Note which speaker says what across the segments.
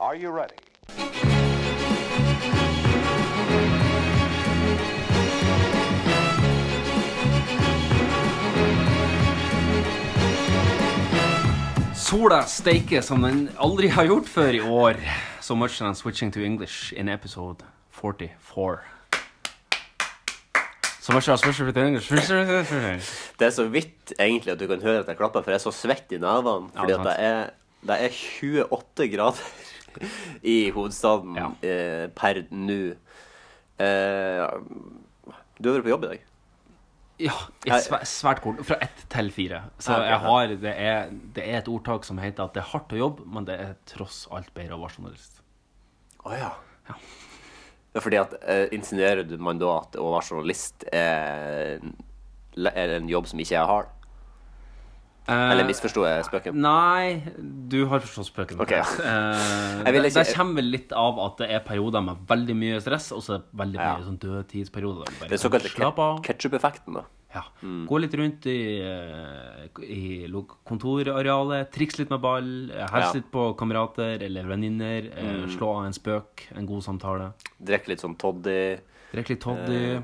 Speaker 1: Are you ready?
Speaker 2: Sola steiker som den aldri har gjort før i år. So much that I'm switching to English in episode 44. So much that I'm switching to English.
Speaker 3: Det er så vidt egentlig at du kan høre at jeg klapper, for jeg er så svett i nervene. Fordi at
Speaker 2: sant.
Speaker 3: det er, det er 28 grader i hovedstaden
Speaker 2: Ja.
Speaker 3: eh, per nå. Eh, du har vært på jobb i dag.
Speaker 2: Ja, i svæ- svært kort. Fra ett til fire. Så
Speaker 3: Ja, ok,
Speaker 2: jeg
Speaker 3: ja.
Speaker 2: har, det, er, det er et ordtak som heter at det er hardt å jobbe, men det er tross alt bedre å være journalist.
Speaker 3: Å ja.
Speaker 2: Ja.
Speaker 3: Det er fordi at eh, Insinuerer du man da at å være journalist er, er en jobb som ikke jeg har?
Speaker 2: Eh,
Speaker 3: Eller misforsto jeg spøken?
Speaker 2: Nei, du har forstått spøken.
Speaker 3: Ok, ja.
Speaker 2: Eh,
Speaker 3: Jeg vil
Speaker 2: det,
Speaker 3: ikke-
Speaker 2: det kommer vel litt av at det er perioder med veldig mye stress, og så er det veldig
Speaker 3: Ja.
Speaker 2: mye sånn dødtidsperioder. der du bare
Speaker 3: Den
Speaker 2: kan slappe
Speaker 3: såkalte
Speaker 2: av.
Speaker 3: ketsjup-effekten, da.
Speaker 2: Ja.
Speaker 3: Mm.
Speaker 2: Gå litt rundt i, eh, i lo- kontorarealet, triks litt med ball, eh,
Speaker 3: Ja. Mm.
Speaker 2: helse litt på kamerater eller venninner, eh, slå av en spøk, en god samtale.
Speaker 3: Drikke litt sånn toddy.
Speaker 2: Drikk litt toddy,
Speaker 3: Eh,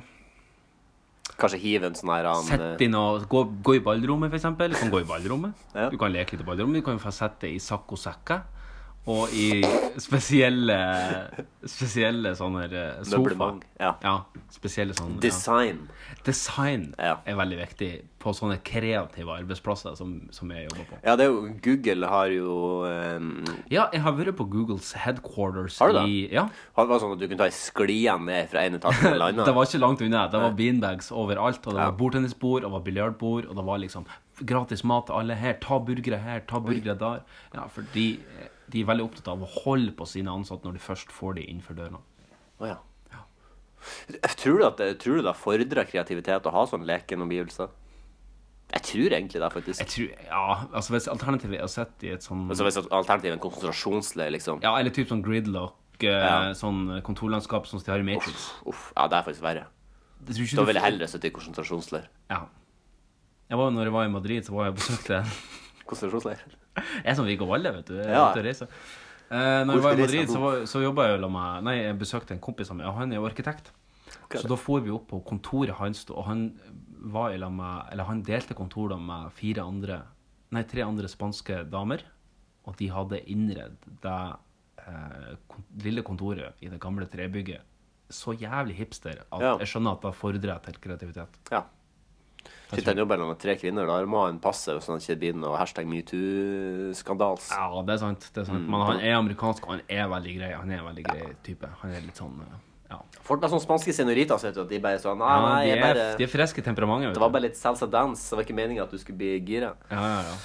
Speaker 3: Kanskje hive en sånn her han,
Speaker 2: sett inn og gå, gå i ballrommet, f.eks. Du kan gå i ballrommet.
Speaker 3: Ja.
Speaker 2: Du kan leke litt i ballrommet. Du kan få sette det i sakk og sekker. Og i spesielle Spesielle sånne eh, sofaer.
Speaker 3: Møblement, ja.
Speaker 2: Ja, spesielle sånne ja.
Speaker 3: Design.
Speaker 2: Design
Speaker 3: Ja.
Speaker 2: er veldig viktig på sånne kreative arbeidsplasser som, som jeg jobber på.
Speaker 3: Ja, det er jo Google har jo eh,
Speaker 2: Ja, jeg har vært på Googles headquarters
Speaker 3: Har du det?
Speaker 2: i ja.
Speaker 3: Han var sånn at du kunne ta ei sklie ned fra en etasje til en
Speaker 2: Det
Speaker 3: annen.
Speaker 2: var ikke langt unna. Det var beanbags overalt. Og det
Speaker 3: Ja.
Speaker 2: var bordtennisbord og det var biljardbord. Og det var liksom gratis mat til alle her. Ta burgere her, ta burgere der. Ja, for de, de er veldig opptatt av å holde på sine ansatte når de først får de innenfor dørene.
Speaker 3: Å, ja. Tror du at det, tror du det fordrer kreativitet å ha sånne lekende omgivelser? Jeg tror egentlig det,
Speaker 2: Jeg
Speaker 3: faktisk.
Speaker 2: tror, ja, altså Hvis alternativet er å sitte i et sånn
Speaker 3: Altså, hvis alternativet er en konsentrasjonsleir, liksom.
Speaker 2: Ja, eller typ sånn gridlock, eh,
Speaker 3: Ja.
Speaker 2: sånn kontorlandskap som de har i Matrix.
Speaker 3: Uff, ja, det er faktisk verre.
Speaker 2: Jeg tror ikke
Speaker 3: Da
Speaker 2: du
Speaker 3: vil jeg
Speaker 2: får-
Speaker 3: heller sitte i konsentrasjonsleir.
Speaker 2: Ja. Jeg var, når jeg var i Madrid, så var jeg og besøkte
Speaker 3: Konsentrasjonsleir?
Speaker 2: Jeg er som Viggo Valle, vet du. Jeg er
Speaker 3: Ja.
Speaker 2: ute og reiser. Eh, når
Speaker 3: Hvor
Speaker 2: jeg var i
Speaker 3: skal du reise
Speaker 2: Madrid,
Speaker 3: nå?
Speaker 2: så, var- så jobba jeg jo med Nei, jeg besøkte en kompis av meg, og han er jo arkitekt.
Speaker 3: Ok.
Speaker 2: Så da for vi opp på kontoret hans, og han var i lag med Eller han delte kontor da med fire andre Nei, tre andre spanske damer. Og de hadde innredd det eh, kon lille kontoret i det gamle trebygget så jævlig hipster at
Speaker 3: Ja.
Speaker 2: jeg skjønner at det fordrer til kreativitet.
Speaker 3: Ja. Sitter han jobber med tre kvinner, da må han passe sånn at det ikke blir noe hashtag metoo-skandals.
Speaker 2: Ja, det er sant. det er sant
Speaker 3: Mm.
Speaker 2: Men han er amerikansk, og han er veldig grei. Han er en veldig grei type. Han er litt sånn eh, ja.
Speaker 3: Folk med sånne spanske senoritas, vet du, at de bare sånn Nei,
Speaker 2: Ja,
Speaker 3: nei,
Speaker 2: de,
Speaker 3: jeg
Speaker 2: er,
Speaker 3: bare
Speaker 2: de er friske i temperamentet.
Speaker 3: Det var bare litt salsa dance. Det var ikke meninga at du skulle bli gira.
Speaker 2: ja, ja, ja.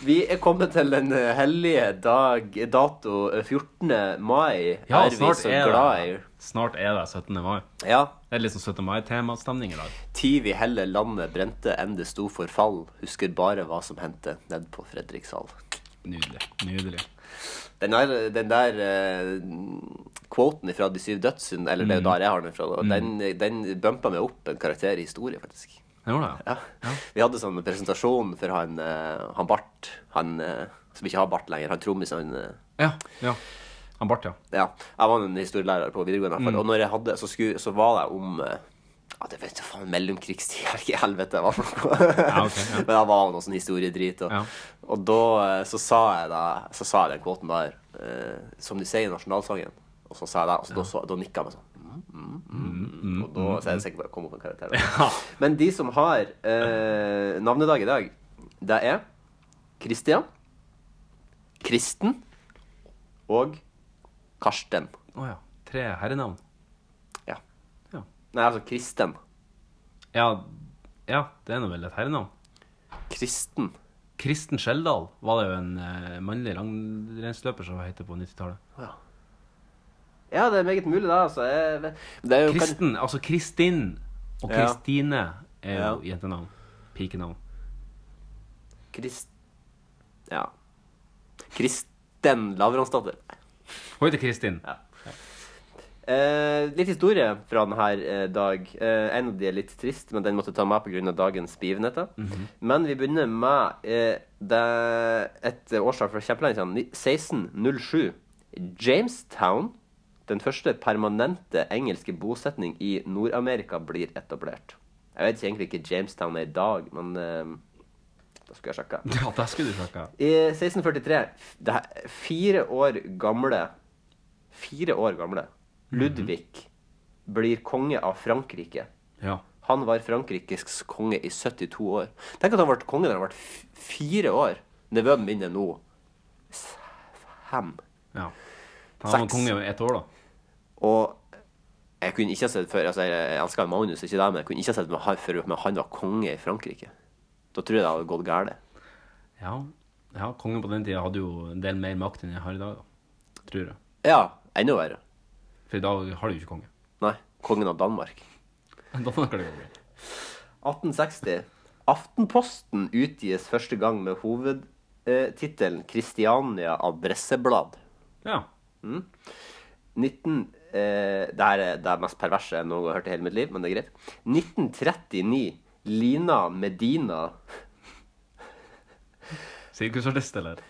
Speaker 3: Vi er kommet til den eh, hellige dag, dato eh, 14. mai.
Speaker 2: ja
Speaker 3: er vi
Speaker 2: snart,
Speaker 3: så
Speaker 2: er
Speaker 3: glad i.
Speaker 2: det, snart er det 17. mai.
Speaker 3: Ja.
Speaker 2: Det er litt sånn 17. mai-temastemning i dag.
Speaker 3: Tid vi heller landet brente enn det sto for fall. Husker bare hva som hendte ned på Fredrikshall.
Speaker 2: Nydelig. nydelig
Speaker 3: Den der, den der eh, quoten fra De syv dødssynd, eller
Speaker 2: Mm.
Speaker 3: det er jo der jeg har den fra, da, den, den bumpa meg opp en karakter i historie, faktisk.
Speaker 2: Jeg gjorde det, ja.
Speaker 3: Ja. Vi hadde sånn presentasjon for han, eh, han Bart, han eh, som ikke har bart lenger, han trommis, han eh,
Speaker 2: Ja. ja. Han Bart, ja.
Speaker 3: Ja, jeg var en historielærer på videregående. i hvert fall, Og når jeg hadde, så, skulle, så var det om eh, ja, det vet du faen, mellomkrigstid, eller ikke helvete, hva for noe.
Speaker 2: Ja, ok, ja.
Speaker 3: Men jeg var jo noe sånn historiedrit. Og,
Speaker 2: Ja.
Speaker 3: og da eh, så sa jeg da, så sa jeg den kvoten der, eh, som de sier i nasjonalsangen. Og så sa jeg det, og så, da, så, da nikka jeg meg sånn. Mm, mm, mm, og da så er jeg sikker på at det kom opp en karakter. Da. Men de som har eh, navnedag i dag, det er Kristian, Kristen og Karsten.
Speaker 2: Å ja. Tre herrenavn.
Speaker 3: Ja.
Speaker 2: Ja.
Speaker 3: Nei, altså kristen.
Speaker 2: ja. Ja, det er nå vel et herrenavn.
Speaker 3: Kristen.
Speaker 2: Kristen Skjeldal var det jo en eh, mannlig langrennsløper som het på 90-tallet.
Speaker 3: Ja. ja, det er meget mulig, det. Altså. Jeg vet- Det er jo kan...
Speaker 2: Kristen, altså Kristin og
Speaker 3: Ja.
Speaker 2: Kristine er jo
Speaker 3: Ja.
Speaker 2: jentenavn. Pikenavn.
Speaker 3: Krist... Ja. Kristen Lavransdatter.
Speaker 2: Hun heter Kristin.
Speaker 3: Ja. Eh, litt historie fra denne eh, dag. Eh, en av de er litt trist, men den måtte jeg ta med pga. dagens begivenheter. Men vi begynner med eh, det, et årsak fra kjempelenge siden. ni- 1607. Jamestown, den første permanente engelske bosetning i Nord-Amerika, blir etablert. Jeg vet egentlig ikke Jamestown er i dag, men eh, da skulle jeg sjekka.
Speaker 2: Ja, det skulle du sjekka.
Speaker 3: I 1643, det her, fire år gamle Fire år gamle Ludvig blir konge av Frankrike.
Speaker 2: Ja.
Speaker 3: Han var Frankrikes konge i 72 år. Tenk at han ble konge da han ble f- fire år. Nevøen min er nå s- fem.
Speaker 2: ja. Da var han
Speaker 3: Seks.
Speaker 2: konge i ett år, da.
Speaker 3: Og jeg kunne ikke ha sett før altså, Jeg elsker Magnus, ikke det, men jeg kunne ikke ha sett med han- før men han var konge i Frankrike. Da tror jeg det hadde gått galt.
Speaker 2: Ja. ja. Kongen på den tida hadde jo en del mer makt enn jeg har i dag, da. Tror jeg.
Speaker 3: Ja, enda verre.
Speaker 2: For i dag har du jo ikke konge.
Speaker 3: Nei, kongen av Danmark.
Speaker 2: Da snakker det konge.
Speaker 3: 1860. Aftenposten utgis første gang med hovedtittelen 'Kristiania adresseblad'.
Speaker 2: Ja.
Speaker 3: 19... Eh, det her er det mest perverse jeg noen gang har hørt i hele mitt liv, men det er greit. 1939. Lina Medina
Speaker 2: Sirkusartist, eller?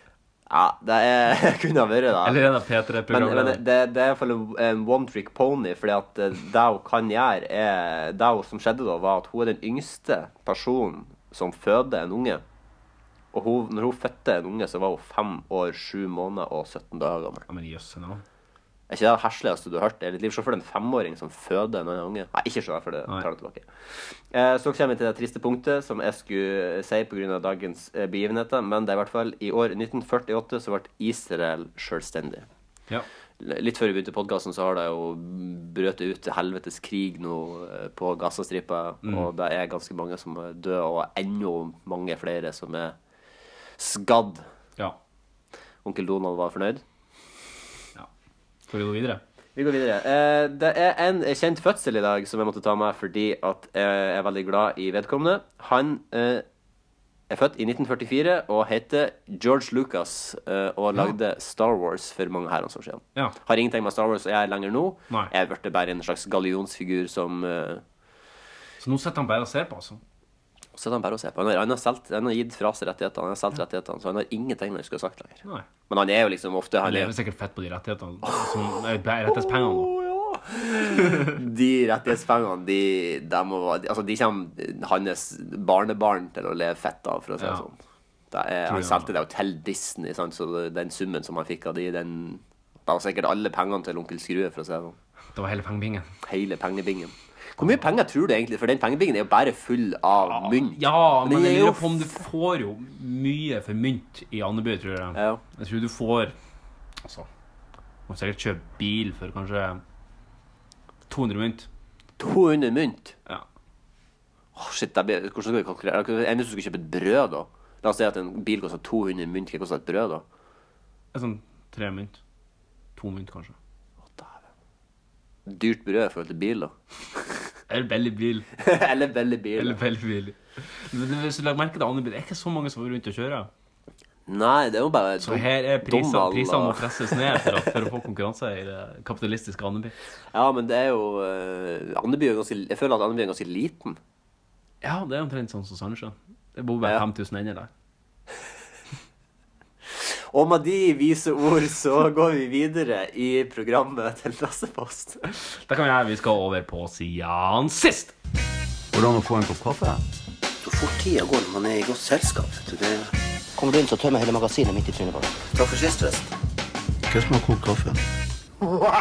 Speaker 3: Ja, det er, kunne ha vært det.
Speaker 2: Eller er det
Speaker 3: Men, men
Speaker 2: P3-programmet?
Speaker 3: det, det er i hvert fall en- en one trick pony, fordi at eh, det hun kan gjøre, er Det hun som skjedde da, var at hun er den yngste personen som føder en unge. Og hun, når hun fødte en unge, så var hun fem år, sju måneder og 17 dager gammel.
Speaker 2: Ja, men jøsse navn.
Speaker 3: Er ikke det det hersligste du har hørt i ditt liv? Se for deg en femåring som føder en annen unge. Nei, ikke se for deg,
Speaker 2: Nei.
Speaker 3: tar det tilbake. Eh, Så kommer vi til det triste punktet som jeg skulle si pga. dagens eh, begivenheter, men det er i hvert fall i år 1948 så ble Israel selvstendig.
Speaker 2: Ja.
Speaker 3: L- Litt før vi begynte podkasten, så har det jo brøt ut til helvetes krig nå eh, på Gazastripa, og det er ganske mange som er døde, og enda mange flere som er skadd.
Speaker 2: ja.
Speaker 3: Onkel Donald var fornøyd.
Speaker 2: ja. Skal vi gå videre?
Speaker 3: Vi går videre. Eh, det er en kjent fødsel i dag som jeg måtte ta med fordi at jeg er veldig glad i vedkommende. Han eh, er født i 1944 og heter George Lucas eh, og lagde Star Wars for mange herrens år siden.
Speaker 2: Ja.
Speaker 3: Har ingenting med Star Wars å gjøre lenger nå.
Speaker 2: Nei.
Speaker 3: Jeg er blitt bare en slags gallionsfigur som eh,
Speaker 2: Så nå sitter han bare og ser på, altså.
Speaker 3: Så sitter han bare og ser på. Han har, han har, solgt- han har gitt fra seg rettighetene, han har solgt rettighetene, så han har ingenting han skulle ha sagt lenger.
Speaker 2: Nei.
Speaker 3: Men han er jo liksom ofte
Speaker 2: Han
Speaker 3: han er,
Speaker 2: lever sikkert fett på de rettighetene. Som er rettighetspengene nå.
Speaker 3: De rettighetspengene, de, de, må, være- altså, de kommer hans barnebarn til å leve fett av, for å si det
Speaker 2: Ja.
Speaker 3: sånn. Det er, han
Speaker 2: jeg.
Speaker 3: solgte det jo til Disney, sant? så den summen som han fikk av de, den Det var sikkert alle pengene til onkel Skrue, for å si det sånn.
Speaker 2: Det var hele pengebingen.
Speaker 3: Hele pengebingen. Hvor mye penger tror du egentlig? For den pengebingen er jo bare full av mynt.
Speaker 2: Ja, men
Speaker 3: Den er
Speaker 2: jeg
Speaker 3: jo
Speaker 2: lurer på om du får jo mye for mynt i Andeby, tror jeg.
Speaker 3: Ja.
Speaker 2: Jeg tror du får Altså Du må sikkert kjøpe bil for kanskje 200 mynt.
Speaker 3: 200 mynt.
Speaker 2: Ja.
Speaker 3: Åh, shit, det blir, hvordan skal vi kalkulere? Enn hvis du skulle kjøpe et brød, da? La oss si at en bil koster 200 mynt. Hva koster et brød, da?
Speaker 2: Det er Sånn tre mynt. To mynt, kanskje.
Speaker 3: Dyrt brød i forhold til bil, da.
Speaker 2: Eller billig bil.
Speaker 3: Eller veldig bil.
Speaker 2: Eller veldig billig. Men Hvis du legger merke til Andeby, det er ikke så mange som er rundt og kjører.
Speaker 3: Nei, det er jo bare
Speaker 2: Så her er prisene
Speaker 3: Donald,
Speaker 2: prisene må
Speaker 3: da.
Speaker 2: presses ned for, å- for å få konkurranse i det kapitalistiske Andeby.
Speaker 3: Ja, men det er jo eh, Andeby er jo ganske Jeg føler at Andeby er ganske liten.
Speaker 2: Ja, det er omtrent sånn som Sandnessjø. Det bor bare
Speaker 3: Ja.
Speaker 2: 5000 ender der.
Speaker 3: Og med de vise ord så går vi videre i programmet til Lassepost.
Speaker 2: Da kan vi gjøre, vi skal over på siden sist!
Speaker 1: Hvordan å få en kopp kaffe?
Speaker 4: Så fort tida går når man er i godt selskap. vet du, det... Kommer du inn, så tømmer jeg hele magasinet midt i trynet på deg. Takk for sist, forresten.
Speaker 1: Hva som har kokt kaffe?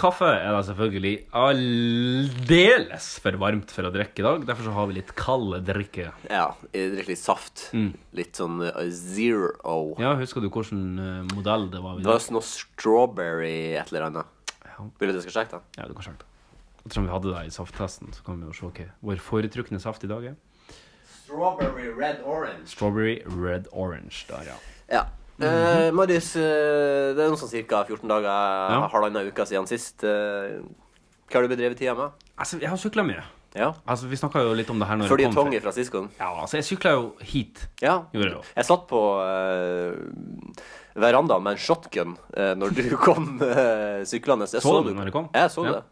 Speaker 2: Kaffe er da selvfølgelig aldeles for varmt for å drikke i dag. Derfor så har vi litt kald drikke.
Speaker 3: Ja, jeg drikker litt saft.
Speaker 2: Mm.
Speaker 3: Litt sånn eh, zero.
Speaker 2: Ja, Husker du hvilken eh, modell det var? vi-
Speaker 3: Det var sånn noe strawberry et eller annet.
Speaker 2: Ja.
Speaker 3: Vil du at jeg skal sjekke det?
Speaker 2: Ja, du kan sjekke det. Ettersom vi hadde det i safttesten, så kan vi jo se hva vår foretrukne saft i dag er.
Speaker 3: Strawberry red orange.
Speaker 2: Strawberry red orange. Der, ja.
Speaker 3: Ja. Eh, Marius, eh, det er noe sånn ca. 14 dager,
Speaker 2: Ja.
Speaker 3: halvannen uke siden sist. Eh, hva har du bedrevet tida med?
Speaker 2: Altså, jeg har sykla mye.
Speaker 3: Ja.
Speaker 2: Altså, Vi snakka jo litt om det her når
Speaker 3: Fordi
Speaker 2: jeg kom.
Speaker 3: Tongi fra sist gang.
Speaker 2: Ja, altså, jeg sykla jo hit.
Speaker 3: Ja.
Speaker 2: Gjorde det jo.
Speaker 3: Jeg satt på eh, verandaen med en shotgun uh, når du kom eh, syklende. Jeg
Speaker 2: Så du når jeg kom?
Speaker 3: Jeg så
Speaker 2: Ja.
Speaker 3: det.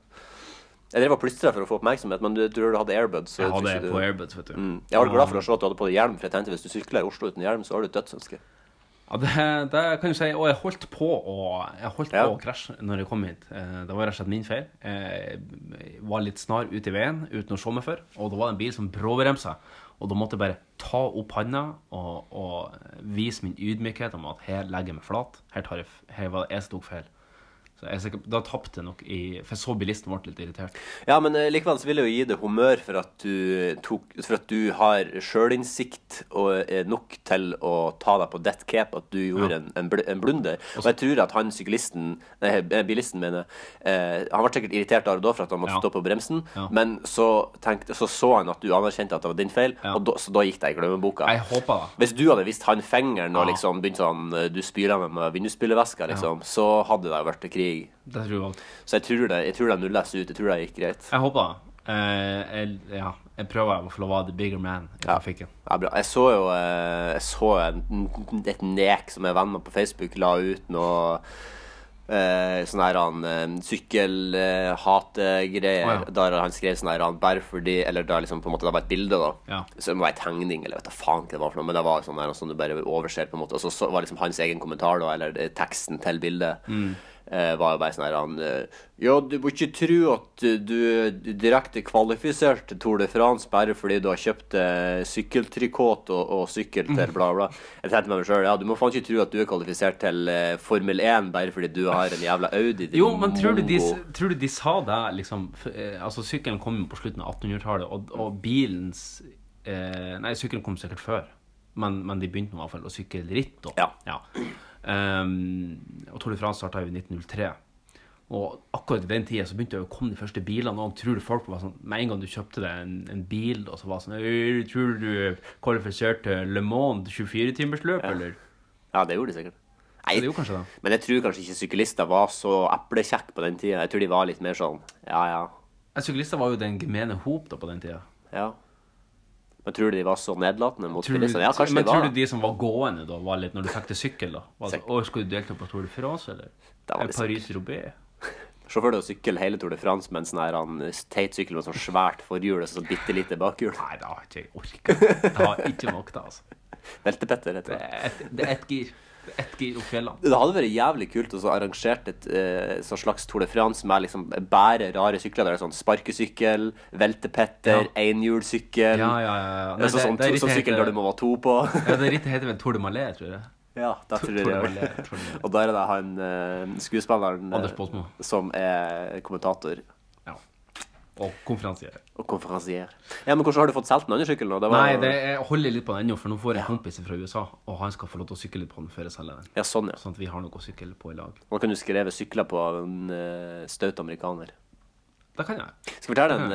Speaker 3: Jeg drev og plystra for å få oppmerksomhet, men du tror du hadde airbuds. så
Speaker 2: Jeg hadde
Speaker 3: tror ikke
Speaker 2: det
Speaker 3: du-
Speaker 2: på airbuds, vet du. Ah.
Speaker 3: Mm. Jeg var glad for å se at du hadde på deg hjelm, for jeg tenkte hvis du sykler i Oslo uten hjelm, så har du dødsønske.
Speaker 2: Ja, det, det kan du si. Og jeg holdt på å, jeg holdt
Speaker 3: Ja.
Speaker 2: på å krasje når jeg kom hit. Eh, Det var rett og slett min feil. Jeg var litt snar ut i veien uten å se meg før. Og da var det en bil som bråbremsa. Og da måtte jeg bare ta opp handa og, og vise min ydmykhet om at her legger jeg meg flat. Her, tar jeg, f- her var det jeg som tok feil. Så jeg, er sikker- da tapte jeg nok i For jeg så bilisten ble litt irritert.
Speaker 3: Ja, men eh, likevel så vil jeg jo gi deg humør for at du, eh, tok, for at du har sjølinnsikt og er nok til å ta deg på dead cap at du gjorde en, en, bl en blunder. Og jeg tror at han syklisten, nei, eh, bilisten mener jeg, eh, Han ble sikkert irritert der og da for at han måtte
Speaker 2: Ja.
Speaker 3: stå på bremsen,
Speaker 2: Ja.
Speaker 3: men så, tenkte, så så han at du anerkjente at det var din feil,
Speaker 2: Ja.
Speaker 3: og da, så da gikk det i glemmeboka.
Speaker 2: Jeg håpa det.
Speaker 3: Hvis du hadde vist han fingeren og
Speaker 2: Ja.
Speaker 3: liksom begynt sånn eh, Du spyler meg med vindusspyleveska, liksom, så hadde det vært krig.
Speaker 2: Det tror jeg var
Speaker 3: Så jeg tror det, jeg tror det nulles ut. Jeg tror det gikk greit.
Speaker 2: Jeg håper det. Eh, jeg, ja, jeg prøver å få lov å være the bigger man i trafikken.
Speaker 3: Ja, bra. Jeg så jo eh, jeg så en, et nek som jeg venn med på Facebook la ut noe eh, sånn her han eh, sykkelhategreier.
Speaker 2: Å, ja.
Speaker 3: Der han skrev sånn her han bare fordi Eller da liksom på en måte det var et bilde, da.
Speaker 2: Ja.
Speaker 3: Som var en tegning, eller vet da faen hva det var for noe. Men det var sånn her som du bare overser, på en måte. Og så, så var liksom hans egen kommentar, da, eller eh, teksten til bildet.
Speaker 2: Mm.
Speaker 3: eh, var jo bare sånn her han eh, Ja, du må ikke tro at eh, du er direkte kvalifisert til Tour de France bare fordi du har kjøpt eh, sykkeltrikot og, og sykkel til bla, bla. Jeg tenkte med meg sjøl, ja, du må faen ikke tro at du er kvalifisert til eh, Formel 1 bare fordi du har en jævla Audi. din
Speaker 2: Jo, men tror du, de,
Speaker 3: mongo.
Speaker 2: tror du de sa det liksom f- eh, Altså, sykkelen kom jo på slutten av 1800-tallet, og, og bilens eh, Nei, sykkelen kom sikkert før, men, men de begynte nå i hvert fall å sykle ritt da.
Speaker 3: Ja.
Speaker 2: Ehm, og Tour de France starta jo i 1903. Og akkurat i den tida så begynte det å komme de første bilene. Og tror du folk var sånn Med en gang du kjøpte deg en, en bil, og så var det sånn «Øh, Tror du du er kvalifisert til Le Monde 24-timersløp, eller?
Speaker 3: Ja, det gjorde de sikkert. Nei,
Speaker 2: Det er jo kanskje det.
Speaker 3: Men jeg tror kanskje ikke syklister var så eplekjekke på den tida. Jeg tror de var litt mer sånn ja, ja,
Speaker 2: Jeg Syklister var jo den gemene hop da på den tida.
Speaker 3: ja. Men tror du de var så nedlatende mot
Speaker 2: Tror du,
Speaker 3: bilistene? sånn, Ja, kanskje
Speaker 2: men
Speaker 3: de var.
Speaker 2: tror du de som var gående da, var litt når du fikk til sykkel, da? Var sånn,
Speaker 3: Sikkert.
Speaker 2: Å, skal du delta på Tour de France, eller?
Speaker 3: Det var det
Speaker 2: Paris-Roubaix?
Speaker 3: Se for deg å sykle hele Tour de France med en sånn her han, teit sykkel med sånn svært forhjul og så bitte lite bakhjul.
Speaker 2: Nei, det har ikke jeg orket. Det har jeg ikke makta, altså.
Speaker 3: Veltepetter, heter
Speaker 2: Det
Speaker 3: det.
Speaker 2: er ett det er ett gir. Det er ett gir opp fjellene.
Speaker 3: Det hadde vært jævlig kult å så arrangert et eh, sånn slags Tour de France med liksom bare rare sykler. Der det er sånn sparkesykkel, veltepetter,
Speaker 2: Ja.
Speaker 3: enhjulssykkel
Speaker 2: Ja, ja, ja.
Speaker 3: Nei, så, sånn, sånn sykkel der du må være to på.
Speaker 2: Ja, det rittet heter vel Tour de Malais, tror jeg.
Speaker 3: Ja, da tror jeg
Speaker 2: Tour de
Speaker 3: det.
Speaker 2: Malais, Tour de Malais.
Speaker 3: Og der er det han eh, skuespilleren eh,
Speaker 2: Anders Båtsmo.
Speaker 3: som er kommentator
Speaker 2: Ja. Og konferansier.
Speaker 3: og konferansier. Ja, men hvordan har du fått solgt den andre sykkelen? nå? Det var-
Speaker 2: Nei, det jeg holder litt på den ennå, for nå får jeg en kompis fra USA, og han skal få lov til å sykle litt på den før jeg selger den.
Speaker 3: Ja, sånn, ja.
Speaker 2: Sånn at vi har noe å sykle på i lag.
Speaker 3: Nå kan du skrive sykler på av en eh, staut amerikaner.
Speaker 2: Det kan jeg.
Speaker 3: Skal jeg fortelle en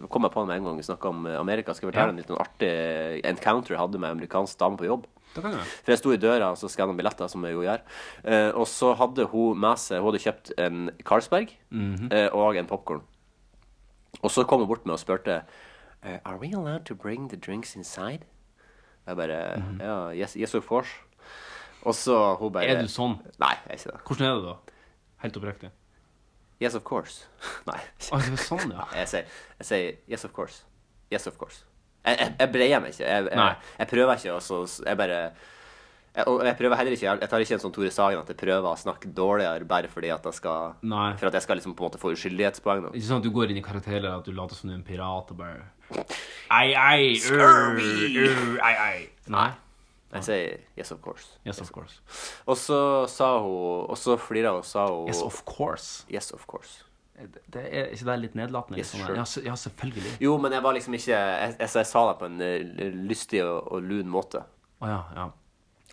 Speaker 3: eh, Kom jeg på med en gang vi snakket om eh, Amerika. Skal jeg
Speaker 2: Ja.
Speaker 3: fortelle en litt sånn artig encounter jeg hadde med en amerikansk dame på jobb?
Speaker 2: Det kan jeg.
Speaker 3: For jeg sto i døra og så skanna billetter, som jeg jo gjør. Eh, og så hadde hun med seg Hun hadde kjøpt en Carlsberg
Speaker 2: Mhm.
Speaker 3: eh, og en popkorn. Og så kom hun bort med og spurte eh, Are we allowed to bring the drinks inside? Jeg bare
Speaker 2: Mhm.
Speaker 3: Ja, yes, yes of course. Og så hun bare
Speaker 2: Er du sånn?
Speaker 3: Nei, jeg er ikke det.
Speaker 2: Hvordan er det da? Helt oppriktig.
Speaker 3: Yes of course. Nei.
Speaker 2: Å, det var sånn, ja.
Speaker 3: Jeg sier, jeg sier yes of course. Yes of course. Jeg, jeg, jeg breier meg ikke. Jeg,
Speaker 2: Nei.
Speaker 3: jeg, jeg prøver ikke, og så jeg bare jeg, Og jeg prøver heller ikke Jeg tar ikke en sånn Tore Sagen at jeg prøver å snakke dårligere bare fordi at jeg skal
Speaker 2: Nei.
Speaker 3: For at jeg skal liksom på en måte få uskyldighetspoeng. Da.
Speaker 2: Ikke sånn at du går inn i karakterer at du later som du er en pirat og bare Ei, ei, ur,
Speaker 3: Scurvy!
Speaker 2: ur, ei, ei. Nei.
Speaker 3: Jeg sier yes of course.
Speaker 2: Yes, of course.
Speaker 3: Og så sa hun Og så flira hun, og sa hun
Speaker 2: Yes, of course.
Speaker 3: yes, of course.
Speaker 2: Det er ikke det litt nedlatende?
Speaker 3: Yes,
Speaker 2: liksom?
Speaker 3: sure.
Speaker 2: ja, se- ja, selvfølgelig.
Speaker 3: Jo, men jeg var liksom ikke Jeg, jeg, jeg sa det på en eh, lystig og, og lun måte.
Speaker 2: Å ja, ja.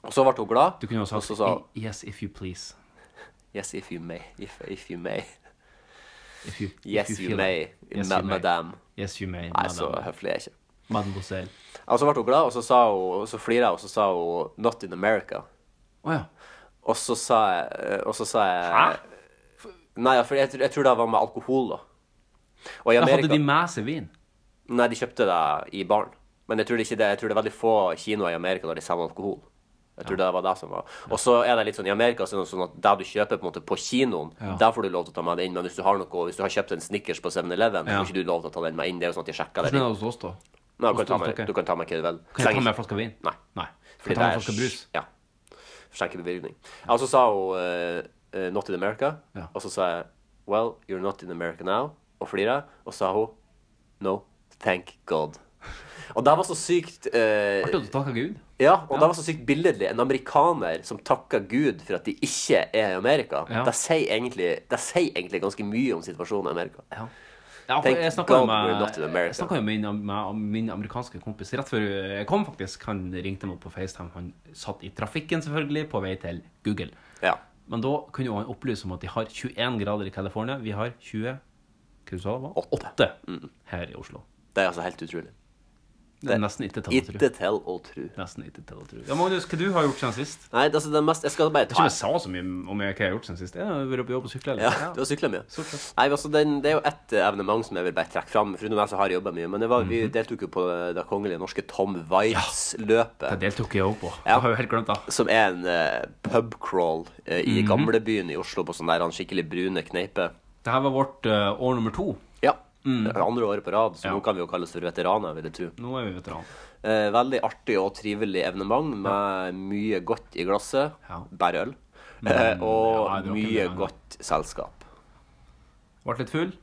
Speaker 3: Og så ble hun glad.
Speaker 2: Du kunne jo ha
Speaker 3: og
Speaker 2: sagt
Speaker 3: så sa hun
Speaker 2: "I- Yes, if you please.
Speaker 3: yes if you may. If, if you may.
Speaker 2: If you, if
Speaker 3: Yes,
Speaker 2: you
Speaker 3: you
Speaker 2: feel
Speaker 3: may,
Speaker 2: it. Yes,
Speaker 3: ma-
Speaker 2: you may.
Speaker 3: madame.
Speaker 2: Yes, you may.
Speaker 3: Nei, så
Speaker 2: Madame.
Speaker 3: høflig er jeg ikke.
Speaker 2: Mademoiselle.
Speaker 3: Og så ble hun glad, og så, sa hun, og så flira hun, og så sa hun 'Not in America'.
Speaker 2: Å ja.
Speaker 3: Og så sa jeg, eh, og så sa jeg
Speaker 2: Hæ?
Speaker 3: Nei, ja, for jeg, tror- jeg tror det var med alkohol, da. Og i
Speaker 2: Da
Speaker 3: Amerika
Speaker 2: hadde de med seg vin.
Speaker 3: Nei, de kjøpte det i baren. Men jeg tror, det ikke det, jeg tror det er veldig få kinoer i Amerika der de selger alkohol. Jeg tror det var det som var. Og så er det litt sånn i Amerika så er det sånn at det du kjøper på, en måte, på kinoen,
Speaker 2: Ja.
Speaker 3: der får du lov til å ta med det inn. Men hvis du har noe, hvis du har kjøpt en Snickers på 7-Eleven,
Speaker 2: Ja.
Speaker 3: får ikke du lov til å ta den med inn. Det er jo sånn at de sjekker det.
Speaker 2: Hvordan er det hos oss, da?
Speaker 3: Nei, du kan,
Speaker 2: Hos-
Speaker 3: ta
Speaker 2: hos
Speaker 3: med,
Speaker 2: dere?
Speaker 3: du kan ta med hva du vil.
Speaker 2: Kan jeg ta med en flaske vin?
Speaker 3: Nei.
Speaker 2: Nei. Kan
Speaker 3: Fordi
Speaker 2: jeg ta med en
Speaker 3: det er-
Speaker 2: flaske brus?
Speaker 3: Ja. skjenkebevilgning. Ja, Og så sa hun eh, eh, 'Not in America',
Speaker 2: Ja.
Speaker 3: og så sa jeg 'Well, you're not in America now', og flira, og så sa hun 'No, thank God'. Og det var så sykt eh,
Speaker 2: Artig at du takka Gud.
Speaker 3: ja, og det var så sykt billedlig. En amerikaner som takker Gud for at de ikke er i Amerika.
Speaker 2: Ja.
Speaker 3: Det, sier egentlig, det sier egentlig ganske mye om situasjonen i Amerika.
Speaker 2: Ja. Ja, for
Speaker 3: Thank
Speaker 2: jeg snakka jo
Speaker 3: God we're not in
Speaker 2: med,
Speaker 3: America.
Speaker 2: jeg snakket jo med, min- med min amerikanske kompis rett før jeg kom, faktisk. Han ringte meg opp på FaceTime. Han satt i trafikken, selvfølgelig, på vei til Google.
Speaker 3: Ja.
Speaker 2: Men da kunne jo han opplyse om at de har 21 grader i California. Vi har 20 Hva du sa det var?
Speaker 3: Åtte. Mm.
Speaker 2: 8 her i Oslo.
Speaker 3: Det er altså helt utrolig.
Speaker 2: Det er nesten ikke til å tro.
Speaker 3: Ikke til å tro.
Speaker 2: Nesten ikke til å tro. Ja, Magnus, hva du har gjort siden sist?
Speaker 3: Nei, altså, det er mest Jeg skal bare
Speaker 2: Jeg tror
Speaker 3: ta
Speaker 2: ikke jeg sa så mye om jeg, hva jeg har gjort siden sist. Jeg har vært på jobb og sykla litt.
Speaker 3: Ja, du har sykla mye.
Speaker 2: Stort sett.
Speaker 3: Nei, men altså, den, det er jo ett eh, evenement som jeg vil bare trekke fram. Foruten meg så har jeg jobba mye. Men det var,
Speaker 2: Mhm.
Speaker 3: vi deltok jo på det, det kongelige norske Tom Waitz-løpet.
Speaker 2: Det deltok jeg òg på.
Speaker 3: Ja.
Speaker 2: Jeg har jo helt glemt det.
Speaker 3: Som er en eh, pubcrawl eh, i
Speaker 2: Mhm.
Speaker 3: gamlebyen i Oslo, på sånn der han skikkelig brune kneipe.
Speaker 2: Det her var vårt eh, år nummer to.
Speaker 3: Ja. Det er Andre året på rad, så
Speaker 2: Ja.
Speaker 3: nå kan vi jo kalles for veteraner, vil jeg tro.
Speaker 2: Nå er vi veteraner.
Speaker 3: Eh, veldig artig og trivelig evenement med mye godt i glasset.
Speaker 2: Ja.
Speaker 3: Bare øl. Eh, og
Speaker 2: ja, jeg drakk en
Speaker 3: mye
Speaker 2: del, ja.
Speaker 3: godt selskap.
Speaker 2: Ble litt full.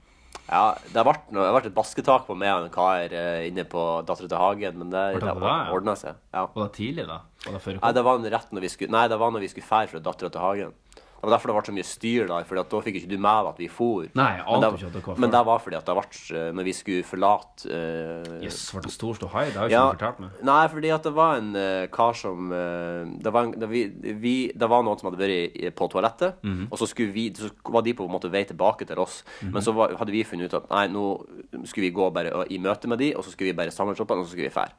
Speaker 3: Ja, det har vært, noe, det har vært et basketak på meg og en kar eh, inne på Dattera til Hagen, men det,
Speaker 2: Var det
Speaker 3: det
Speaker 2: det var, ja?
Speaker 3: ordna seg. Ja.
Speaker 2: Var det tidlig, da? Var det før
Speaker 3: Nei, det var en rett når vi skulle Nei, det var når vi skulle fære fra Dattera til Hagen. Det var derfor det ble så mye styr, da, for da fikk ikke du med deg at vi for.
Speaker 2: Nei, jeg
Speaker 3: Men
Speaker 2: ante
Speaker 3: det-
Speaker 2: ikke at dere var
Speaker 3: Men
Speaker 2: før.
Speaker 3: det var fordi at det ble eh, Når vi skulle forlate eh,
Speaker 2: Jøss, ble det stor ståhei? Det har jo ikke
Speaker 3: Ja,
Speaker 2: du fortalt meg.
Speaker 3: nei, fordi at det var en eh, kar som eh, det, var en, det, vi, vi, det var noen som hadde vært i- på toalettet, og så, skulle vi, så var de på en måte vei tilbake til oss. Men så var, hadde vi funnet ut at nei, nå skulle vi gå bare og- i møte med de, og så skulle vi bare samle oss opp, og så skulle vi fære.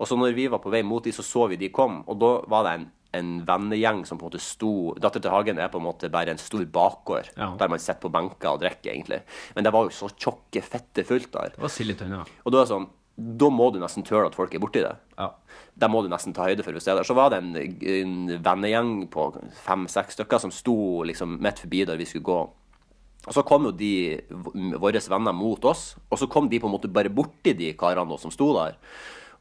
Speaker 3: Og så når vi var på vei mot de, så så vi de kom, og da var det en en vennegjeng som på en måte sto Datter til Hagen er på en måte bare en stor bakgård,
Speaker 2: Ja.
Speaker 3: der man sitter på benker og drikker, egentlig. Men det var jo så tjokke, fette fullt der.
Speaker 2: Det var sild i tønna.
Speaker 3: Og da er det sånn Da må du nesten tørre at folk er borti det.
Speaker 2: Ja.
Speaker 3: Det må du nesten ta høyde for. hvis det er der. Så var det en, en vennegjeng på fem-seks stykker som sto liksom midt forbi der vi skulle gå. Og så kom jo de, v- våre venner mot oss, og så kom de på en måte bare borti de karene da som sto der.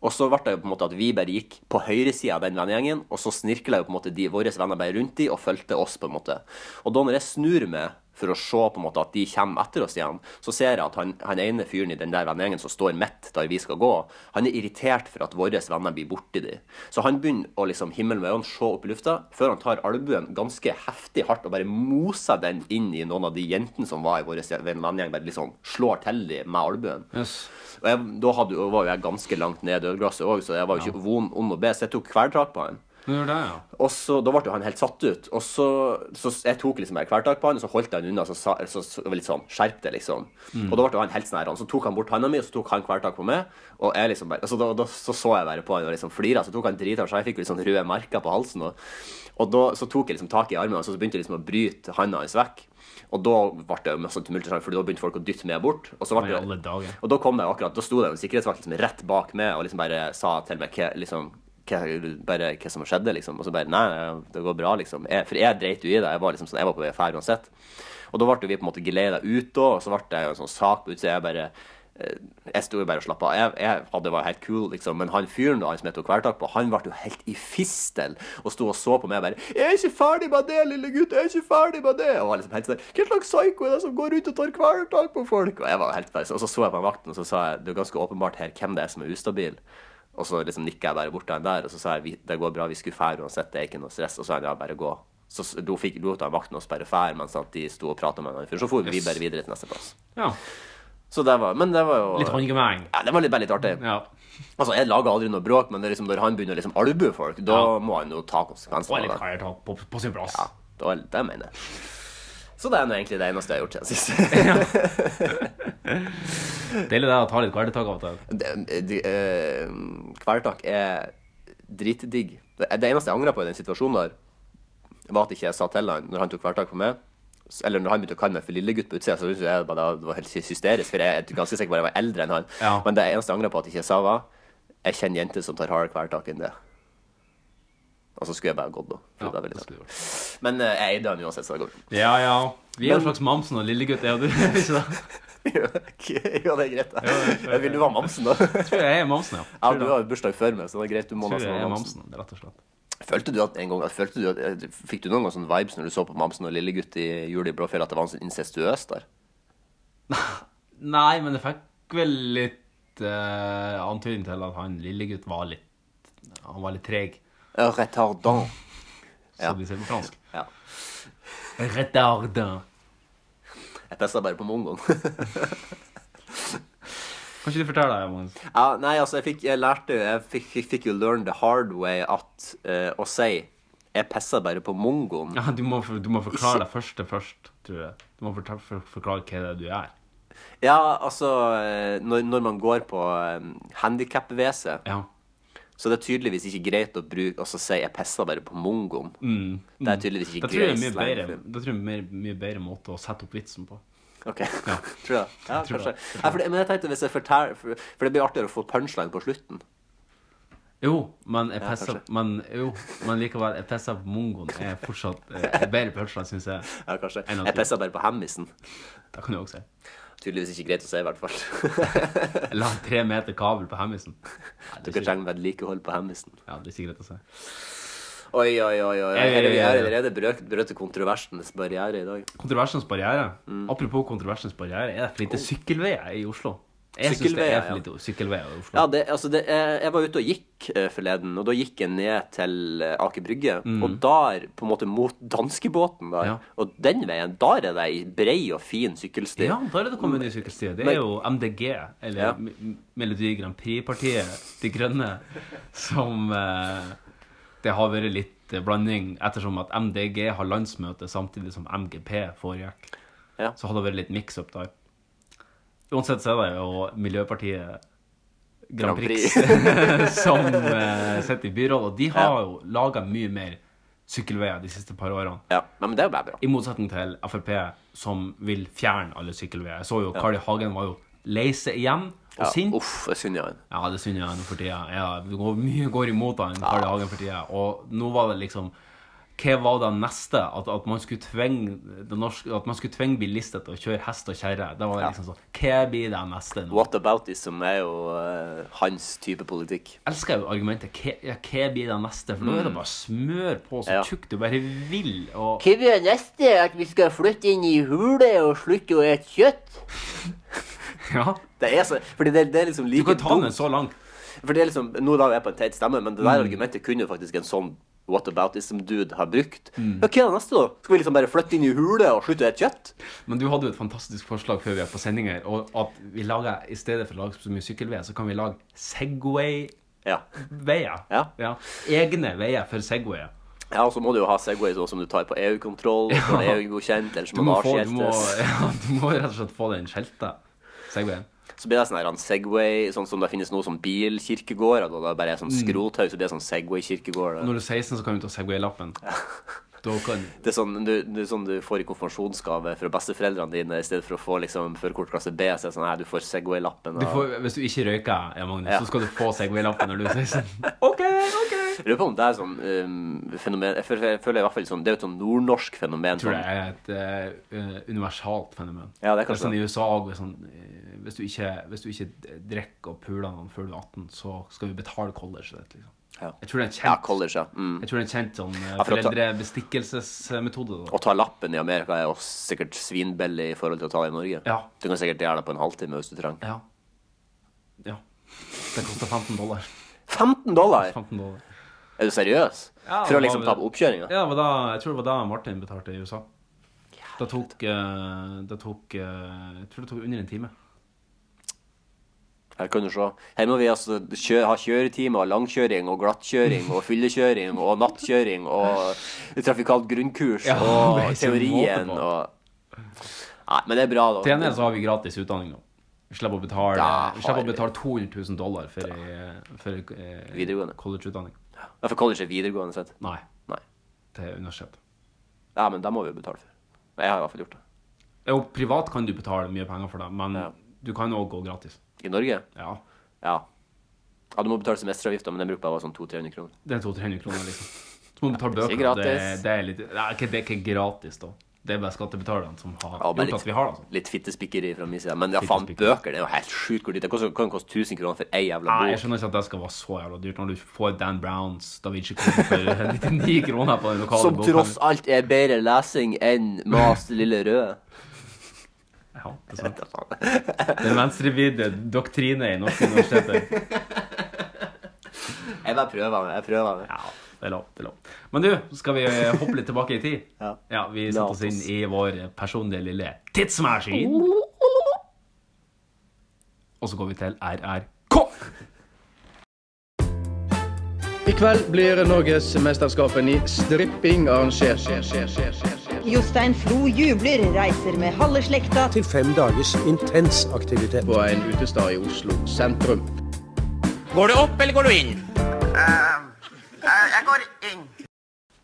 Speaker 3: Og så ble det jo på en måte at vi bare gikk på høyresida av den vennegjengen, og så snirkla jo på en måte de våre venner bare rundt de og fulgte oss, på en måte. Og da når jeg snur meg for å se på en måte at de kommer etter oss igjen, så ser jeg at han, han ene fyren i den der vennegjengen som står midt der vi skal gå, han er irritert for at våre venner blir borti de. Så han begynner å liksom himmel med øynene se opp i lufta, før han tar albuen ganske heftig hardt og bare moser den inn i noen av de jentene som var i vår vennegjeng, bare liksom slår til de med albuen.
Speaker 2: Jøss.
Speaker 3: Og jeg, da hadde, jo- var jo jeg ganske langt ned i ølglasset òg, så jeg var jo ikke vond ond å be, så jeg tok kvelertak på han.
Speaker 2: Du gjør det, ja.
Speaker 3: Og så, Da ble jo han helt satt ut. Og så, så Jeg tok liksom et kvelertak på han, og så holdt jeg han unna. Så, sa- så, så, det var litt sånn, Skjerp deg, liksom.
Speaker 2: Mm.
Speaker 3: Og da ble jo han helt snær. Så tok han bort handa mi, og så tok han kvelertak på meg. Og jeg liksom bare, altså, da, da, Så så jeg bare på han og liksom flira. Så tok han drita, så jeg fikk jo litt sånn røde merker på halsen. Og, og da så tok jeg liksom tak i armen hans, og så begynte jeg liksom å bryte handa hans vekk. Og da ble det jo masse tumult, for da begynte folk å dytte meg bort. Og så ble
Speaker 2: Men i
Speaker 3: det,
Speaker 2: alle dager.
Speaker 3: og da kom jeg akkurat, da sto det en sikkerhetsvakt liksom rett bak meg og liksom bare sa til meg hva, liksom, hva, bare, hva som skjedde, liksom. Og så bare Nei, nei, det går bra, liksom. Jeg, for jeg dreit jo i det. Jeg var liksom sånn, jeg var på vei ferd uansett. Og da ble jo vi på en måte geleida ut, da, og så ble det jo en sånn sak på utsida. Jeg bare eh, jeg sto jo bare og slappa av. Jeg, jeg hadde var helt cool, liksom. Men han fyren da, han som jeg tok kvelertak på, han ble jo helt i fistel og sto og så på meg og bare 'Jeg er ikke ferdig med det, lille gutt! Jeg er ikke ferdig med det!' Og var liksom helt sånn 'Hva slags psyko er det som går rundt og tar kvelertak på folk?' Og jeg var jo helt ferdig. Og så så jeg på han vakten, og så sa jeg 'Det er jo ganske åpenbart her hvem det er som er ustabil'. Og så liksom nikka jeg bare bort til han der, og så sa jeg «Vi- 'Det går bra, vi skulle fære uansett, det er ikke noe stress', og så sa han 'Ja, bare gå'. Så s- da fikk, lot han vakten oss bare fære mens at de sto og prata med han. Så for vi bare videre til neste plass.
Speaker 2: ja.
Speaker 3: Så det var, men det var jo
Speaker 2: Litt håndgemeng.
Speaker 3: ja, det var litt, bare litt artig.
Speaker 2: Ja.
Speaker 3: Altså, Jeg lager aldri noe bråk, men det er liksom, når han begynner å liksom albue folk, da må han jo ta
Speaker 2: Og
Speaker 3: konsekvensene
Speaker 2: litt
Speaker 3: av det.
Speaker 2: kajertak på, på sin plass.
Speaker 3: Ja, det, var, det mener jeg. Så det er nå egentlig det eneste jeg har gjort siden sist.
Speaker 2: Deilig det å ta litt kajertak av og til.
Speaker 3: Det- det- eh, Kvelertak er dritdigg. Det, det eneste jeg angrer på i den situasjonen der, var at ikke jeg sa til han når han tok kvelertak på meg. s- Eller når han begynte å kalle meg for lillegutt på utsida, så syntes jeg bare det var helt hysterisk, for jeg er ganske sikker på at jeg var eldre enn han.
Speaker 2: Ja.
Speaker 3: Men det eneste jeg angrer på at ikke jeg sa, var jeg kjenner jenter som tar hardere kvelertak enn det. Og så skulle jeg bare gått, da. for
Speaker 2: Ja,
Speaker 3: det er vel
Speaker 2: det
Speaker 3: litt-
Speaker 2: skulle du gjort.
Speaker 3: Men eh, jeg eide han uansett, så det går bra.
Speaker 2: ja, ja. Vi er jo en
Speaker 3: Men-
Speaker 2: slags Mamsen og Lillegutt, er du ikke det?
Speaker 3: jo, ok, jo, det er greit. det.
Speaker 2: det er-
Speaker 3: Jeg vil du være mamsen, da?
Speaker 2: Jeg tror jeg er Mamsen, ja.
Speaker 3: Ja,
Speaker 2: Tror
Speaker 3: du
Speaker 2: det.
Speaker 3: har jo bursdag før meg, så det er greit. Du må
Speaker 2: Jeg tror
Speaker 3: nesten
Speaker 2: jeg
Speaker 3: være
Speaker 2: er
Speaker 3: mamsen.
Speaker 2: Mamsen, rett og slett.
Speaker 3: Følte du at en gang, følte du at, Fikk du noen gang sånn vibes når du så på Mamsen og Lillegutt i Jul i Blåfjell, at det var sånn incestuøst der?
Speaker 2: Nei, men jeg fikk vel litt eh, antydning til at han lillegutt var litt Han var litt treg,
Speaker 3: Ja, Eh, Retardant.
Speaker 2: som
Speaker 3: Ja.
Speaker 2: de sier på fransk.
Speaker 3: Ja.
Speaker 2: Retardant.
Speaker 3: Jeg testa bare på mongoen.
Speaker 2: Kan ikke du fortelle deg, Magnus?
Speaker 3: ja, nei, altså, jeg fikk Jeg lærte jo Jeg fikk, fikk, fikk jo learn the hard way at eh, å si Jeg pissa bare på mongoen.
Speaker 2: Ja, du, må, for- du må forklare deg først til først, tror jeg. Du må fortelle, for, forklare hva det er du gjør.
Speaker 3: Ja, altså eh, Når, når man går på handikap-WC,
Speaker 2: Ja.
Speaker 3: så det er tydeligvis ikke greit å bruke Og så si 'jeg pissa bare på mongoen'. Det er tydeligvis ikke
Speaker 2: Da tror jeg Mm. det er mye
Speaker 3: grei slang
Speaker 2: bedre,
Speaker 3: for-
Speaker 2: da tror jeg det er mer, mye bedre måte å sette opp vitsen på.
Speaker 3: Ok, tror jeg. Ja,
Speaker 2: tror
Speaker 3: kanskje.
Speaker 2: det.
Speaker 3: Nei, for det, men jeg tenkte hvis jeg forteller for, for det blir artigere å få punchline på slutten.
Speaker 2: Jo, men, jeg pisser,
Speaker 3: kanskje.
Speaker 2: men, jo, men likevel, jeg pisser på mongoen. Jeg er fortsatt eh, bedre på Hørtsland, syns jeg.
Speaker 3: Ja, kanskje.
Speaker 2: En av
Speaker 3: Jeg
Speaker 2: to.
Speaker 3: pissa bare på hemmisen.
Speaker 2: Det kan du også si.
Speaker 3: Tydeligvis ikke greit å si, i hvert fall.
Speaker 2: La tre meter kabel på Hemmisen. Nei,
Speaker 3: Dere
Speaker 2: det, er ikke,
Speaker 3: trenger vedlikehold på hemmisen.
Speaker 2: ja, det er ikke greit å si.
Speaker 3: Oi, oi, oi. oi.
Speaker 2: Ja, ja, ja,
Speaker 3: Her er vi
Speaker 2: ja, ja.
Speaker 3: her er vi allerede brøt, brøt kontroversenes barriere i dag.
Speaker 2: Kontroversens barriere.
Speaker 3: Mm.
Speaker 2: Apropos kontroversens barriere, er det for lite sykkelveier i Oslo? Jeg syns det
Speaker 3: Oh. Sykkelveier,
Speaker 2: er for
Speaker 3: ja.
Speaker 2: lite sykkelveier i Oslo.
Speaker 3: Ja, det, altså det, jeg, jeg var ute og gikk eh, forleden, og da gikk jeg ned til eh, Aker Brygge. Og der, på en måte mot danskebåten, der,
Speaker 2: Ja.
Speaker 3: og den veien, der er det ei brei og fin sykkelsti.
Speaker 2: Ja, da er det kommet en ny sykkelsti. Det
Speaker 3: Men-
Speaker 2: er jo MDG, eller
Speaker 3: Ja.
Speaker 2: M- Melodi Grand Prix-partiet, De Grønne, som eh, Det har vært litt eh, blanding, ettersom at MDG har landsmøte samtidig som MGP foregikk.
Speaker 3: Ja.
Speaker 2: Så hadde det vært litt mix-up der. Uansett så er det jo Miljøpartiet Grand
Speaker 3: Grand
Speaker 2: Prix som eh, sitter i byrådet, og de har jo laga mye mer sykkelveier de siste par årene.
Speaker 3: Ja, men det er jo bare bra.
Speaker 2: I motsetning til Frp, som vil fjerne alle sykkelveier. Jeg så jo Carl I. Hagen var jo lei seg igjen og
Speaker 3: Ja,
Speaker 2: sint.
Speaker 3: Uff, jeg synd igjen.
Speaker 2: Ja, det syns jeg nå for tida. Ja, det går, mye går imot han, Carl I. Hagen for tida. Og nå var det liksom Hva var det neste? At, at man skulle tvinge det norske, at man skulle tvinge bilister til å kjøre hest og kjerre. Da var det liksom sånn Hva blir det neste nå?
Speaker 3: What about this, som er jo eh, hans type politikk.
Speaker 2: Jeg elsker jo argumentet hva, ja, hva blir det neste? For nå er det bare smør på så
Speaker 3: Mm. Ja.
Speaker 2: tjukt du bare vil. Og
Speaker 3: Hva blir neste? At vi skal flytte inn i hule og slutte å ete kjøtt?
Speaker 2: ja,
Speaker 3: Det er så, fordi det, det er liksom
Speaker 2: du
Speaker 3: like
Speaker 2: kan ta sånn.
Speaker 3: dumt.
Speaker 2: den så langt.
Speaker 3: For det er liksom, Nå la jeg på en teit stemme, men det
Speaker 2: Mm.
Speaker 3: der argumentet kunne jo faktisk en sånn what about this som dude har brukt.
Speaker 2: Mm.
Speaker 3: Ja, Hva er det neste, da? Skal vi liksom bare flytte inn i hule og slutte å ete kjøtt?
Speaker 2: Men du hadde jo et fantastisk forslag før vi er på sending her. Og at vi lager, i stedet for å lage så mye sykkelveier, så kan vi lage Segway-veier.
Speaker 3: Ja. Ja.
Speaker 2: Egne veier for Segwayer.
Speaker 3: ja, og så må du jo ha Segway sånn som du tar på EU-kontroll, og får det EU-godkjent, eller
Speaker 2: Du
Speaker 3: så
Speaker 2: må,
Speaker 3: må det
Speaker 2: få, du, må,
Speaker 3: avskiltes.
Speaker 2: ja, du må rett og slett få den skjelta Segwayen.
Speaker 3: Så blir det sånn her en Segway, sånn som det finnes nå som bilkirkegårder, da det bare er
Speaker 2: Mm.
Speaker 3: sånn skrothaug, så blir det sånn Segway-kirkegård.
Speaker 2: Når du er 16, så kan du ta Segway-lappen. Da kan
Speaker 3: Det er sånn du, du, sånn du får i konfirmasjonsgave fra besteforeldrene dine, i stedet for å få liksom førerkort klasse B, så er det sånn her, du får Segway-lappen.
Speaker 2: du
Speaker 3: og-
Speaker 2: får, Hvis du ikke røyker, ja, Magnus,
Speaker 3: Ja.
Speaker 2: så skal du få Segway-lappen når du er 16.
Speaker 3: Jeg lurer på om det er sånn um, fenomen jeg føler, jeg føler i hvert fall sånn, Det er jo et sånn nordnorsk fenomen.
Speaker 2: Jeg tror
Speaker 3: sånn-
Speaker 2: det er et eh, universalt fenomen.
Speaker 3: Ja, det er kanskje
Speaker 2: sånn I USA og sånn, eh, hvis, du ikke, hvis du ikke drikker og puler noen før du er 18, så skal vi betale college. Det, liksom.
Speaker 3: Ja.
Speaker 2: Jeg tror det er en
Speaker 3: Ja,
Speaker 2: kjent,
Speaker 3: college, ja. Mm.
Speaker 2: jeg tror det er en kjent sånn, eh,
Speaker 3: for å ta-
Speaker 2: foreldrebestikkelsesmetode.
Speaker 3: Å
Speaker 2: Da.
Speaker 3: ta lappen i Amerika er jo sikkert svinbillig i forhold til å ta det i Norge.
Speaker 2: Ja.
Speaker 3: Du kan sikkert gjøre det på en halvtime hvis du trenger.
Speaker 2: Ja. ja. Det koster 15 dollar.
Speaker 3: 15 dollar!
Speaker 2: 15 dollar.
Speaker 3: Er du seriøs?
Speaker 2: Ja,
Speaker 3: For å
Speaker 2: det var
Speaker 3: liksom ta
Speaker 2: vel-
Speaker 3: på oppkjøringa?
Speaker 2: Ja, det var da, jeg tror det var da Martin betalte i USA. Det tok, eh, det tok eh, Jeg tror det tok under en time.
Speaker 3: Her kan du se. Her må vi altså kjø ha kjøretimer, langkjøring og glattkjøring og fyllekjøring og nattkjøring og trafikalt grunnkurs
Speaker 2: Ja,
Speaker 3: og
Speaker 2: det er ikke måte
Speaker 3: teorien
Speaker 2: på.
Speaker 3: og Nei, men det er bra, da.
Speaker 2: Til gjengjeld så har vi gratis utdanning nå. Vi slipper å betale,
Speaker 3: Da
Speaker 2: vi slipper
Speaker 3: har
Speaker 2: å
Speaker 3: vi-
Speaker 2: betale 200 000 dollar for, ei- for eh,
Speaker 3: Videregående.
Speaker 2: collegeutdanning.
Speaker 3: Ja, For college er videregående sett.
Speaker 2: Nei,
Speaker 3: Nei.
Speaker 2: til universitet.
Speaker 3: Ja, men det må vi jo betale for. Jeg har i hvert fall gjort det.
Speaker 2: Jo, privat kan du betale mye penger for det, men
Speaker 3: Ja.
Speaker 2: du kan òg gå gratis.
Speaker 3: I Norge?
Speaker 2: Ja.
Speaker 3: Ja. Ja, Du må betale semesteravgifta, men den bruker bare sånn 200-300 kroner.
Speaker 2: Det er 200-300 kroner, liksom. Så må du betale
Speaker 3: det er
Speaker 2: bøker.
Speaker 3: ikke
Speaker 2: og Det,
Speaker 3: gratis.
Speaker 2: det er litt Nei, ikke- det er ikke gratis, da. Det er bare skattebetalerne som har
Speaker 3: Ja, bare
Speaker 2: gjort
Speaker 3: litt-
Speaker 2: at vi har det. Altså.
Speaker 3: Litt fittespikkeri fra min side. Men ja, faen, bøker det er jo helt sjukt hvor dyrt. Det koster- kan jo koste 1000 kroner for ei jævla
Speaker 2: Nei, jeg
Speaker 3: bok.
Speaker 2: skjønner ikke at det skal være så jævla dyrt når du får Dan Browns Da Vinci-kode for 99 kroner på den lokale
Speaker 3: Som tross alt er bedre lesing enn Mas det lille røde.
Speaker 2: Ja, det er sant. Den venstrevidde doktrine i norske universiteter.
Speaker 3: Jeg bare prøver det. Jeg prøver det.
Speaker 2: Ja, det er lov. det er lov. Men du, skal vi eh, hoppe litt tilbake i tid?
Speaker 3: Ja.
Speaker 2: Vi
Speaker 3: La
Speaker 2: setter oss inn
Speaker 3: oss.
Speaker 2: i vår personlige lille tidsmaskin. Og så går vi til RRK.
Speaker 5: I kveld blir Norgesmesterskapet i stripping arrangert.
Speaker 6: Jostein Flo jubler, reiser med halve slekta
Speaker 7: til fem dagers intens aktivitet.
Speaker 5: På en utestad i Oslo sentrum.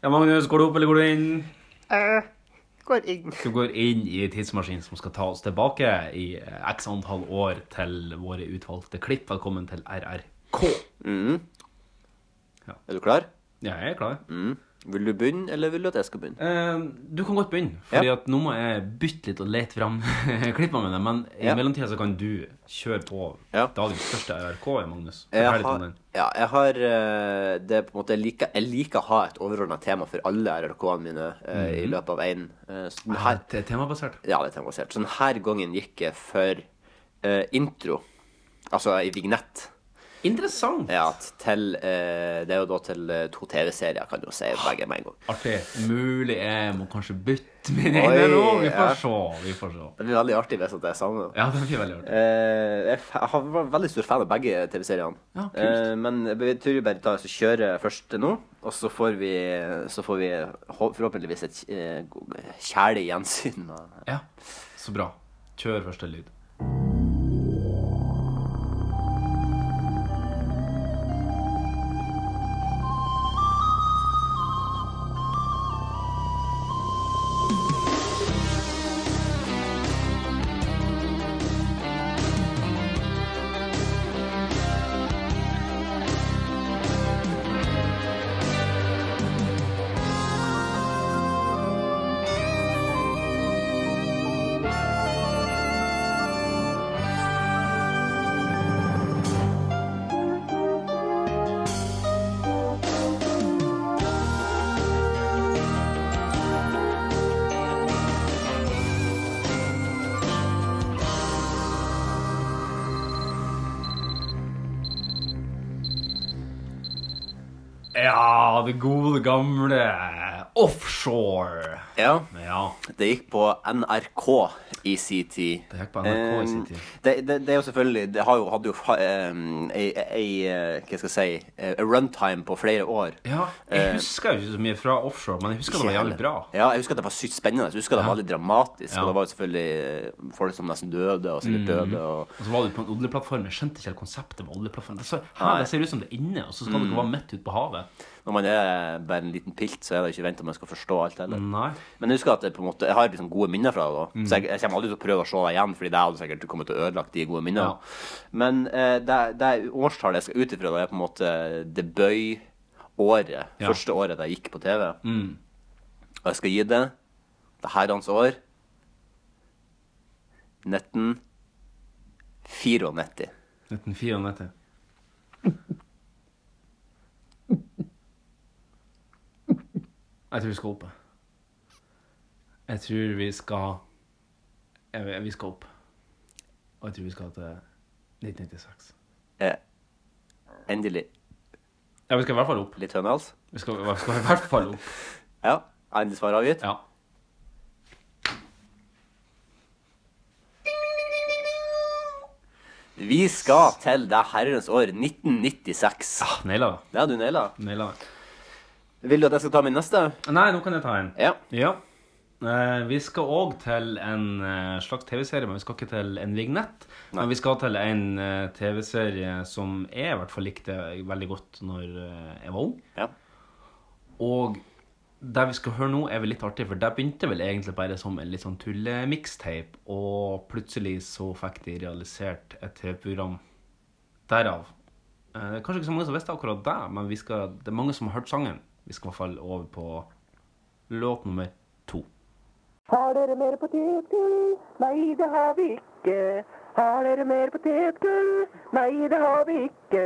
Speaker 2: Ja, Magnus, går du opp, eller går du inn? Eh, går inn. Du går inn i tidsmaskinen som skal ta oss tilbake i eh, x antall år til våre utvalgte klipp. Velkommen til RRK.
Speaker 3: Mm. Er du klar? Mm.
Speaker 2: Ja, jeg er klar.
Speaker 3: Vil du begynne, eller vil du at jeg skal begynne?
Speaker 2: Eh, du kan godt begynne, fordi at nå må jeg bytte litt og lete fram klippene mine. Men i
Speaker 3: Ja.
Speaker 2: mellomtida så kan du kjøre på
Speaker 3: Ja.
Speaker 2: dagens første RRK, Magnus. Fortell
Speaker 3: Jeg
Speaker 2: litt om
Speaker 3: har,
Speaker 2: den.
Speaker 3: ja, jeg har eh, det er på en måte, jeg, liker, jeg liker å ha et overordna tema for alle RRK-ene mine eh, i løpet av én.
Speaker 2: Ah.
Speaker 3: her,
Speaker 2: Det er temabasert.
Speaker 3: ja, det er temabasert. Så denne gangen gikk jeg for eh, intro, altså i vignett,
Speaker 2: Interessant.
Speaker 3: ja, t- til eh, Det er jo da til eh, to TV-serier, kan du jo si, begge med en gang.
Speaker 2: Artig. Mulig jeg må kanskje bytte min
Speaker 3: Oi,
Speaker 2: egen nå. Vi
Speaker 3: ja.
Speaker 2: får se. Vi får se.
Speaker 3: Det blir veldig artig hvis at det er samme.
Speaker 2: Ja, det blir veldig artig.
Speaker 3: Eh, jeg f- jeg har vært veldig stor fan av begge TV-seriene.
Speaker 2: Ja, kult.
Speaker 3: Eh, men jeg tror vi bare tar oss og kjører først nå, og så får vi, så får vi hå- forhåpentligvis et eh, go- kjærlig gjensyn. med-
Speaker 2: Ja, så bra. Kjør første lyd. Ja, det gode gamle offshore.
Speaker 3: Ja,
Speaker 2: Ja,
Speaker 3: det gikk på NRK i sin tid.
Speaker 2: det gikk på NRK i sin tid.
Speaker 3: Eh, Det, det, det er jo selvfølgelig Det har jo, hadde jo fa- eh, ei, ei eh, Hva skal jeg si eh, runtime på flere år.
Speaker 2: Ja,
Speaker 3: Eh,
Speaker 2: jeg husker jo ikke så mye fra offshore, men jeg husker det var jævlig bra.
Speaker 3: Ja, jeg husker at det var sykt spennende. Jeg husker det var litt dramatisk.
Speaker 2: Ja. Mm.
Speaker 3: Og det var jo selvfølgelig eh, folk som nesten døde, og sikkert døde, og
Speaker 2: Og så var du på en oljeplattform, jeg skjønte ikke helt konseptet med oljeplattform. Det, så, her, det ser ut som det er inne, og så skal dere være midt ute på havet.
Speaker 3: Når man er bare en liten pilt, så er det ikke ventet man skal forstå alt heller.
Speaker 2: Nei.
Speaker 3: Men jeg husker at jeg, på en måte, jeg har liksom gode minner fra det,
Speaker 2: Mm.
Speaker 3: da. så jeg, jeg kommer aldri til å prøve å se det igjen, fordi det hadde sikkert kommet til å ødelegge de gode minnene.
Speaker 2: Ja.
Speaker 3: Men eh, det, det årstallet jeg skal ut ifra, det er på en måte det bøy-året.
Speaker 2: Ja. Mm.
Speaker 3: Første året jeg gikk på TV. Og jeg skal gi det det herrens år 1994.
Speaker 2: 1994. Jeg tror vi skal opp. jeg. Jeg tror vi skal jeg, vet- Vi skal opp. Og jeg tror vi skal til 1996.
Speaker 3: Eh, endelig.
Speaker 2: Ja, vi skal i hvert fall opp.
Speaker 3: Litt hønehals?
Speaker 2: Vi skal, vi skal i hvert fall opp.
Speaker 3: Ja. Endelig svar avgitt?
Speaker 2: Ja.
Speaker 3: Vi skal til det herrens år 1996.
Speaker 2: Naila det.
Speaker 3: Det har du naila.
Speaker 2: Naila det.
Speaker 3: Ah. Vil du at jeg skal ta min neste?
Speaker 2: Nei, nå kan jeg ta en.
Speaker 3: Ja.
Speaker 2: Ja. Eh, vi skal òg til en eh, slags TV-serie, men vi skal ikke til en vignett. Men vi skal til en eh, TV-serie som jeg i hvert fall likte veldig godt når eh, jeg var ung.
Speaker 3: ja.
Speaker 2: Og det vi skal høre nå, er vel litt artig, for det begynte vel egentlig bare som en litt sånn tulle-mixtape, og plutselig så fikk de realisert et TV-program derav. Eh, det er kanskje ikke så mange som visste akkurat det, men vi skal, det er mange som har hørt sangen. Vi skal i hvert fall over på låt nummer to.
Speaker 8: Har dere mer potetgull? Nei, det har vi ikke. Har dere mer potetgull? Nei, det har vi ikke.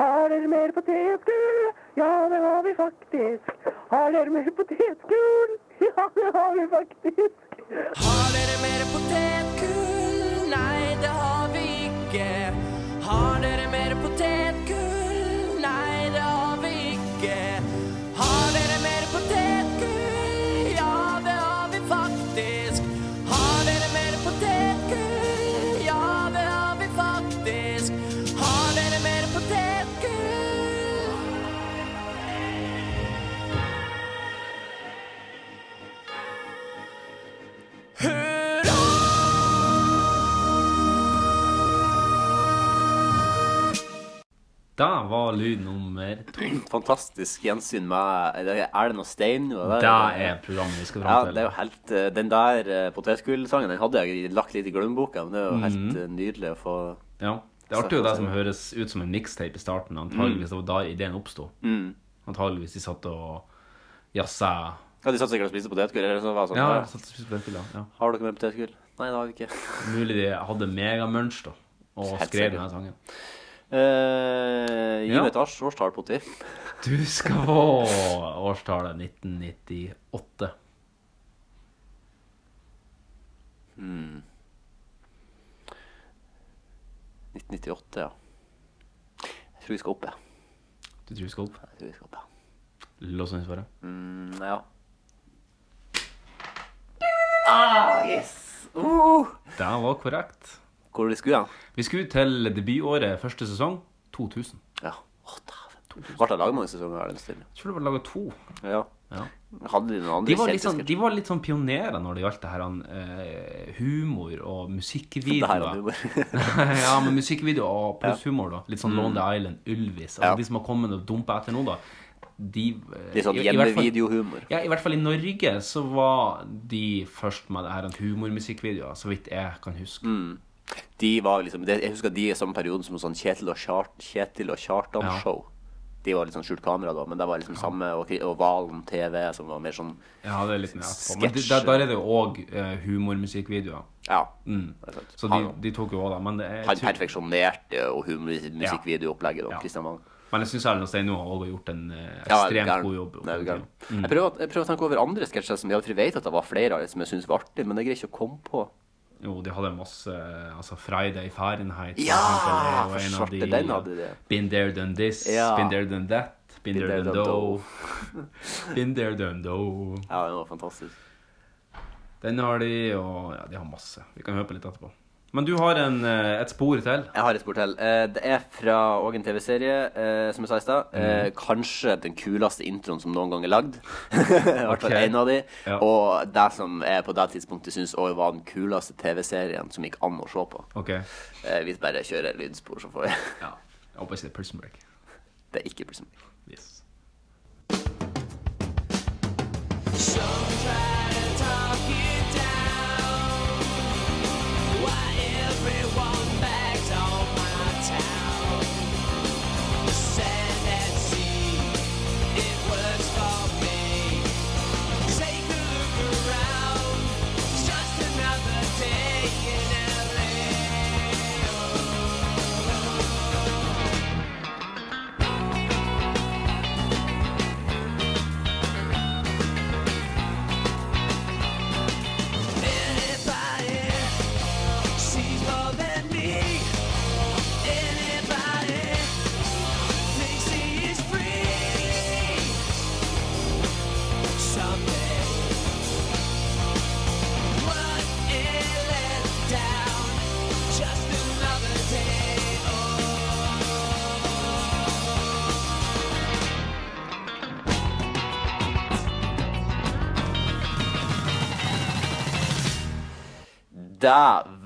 Speaker 8: Har dere mer potetgull? Ja, det har vi faktisk. Har dere mer potetgull? Ja, det har vi faktisk.
Speaker 9: Har dere mer potetgull? Nei, det har vi ikke. Har dere mer potetgull? Nei, det har vi ikke. Har dere mer potetgull? Ja, det har vi faktisk. Har dere mer potetgull? Ja, det har vi faktisk. Har dere mer potetgull?
Speaker 2: Da var lyd nummer to.
Speaker 3: Fantastisk gjensyn med er det Erlend og Stein. var det?
Speaker 2: Det er programmet vi skal
Speaker 3: Ja,
Speaker 2: fram
Speaker 3: det er
Speaker 2: til.
Speaker 3: jo helt eh, Den der eh, potetgullsangen den hadde jeg lagt litt i glemmeboka, men det er jo helt eh, nydelig å få
Speaker 2: Ja, det artig jo det som høres ut som en mixtape i starten. Antageligvis det
Speaker 3: Mm.
Speaker 2: var da ideen oppsto. Antageligvis de satt og jazza.
Speaker 3: Ja, de satt sikkert og spiste potetgull, eller så var det sånn
Speaker 2: Ja,
Speaker 3: ja,
Speaker 2: satt og spiste benkebil, ja.
Speaker 3: Har dere mer potetgull? Nei, det har vi ikke.
Speaker 2: Mulig de hadde megamunch da, og
Speaker 3: Helt
Speaker 2: skrev
Speaker 3: sikkert.
Speaker 2: denne sangen.
Speaker 3: Eh, gi
Speaker 2: Ja.
Speaker 3: meg et års- årstall, Potti.
Speaker 2: Du skal få årstallet 1998.
Speaker 3: Hmm. 1998, ja. Jeg tror vi skal opp, ja.
Speaker 2: Du tror vi skal opp?
Speaker 3: Jeg tror vi skal opp, ja.
Speaker 2: Lås inn svaret.
Speaker 3: Mm, ja. Ah, yes! Uh!
Speaker 2: Det var korrekt.
Speaker 3: Hvor er det vi skulle, ja?
Speaker 2: Vi skulle til debutåret første sesong, 2000.
Speaker 3: Ja. Å, dæven. Ble det laget mange sesonger av den stilen?
Speaker 2: Jeg tror det var laget to.
Speaker 3: Ja.
Speaker 2: Ja.
Speaker 3: Hadde de noen andre
Speaker 2: De var, litt sånn,
Speaker 3: kjente
Speaker 2: de var litt sånn pionerer når det gjaldt det her han, eh, humor og
Speaker 3: Det her er
Speaker 2: musikkvideoer.
Speaker 3: humor.
Speaker 2: ja, men musikkvideo og pluss humor, da. Litt sånn Lonely Island, Ylvis. Altså,
Speaker 3: Mm. Ja.
Speaker 2: De som har kommet og dumpa etter nå, da. De, eh,
Speaker 3: Litt sånn
Speaker 2: i- i hvert fall-
Speaker 3: hjemmevideohumor.
Speaker 2: Ja, I hvert fall i Norge så var de først med det her en humormusikkvideoer, så vidt jeg kan huske.
Speaker 3: Mm. De var liksom det- Jeg husker de i samme perioden som sånn Kjetil og, Kjart, Kjetil og
Speaker 2: Ja.
Speaker 3: Kjartan-show. De var litt sånn skjult kamera da, men det var liksom samme. Og, og Valen TV, som var mer sånn
Speaker 2: Ja, det er litt mer etterpå. Men
Speaker 3: Sketsj.
Speaker 2: de- der, der er det jo òg eh, humormusikkvideoer.
Speaker 3: Ja.
Speaker 2: Mm.
Speaker 3: det er sant.
Speaker 2: Så de,
Speaker 3: Han-
Speaker 2: de tok jo òg det. Men, det er,
Speaker 3: Han
Speaker 2: jeg tror-
Speaker 3: perfeksjonerte jo humor- musikkvideoopplegget.
Speaker 2: Ja.
Speaker 3: da, Christian Valen.
Speaker 2: men jeg syns Erlend og Stein nå har også gjort en eh,
Speaker 3: Ja,
Speaker 2: ekstremt
Speaker 3: gæren.
Speaker 2: god jobb. Mm.
Speaker 3: Det er jo gæren. Jeg, prøver, å- jeg prøver å tenke over andre sketsjer som jeg, for jeg vet at det var flere av dem som jeg syntes var artig, men jeg greier ikke å komme på.
Speaker 2: Jo, de hadde masse Altså Friday Fahrenheit. for
Speaker 3: Ja,
Speaker 2: eksempel, er jo
Speaker 3: for
Speaker 2: en av
Speaker 3: svarte, den hadde de.
Speaker 2: Been there, done this.
Speaker 3: Ja.
Speaker 2: Been there, done that. Been, there, done do. Been there, done do.
Speaker 3: Ja, det var fantastisk.
Speaker 2: Den har de, og ja, de har masse. Vi kan høre på litt etterpå. Men du har en, eh, et spor til.
Speaker 3: Jeg har et sport til. Eh, Det er fra òg en TV-serie, eh, som jeg sa i stad.
Speaker 2: Mhm.
Speaker 3: Eh, Kanskje den kuleste introen som noen gang er lagd. I hvert fall
Speaker 2: Ok.
Speaker 3: en av de.
Speaker 2: Ja.
Speaker 3: Og det som jeg på det tidspunktet syns òg var den kuleste TV-serien som gikk an å se på.
Speaker 2: OK.
Speaker 3: Eh, Vi bare kjører lydspor, så får vi
Speaker 2: Ja. Jeg håper ikke det er Prison Break.
Speaker 3: Det er ikke plutselig.
Speaker 2: Yes.
Speaker 3: Det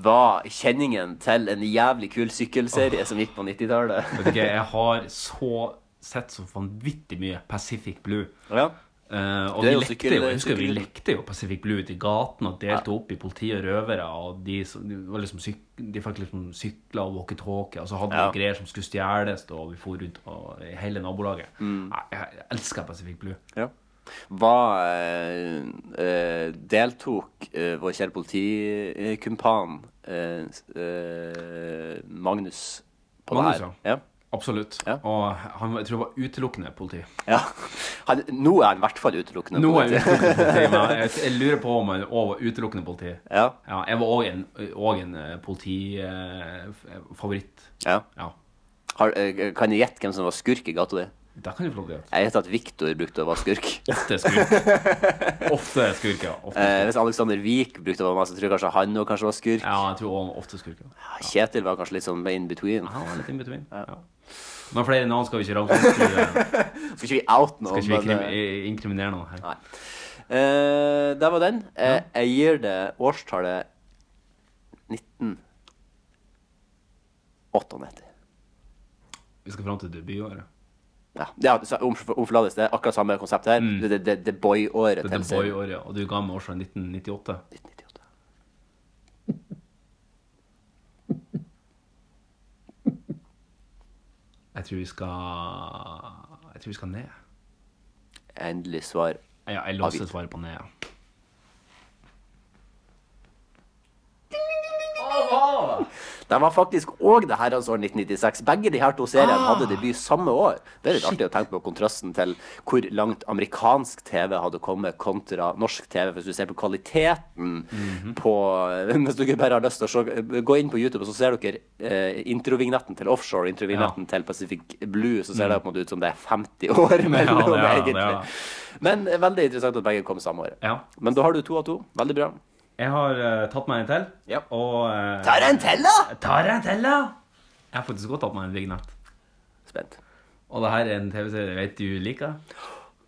Speaker 3: var kjenningen til en jævlig kul sykkelserie som gikk på 90-tallet.
Speaker 2: Vet ikke, jeg har så sett så vanvittig mye Pacific Blue.
Speaker 3: Ja.
Speaker 2: Eh, og vi
Speaker 3: Det er jo
Speaker 2: lekte,
Speaker 3: sykkel-
Speaker 2: jo, jeg husker jo, vi
Speaker 3: sykkel-
Speaker 2: lekte jo Pacific Blue ute i gaten og delte opp i politi og røvere. Og de, som- de, var liksom syk, de fikk liksom sykler og walkietalkie, og så hadde vi
Speaker 3: Ja.
Speaker 2: greier som skulle
Speaker 3: Mm.
Speaker 2: stjeles. Og vi for rundt og, i hele nabolaget. Nei, Jeg, jeg elsker Pacific Blue.
Speaker 3: Ja. var eh, eh, Deltok eh, vår kjære politikumpan eh, s- eh, Magnus på
Speaker 2: Magnus,
Speaker 3: det her?
Speaker 2: ja.
Speaker 3: Ja.
Speaker 2: Absolutt. Og han, jeg tror det var utelukkende politi.
Speaker 3: ja. Han, nå er han i hvert fall utelukkende.
Speaker 2: Nå
Speaker 3: på
Speaker 2: er
Speaker 3: det.
Speaker 2: jeg utelukkende politi, men jeg, jeg lurer på om han også var utelukkende politi.
Speaker 3: Ja.
Speaker 2: jeg var òg en, og en eh, politifavoritt.
Speaker 3: ja.
Speaker 2: Ja.
Speaker 3: Har, eh, kan du gjette hvem som var skurk i gata di?
Speaker 2: Der kan du få lov til å gjette.
Speaker 3: Jeg gjetter at Viktor brukte å være skurk.
Speaker 2: Ofte skurk. Ofte skurk, ja. Ofte.
Speaker 3: Eh, hvis Alexander Wiik brukte å være meg, så tror jeg kanskje han òg kanskje var skurk.
Speaker 2: ja. Jeg tror også ofte skurk. Ja.
Speaker 3: Kjetil var kanskje litt sånn in between.
Speaker 2: Ah, Han var litt in between. Ja. Men flere navn skal vi ikke ramse opp. Skal
Speaker 3: Får ikke vi out nå?
Speaker 2: ikke vi
Speaker 3: men, eh,
Speaker 2: krim inkriminere noen her.
Speaker 3: Nei. eh, der var den. Eh, Jeg gir det årstallet 1998.
Speaker 2: Vi skal fram til debutåret.
Speaker 3: Ja, ja så om, om forlates, det er akkurat samme konsept her. Det er det, det boy-året.
Speaker 2: Mm. Det er
Speaker 3: til
Speaker 2: The
Speaker 3: serien.
Speaker 2: Boy-året, og du ga meg årsaken 1998.
Speaker 3: 1998.
Speaker 2: Jeg tror vi skal Jeg tror vi skal ned.
Speaker 3: Endelig svar.
Speaker 2: Ja, jeg låser svaret på ned. ja.
Speaker 3: Det var faktisk òg det herrens år 1996. Begge de her to seriene
Speaker 2: Ah.
Speaker 3: hadde debut samme år. Det er litt artig å tenke på kontrasten til hvor langt amerikansk TV hadde kommet kontra norsk TV, hvis du ser på kvaliteten
Speaker 2: Mhm.
Speaker 3: på Hvis dere bare har lyst til å se, gå inn på YouTube, og så ser dere eh, introvignetten til offshore, introvignetten til Pacific Blue, så ser
Speaker 2: Mm.
Speaker 3: det på en måte ut som det er 50 år mellom,
Speaker 2: det er det, det er
Speaker 3: egentlig.
Speaker 2: det.
Speaker 3: Men eh, veldig interessant at begge kom samme året.
Speaker 2: Ja.
Speaker 3: Men da har du to av to. Veldig bra.
Speaker 2: Jeg har eh, tatt meg en til.
Speaker 3: Ja.
Speaker 2: Og eh,
Speaker 3: Tarantella!
Speaker 2: tar jeg en til, da? Jeg har faktisk også tatt meg en vignett.
Speaker 3: Spent.
Speaker 2: Og det her er en TV-serie jeg vet du liker.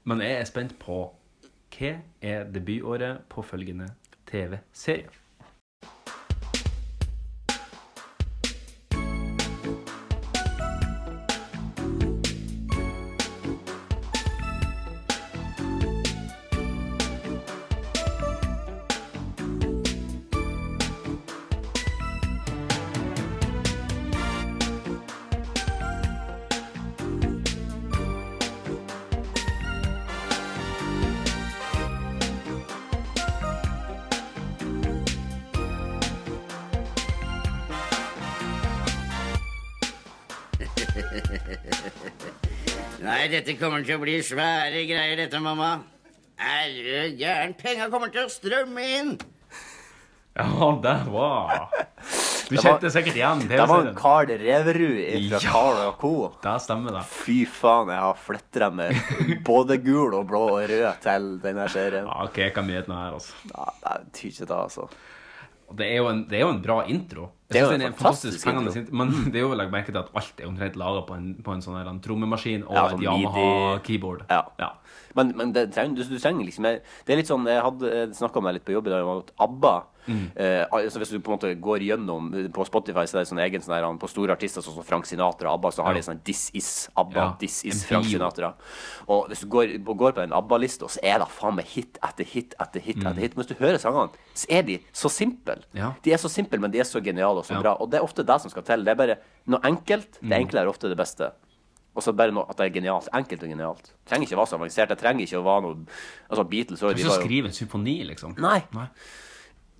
Speaker 2: Men jeg er spent på hva er debutåret på følgende TV-serie?
Speaker 10: Nei, dette kommer til å bli svære greier, dette, mamma. Er du gæren? Penga kommer til å strømme inn.
Speaker 2: Ja, det var Du
Speaker 3: Det var-
Speaker 2: kjente sikkert igjen
Speaker 3: Det var en
Speaker 2: TV-serien.
Speaker 3: Carl Reverud fra
Speaker 2: Ja.
Speaker 3: Carl Co.
Speaker 2: Det stemmer, det.
Speaker 3: Fy faen, jeg har flyttet dem med både gul og blå og rød til denne serien.
Speaker 2: Ja, ok, jeg kan mye den her, altså.
Speaker 3: Ja, jeg tyr ikke det, altså.
Speaker 2: Og Det er jo en, det er jo en bra intro. Jeg
Speaker 3: Det er jo
Speaker 2: synes
Speaker 3: en
Speaker 2: den er
Speaker 3: fantastisk
Speaker 2: fantastisk pengende
Speaker 3: intro.
Speaker 2: sint, Men det er jo legg merke til at alt er omtrent laga på, en- på en sånn her, en trommemaskin og
Speaker 3: Ja,
Speaker 2: et
Speaker 3: sånn MIDI.
Speaker 2: Yamaha-keyboard.
Speaker 3: Ja. Men, men det trenger, du, du trenger liksom mer- Det er litt sånn, Jeg hadde snakka om det litt på jobb i dag, om at ABBA
Speaker 2: Mm.
Speaker 3: eh, altså Hvis du på en måte går gjennom På Spotify så er det sånn egen sånn der, På store artister sånn som Frank Sinatra og ABBA, så har
Speaker 2: Ja.
Speaker 3: de sånn This is ABBA,
Speaker 2: Ja,
Speaker 3: This
Speaker 2: en
Speaker 3: is Frank
Speaker 2: bio.
Speaker 3: Sinatra. Og hvis du går, går på den ABBA-lista, så er det faen meg hit etter hit etter hit etter hit. Men hvis du hører sangene, så er de så simple.
Speaker 2: Mm. Ja.
Speaker 3: De er så simple, men de er så geniale og så
Speaker 2: Ja. Mm.
Speaker 3: bra. Og det er ofte det som skal til. Det er bare noe enkelt. Det enkle er ofte det beste. Og så bare noe at det er genialt. Enkelt og genialt. Det trenger ikke være så avansert. Det trenger ikke å være noe Altså, Beatles var
Speaker 2: Du
Speaker 3: jo, de
Speaker 2: skal
Speaker 3: var jo
Speaker 2: skrive en symfoni, liksom.
Speaker 3: Nei.
Speaker 2: Nei.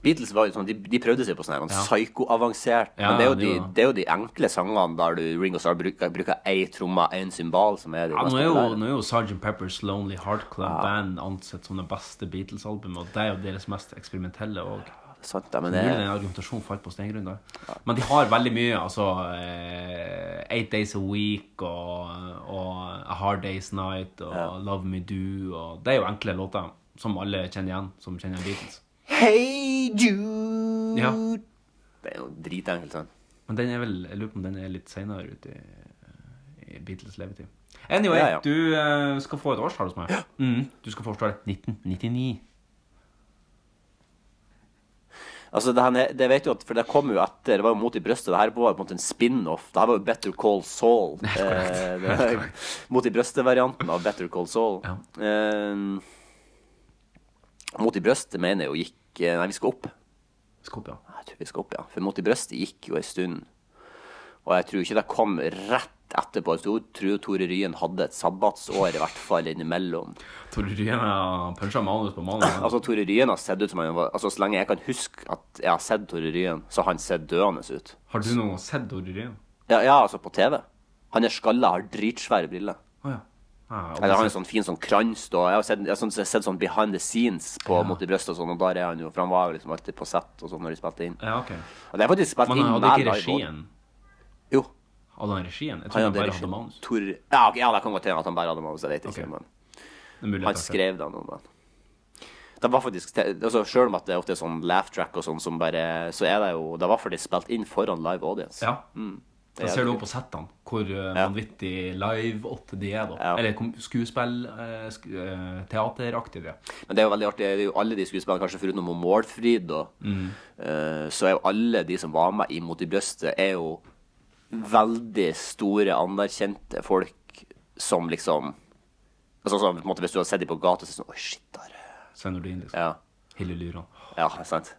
Speaker 3: Beatles var jo sånn, de, de prøvde seg på sånn her, sånn psykoavansert.
Speaker 2: Ja,
Speaker 3: men det er, jo
Speaker 2: det
Speaker 3: de,
Speaker 2: gjorde det.
Speaker 3: det er jo de enkle sangene der du Ringo Starr bruker, bruker ei tromme, én symbal, som er de
Speaker 2: Ja, nå,
Speaker 3: mest
Speaker 2: er jo,
Speaker 3: populære.
Speaker 2: nå er jo Sgt. Peppers Lonely Heart Club Band ansett som det beste Beatles-albumet, og det er jo deres mest eksperimentelle. og
Speaker 3: Sant, ja, men det
Speaker 2: Mulig den argumentasjonen falt på steingrunn der. Men de har veldig mye. altså eh, Eight Days a Week og, og A Hard Day's Night og Love Me Do. Og det er jo enkle låter som alle kjenner igjen, som kjenner igjen Beatles.
Speaker 3: Hey Jude!
Speaker 2: Ja.
Speaker 3: Det er jo dritenkelt, sant?
Speaker 2: Men den er vel, jeg lurer på om den er litt seinere ute i, eh, i Beatles' levetid. Anyway,
Speaker 3: Ja, ja.
Speaker 2: du eh, skal få et årstall hos meg. Mm, du skal få årstallet 1999.
Speaker 3: Altså, det, her, er- det vet du at, for det kom jo etter, det var jo mot i brøstet, det her var jo på en måte en spin-off, det her var jo Better Call Saul. Eh, det var jo mot i brøstet-varianten av Better Call Saul.
Speaker 2: Ja.
Speaker 3: Eh, mot i brøstet mener jeg jo gikk, eh, nei, vi skal opp.
Speaker 2: Skåp, ja.
Speaker 3: Jeg tror vi skal opp, ja. For mot i brøstet gikk jo en stund, og jeg tror ikke det kom rett etterpå. Jeg tror- tror Tore Ryen hadde et sabbatsår, i hvert fall innimellom.
Speaker 2: Tore Ryen har punsja manus på manus.
Speaker 3: Altså, Tore Ryen har sett ut som han var Altså, så lenge jeg kan huske at jeg har sett Tore Ryen, så har han sett døende ut.
Speaker 2: Har du noen gang sett Tore Ryen?
Speaker 3: Ja, ja, altså, på TV. Han er skalla, har dritsvære briller.
Speaker 2: Å ja. Ah,
Speaker 3: Eller han har en sånn fin sånn krans, da. Jeg har sett, jeg har sånn, jeg har sett sånn behind the scenes på
Speaker 2: Ja.
Speaker 3: Mot i brystet og sånn, og der er han jo For han var jo liksom alltid på sett og sånn når de spilte inn.
Speaker 2: Ja, ok.
Speaker 3: Og det er faktisk spilt
Speaker 2: Men han
Speaker 3: inn
Speaker 2: hadde
Speaker 3: med
Speaker 2: ikke
Speaker 3: live
Speaker 2: regien?
Speaker 3: Jo.
Speaker 2: Hadde han regien? Jeg
Speaker 3: Han
Speaker 2: tror han
Speaker 3: hadde
Speaker 2: bare
Speaker 3: regi-
Speaker 2: hadde manus.
Speaker 3: Tor, ja, ok, ja, det kan godt hende at han bare hadde manus. Jeg vet ikke. Men
Speaker 2: mulig
Speaker 3: han
Speaker 2: at det er
Speaker 3: skrev det noe men Det var faktisk te- altså, Selv om at det ofte er sånn laugh track og sånn som bare Så er det jo Det var faktisk spilt inn foran live audience.
Speaker 2: Ja.
Speaker 3: Mm.
Speaker 2: Da ser du også på settene hvor eh, vanvittig live åtte de er. da. Eller kom- skuespill, eh, sk eh, teateraktig de er.
Speaker 3: Men det er jo veldig artig. Det er jo alle de skuespillerne, kanskje foruten om Målfrid, da,
Speaker 2: Mm.
Speaker 3: eh, så er jo alle de som var med i Mot i brøstet, er jo veldig store, anerkjente folk som liksom Altså sånn, på en måte, Hvis du hadde sett dem på gata, så er det sånn Oi, shit, der.
Speaker 2: Svein Nordin, liksom.
Speaker 3: Ja.
Speaker 2: Hilde Lyran.
Speaker 3: Ja, det er sant.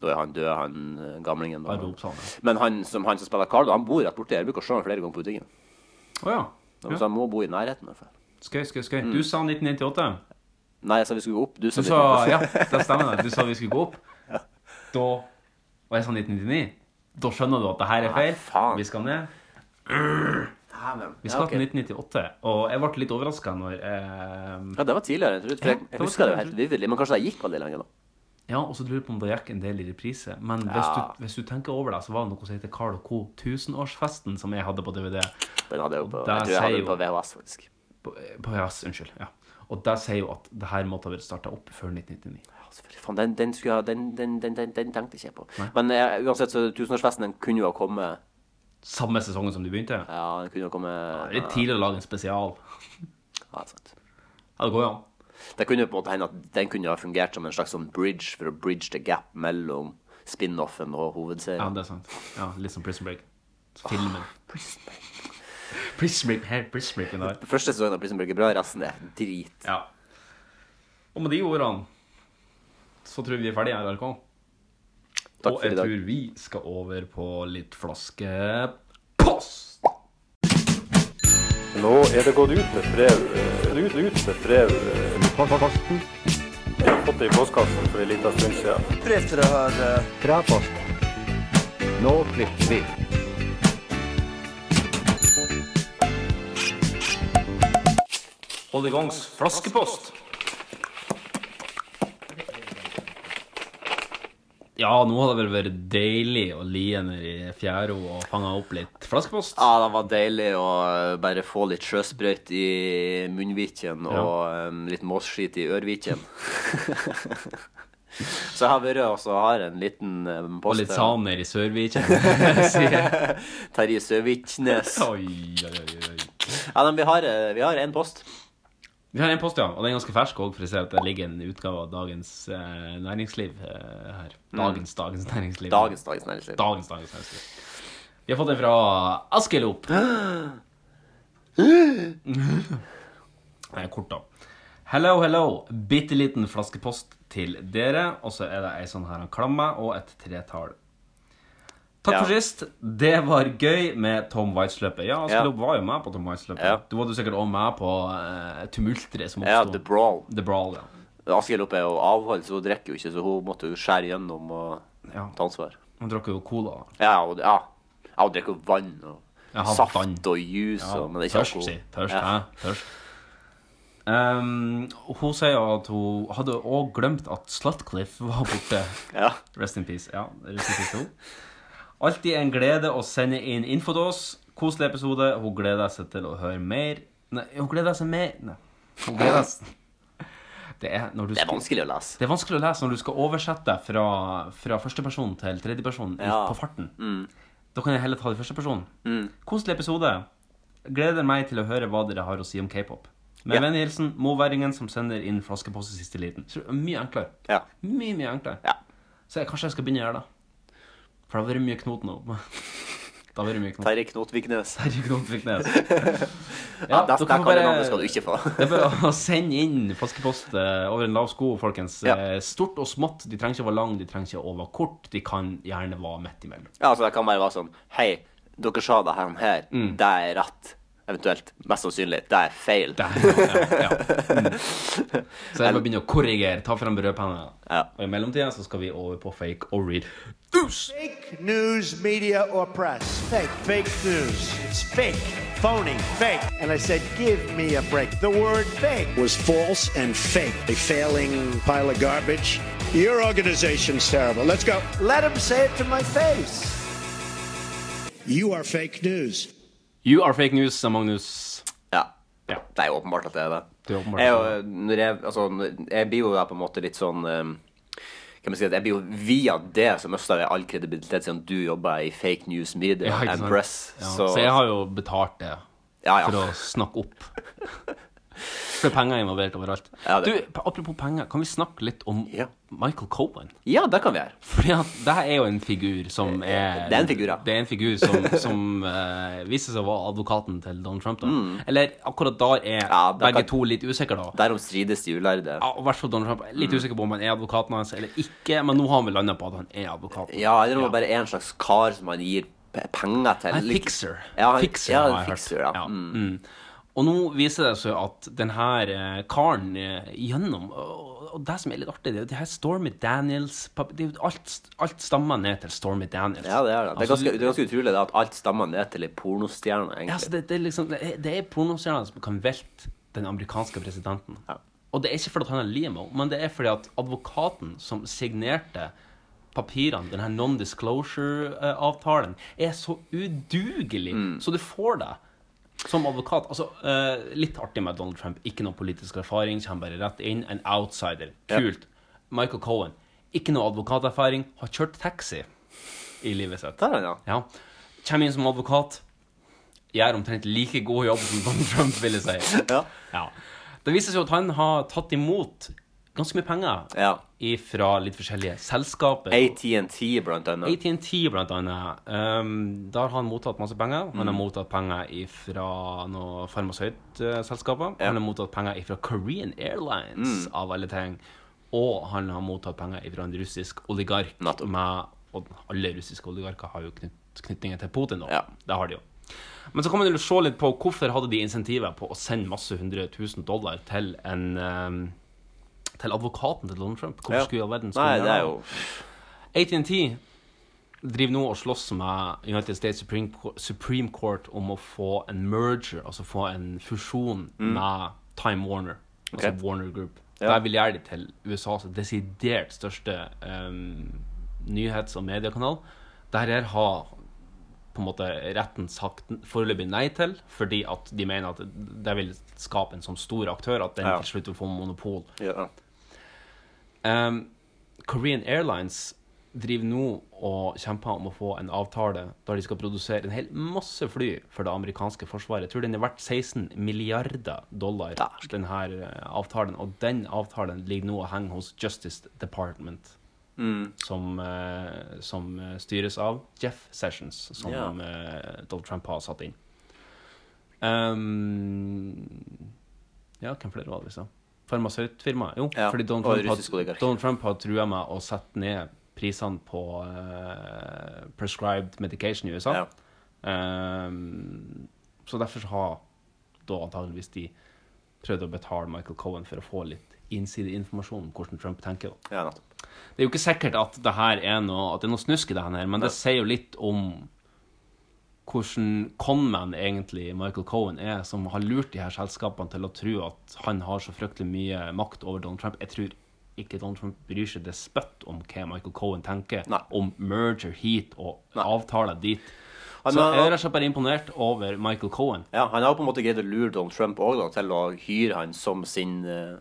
Speaker 3: Da er han død, han eh, gamlingen. da.
Speaker 2: Arve Oppsal, ja.
Speaker 3: Men han som, han som spiller Carl, da, han bor rett borti. Jeg bruker å se ham flere ganger på butikken.
Speaker 2: Å ja.
Speaker 3: Da, Så han må bo i nærheten. i hvert fall.
Speaker 2: Skøy, skøy, skøy. Du sa 1998.
Speaker 3: Nei, jeg sa vi skulle gå opp.
Speaker 2: Du
Speaker 3: Du sa,
Speaker 2: sa Ja, det stemmer. det. Du sa vi skulle gå opp. Da Og jeg sa 1999. Da skjønner du at det her er feil. Vi skal ned. Vi skal til 1998. Og jeg ble litt overraska når eh,
Speaker 3: Ja, det var tidligere. Jeg, trodde, for jeg,
Speaker 2: Ja, det
Speaker 3: jeg
Speaker 2: var
Speaker 3: husker det jo
Speaker 2: tidligere,
Speaker 3: helt vividlig. Men kanskje det gikk veldig lenge, da.
Speaker 2: Ja, og så lurer jeg på om det gikk en del i reprise. Men hvis,
Speaker 3: Ja.
Speaker 2: du, hvis du tenker over det, så var det noe som heter Carl Co. Tusenårsfesten, som jeg hadde på DVD.
Speaker 3: Den hadde jeg jo på,
Speaker 2: Og der
Speaker 3: jeg tror jeg hadde
Speaker 2: sier
Speaker 3: den
Speaker 2: jo-
Speaker 3: på VHS, faktisk.
Speaker 2: På, på VHS, unnskyld. Ja. Og det sier jo at det her måtte ha vært starta opp før 1999.
Speaker 3: Faen, den, den, skulle, jeg- den, den, den, den, den tenkte ikke jeg på. Men eh, uansett, så tusenårsfesten den kunne jo ha kommet
Speaker 2: Samme sesongen som de begynte?
Speaker 3: Ja, den kunne jo ha kommet
Speaker 2: Litt tidlig å lage en spesial.
Speaker 3: Ja, det er sant.
Speaker 2: Ja, det går jo an.
Speaker 3: Det kunne jo på en måte hende at den kunne ha fungert som en slags sånn bridge for å bridge the gap mellom spin-offen og hovedserien.
Speaker 2: Ja, det er sant. Ja, Litt som Prison Break. Filmen. Prison Break. her, Prison Break. er der.
Speaker 3: Første sesongen av Prison Break er bra, resten er drit.
Speaker 2: Ja. Og med de ordene så tror jeg vi er ferdige her, RK.
Speaker 3: Takk
Speaker 2: Og
Speaker 3: for i
Speaker 2: jeg
Speaker 3: dag.
Speaker 2: tror vi skal over på litt flaskepost!
Speaker 11: Nå er det gått ut med brev. eh, Ut, ut med brev. Postkassen. Jeg har fått det i postkassen for en liten stund siden.
Speaker 4: Brev til det her
Speaker 11: Fra posten. Nå klipper vi.
Speaker 2: Hold i gangs flaskepost. Ja, nå hadde det vel vært deilig å lie ned i fjæra og fange opp litt flaskepost.
Speaker 3: Ja, det var deilig å eh, bare få litt sjøsprøyt i munnviken
Speaker 2: Ja.
Speaker 3: og em, litt måsskit i ørviken. Så jeg har vært og så har jeg en liten em,
Speaker 2: Og
Speaker 3: post
Speaker 2: litt
Speaker 3: her.
Speaker 2: samer i Sørvik.
Speaker 3: Terje Søviknes.
Speaker 2: Oi, oi, oi, oi.
Speaker 3: Ja, men vi har, eh, vi har en post.
Speaker 2: Vi har en post, ja. Og den er ganske fersk òg, for jeg ser at det ligger en utgave av Dagens eh, Næringsliv eh, her. Dagens Dagens Næringsliv.
Speaker 3: Dagens Dagens Næringsliv.
Speaker 2: Dagens Dagens Næringsliv. Vi har fått en fra Askelop. Den er kort, da. Hello, hello. Bitte liten flaskepost til dere. Og så er det ei sånn her en klamme og et tretall. Takk for sist. Det var gøy med Tom Waits-løpet. Ja, Askelop var jo med på Tom Waits-løpet. Du var du sikkert òg med på uh, tumulteret som
Speaker 3: Ja,
Speaker 2: oppsto.
Speaker 3: The Brawl.
Speaker 2: The Brawl, ja.
Speaker 3: Askild oppe er jo avholdt, så hun drikker jo ikke, så hun måtte jo skjære gjennom og
Speaker 2: Ja.
Speaker 3: ta ansvar.
Speaker 2: Han drakk jo cola.
Speaker 3: Ja, og, ja. ja hun drikker jo vann og
Speaker 2: Ja, han
Speaker 3: saft
Speaker 2: vann.
Speaker 3: og juice,
Speaker 2: Ja,
Speaker 3: og, men det er ikke
Speaker 2: tørst,
Speaker 3: alkohol.
Speaker 2: si. Tørst,
Speaker 3: ja.
Speaker 2: hæ? Tørst. Ehm, hun sier at hun hadde òg glemt at Slutcliffe var borte. Rest in peace. Ja, rest in peace til hun. Alltid en glede å sende inn info til oss. Koselig episode. Hun gleder seg til å høre mer. Nei, hun gleder seg mer Nei. Hun gleder seg det er, når du
Speaker 3: Det er
Speaker 2: skal-
Speaker 3: vanskelig å lese.
Speaker 2: Det er vanskelig å lese når du skal oversette fra, fra førsteperson til tredjeperson i-
Speaker 3: Ja.
Speaker 2: på farten.
Speaker 3: Mm.
Speaker 2: Da kan jeg heller ta det i førsteperson.
Speaker 3: Mm.
Speaker 2: Koselig episode. Gleder meg til å høre hva dere har å si om k-pop. Med
Speaker 3: Ja.
Speaker 2: vennlig hilsen moværingen som sender inn flaskepost i siste liten. Så det er mye enklere.
Speaker 3: Ja.
Speaker 2: Mye, mye enklere. Så jeg, kanskje jeg skal begynne å gjøre det. For det har vært mye knot nå. Det har vært mye knot.
Speaker 3: Terje Knotviknes.
Speaker 2: Terje Knotviknes.
Speaker 3: Ja, det-
Speaker 2: dere må
Speaker 3: det
Speaker 2: bare-
Speaker 3: kallenavnet skal du ikke få.
Speaker 2: det er bare å sende inn flaskepost eh, over en lav sko, folkens.
Speaker 3: Ja.
Speaker 2: Eh, Stort og smått. De trenger ikke å være lang, de trenger ikke å være kort. De kan gjerne være midt imellom.
Speaker 3: Ja, altså det kan bare være sånn Hei, Dere sa det her, her.
Speaker 2: Mm.
Speaker 3: det er rett. Eventuelt. Mest sannsynlig. Det er feil.
Speaker 2: Så jeg må begynne å korrigere. Ta frem rødpenna. Og i mellomtida så skal vi over på fake or read.
Speaker 12: Fake news, media, or press. Fake. Fake news. It's fake. Phony. Fake. And I said, give me a break. The word fake was false and fake. A failing pile of garbage. Your organization's terrible. Let's go. Let him say it to my face. You are fake news.
Speaker 2: You are fake news, sa Magnus.
Speaker 3: Ja. Det er jo åpenbart at det er det.
Speaker 2: Det er åpenbart
Speaker 3: jeg,
Speaker 2: at
Speaker 3: er jo- når jeg, altså, når- jeg blir jo da på en måte litt sånn um, kan man si at Jeg blir jo via det som mister jeg all kredibilitet, siden du jobber i fake news media
Speaker 2: Ja, ikke
Speaker 3: and
Speaker 2: sant?
Speaker 3: press.
Speaker 2: Ja. Så jeg har jo betalt det
Speaker 3: Ja, ja.
Speaker 2: for å snakke opp. For penger er involvert overalt.
Speaker 3: Ja,
Speaker 2: du,
Speaker 3: det-
Speaker 2: apropos penger, kan vi snakke litt om Michael Cohen?
Speaker 3: Ja, det kan vi gjøre.
Speaker 2: Fordi at det her er jo en figur som er
Speaker 3: Eh, Det er en figur, ja.
Speaker 2: Det er en figur som, som eh, viser seg å være advokaten til Donald Trump, da.
Speaker 3: Mm.
Speaker 2: Eller akkurat der er
Speaker 3: da
Speaker 2: begge
Speaker 3: kan-
Speaker 2: to litt usikre, da.
Speaker 3: Derom strides de ulærde.
Speaker 2: Ja, og i hvert fall Donald Trump. Jeg er Litt
Speaker 3: Mm.
Speaker 2: usikker på om han er advokaten hans eller ikke, men nå har han vel landa på at han er advokaten.
Speaker 3: Ja, eller om det bare er en slags kar som han gir pe- penger til.
Speaker 2: En
Speaker 3: Lik-
Speaker 2: fixer.
Speaker 3: Ja, han,
Speaker 2: fixer,
Speaker 3: ja,
Speaker 2: har
Speaker 3: en
Speaker 2: jeg hørt.
Speaker 3: fixer, ja.
Speaker 2: Ja.
Speaker 3: Mm.
Speaker 2: Mm. Og nå viser det seg at den her eh, karen eh, gjennom og- Og det som er litt artig, det er jo det her Stormy Daniels pap- det er jo alt, alt stammer ned til Stormy Daniels.
Speaker 3: Ja, det er det. Det er
Speaker 2: Altså,
Speaker 3: ganske, det er ganske utrolig det, at alt stammer ned til ei pornostjerne,
Speaker 2: Ja, altså,
Speaker 3: egentlig.
Speaker 2: det, det er liksom Det er, det er pornostjerner som kan velte den amerikanske presidenten. Og det er ikke fordi at han er limo, men det er fordi at advokaten som signerte papirene, den her non-disclosure-avtalen, er så udugelig,
Speaker 3: Mm.
Speaker 2: så du får det. Som advokat altså, eh, Litt artig med Donald Trump. Ikke noe politisk erfaring. Kommer bare rett inn. En outsider.
Speaker 3: Ja.
Speaker 2: Kult. Michael Cohen. Ikke noe advokaterfaring. Har kjørt taxi i livet sitt.
Speaker 3: Der, ja.
Speaker 2: Ja. Kommer inn som advokat. Gjør omtrent like god jobb som Donald Trump, vil jeg si. Ja. Det viser seg at han har tatt imot ganske mye penger fra litt forskjellige selskaper.
Speaker 3: AT&T, blant annet.
Speaker 2: AT&T, blant annet. Um, der har han mottatt masse penger. Han har
Speaker 3: Mm.
Speaker 2: mottatt penger fra noen farmasøytselskaper. Han har mottatt penger fra Korean Airlines,
Speaker 3: Mm.
Speaker 2: av alle ting. Og han har mottatt penger fra en russisk oligark. Med, og alle russiske oligarker har jo knyt, knytninger til Putin, da. Det har de jo. Men så kan man jo se litt på hvorfor hadde de insentiver på å sende masse 100 000 dollar til en um, til advokaten til Donald Trump. Hvorfor
Speaker 3: Ja.
Speaker 2: skulle i all verden
Speaker 3: Nei,
Speaker 2: skulle
Speaker 3: det er
Speaker 2: gjøre AT&T driver nå og slåss med United States Supreme, Co- Supreme Court om å få en merger, altså få en fusjon
Speaker 3: Mm.
Speaker 2: med Time Warner, altså
Speaker 3: Ok.
Speaker 2: Warner Group.
Speaker 3: Ja.
Speaker 2: Der vil gjøre det til USAs desidert største um, nyhets- og mediekanal. Dette her har på en måte retten sagt foreløpig nei til, fordi at de mener at det vil skape en sånn stor aktør at den
Speaker 3: Ja.
Speaker 2: til slutt vil få monopol.
Speaker 3: Ja.
Speaker 2: Um, Korean Airlines driver nå og kjemper om å få en avtale der de skal produsere en hel masse fly for det amerikanske forsvaret. Jeg tror den er verdt 16 milliarder dollar, den her eh, avtalen. Og den avtalen ligger nå og henger hos Justice Department,
Speaker 3: Mm.
Speaker 2: som, eh, som eh, styres av Jeff Sessions, som
Speaker 3: Ja.
Speaker 2: eh, Donald Trump har satt inn. Um, ja, hvem flere var det vi sa? Farmasøytfirmaet? Jo,
Speaker 3: Ja,
Speaker 2: fordi Donald
Speaker 3: og
Speaker 2: Trump,
Speaker 3: russisk oligark.
Speaker 2: har, Donald Trump har trua med å sette ned prisene på eh, prescribed medication i USA. Um, så derfor så har da antageligvis de prøvd å betale Michael Cohen for å få litt innsideinformasjon om hvordan Trump tenker. Da.
Speaker 3: Ja,
Speaker 2: det er jo ikke sikkert at det her er noe, at det er noe snusk i det her, men det sier jo litt om hvordan conman egentlig Michael Cohen er, som har lurt de her selskapene til å tro at han har så fryktelig mye makt over Donald Trump. Jeg tror ikke Donald Trump bryr seg det spøtt om hva Michael Cohen tenker om merger hit og avtaler dit.
Speaker 3: Han
Speaker 2: så
Speaker 3: har-
Speaker 2: jeg er rett og slett bare imponert over Michael Cohen.
Speaker 3: Ja, han har jo på en måte greid å lure Donald Trump også, da, til å hyre han som sin eh,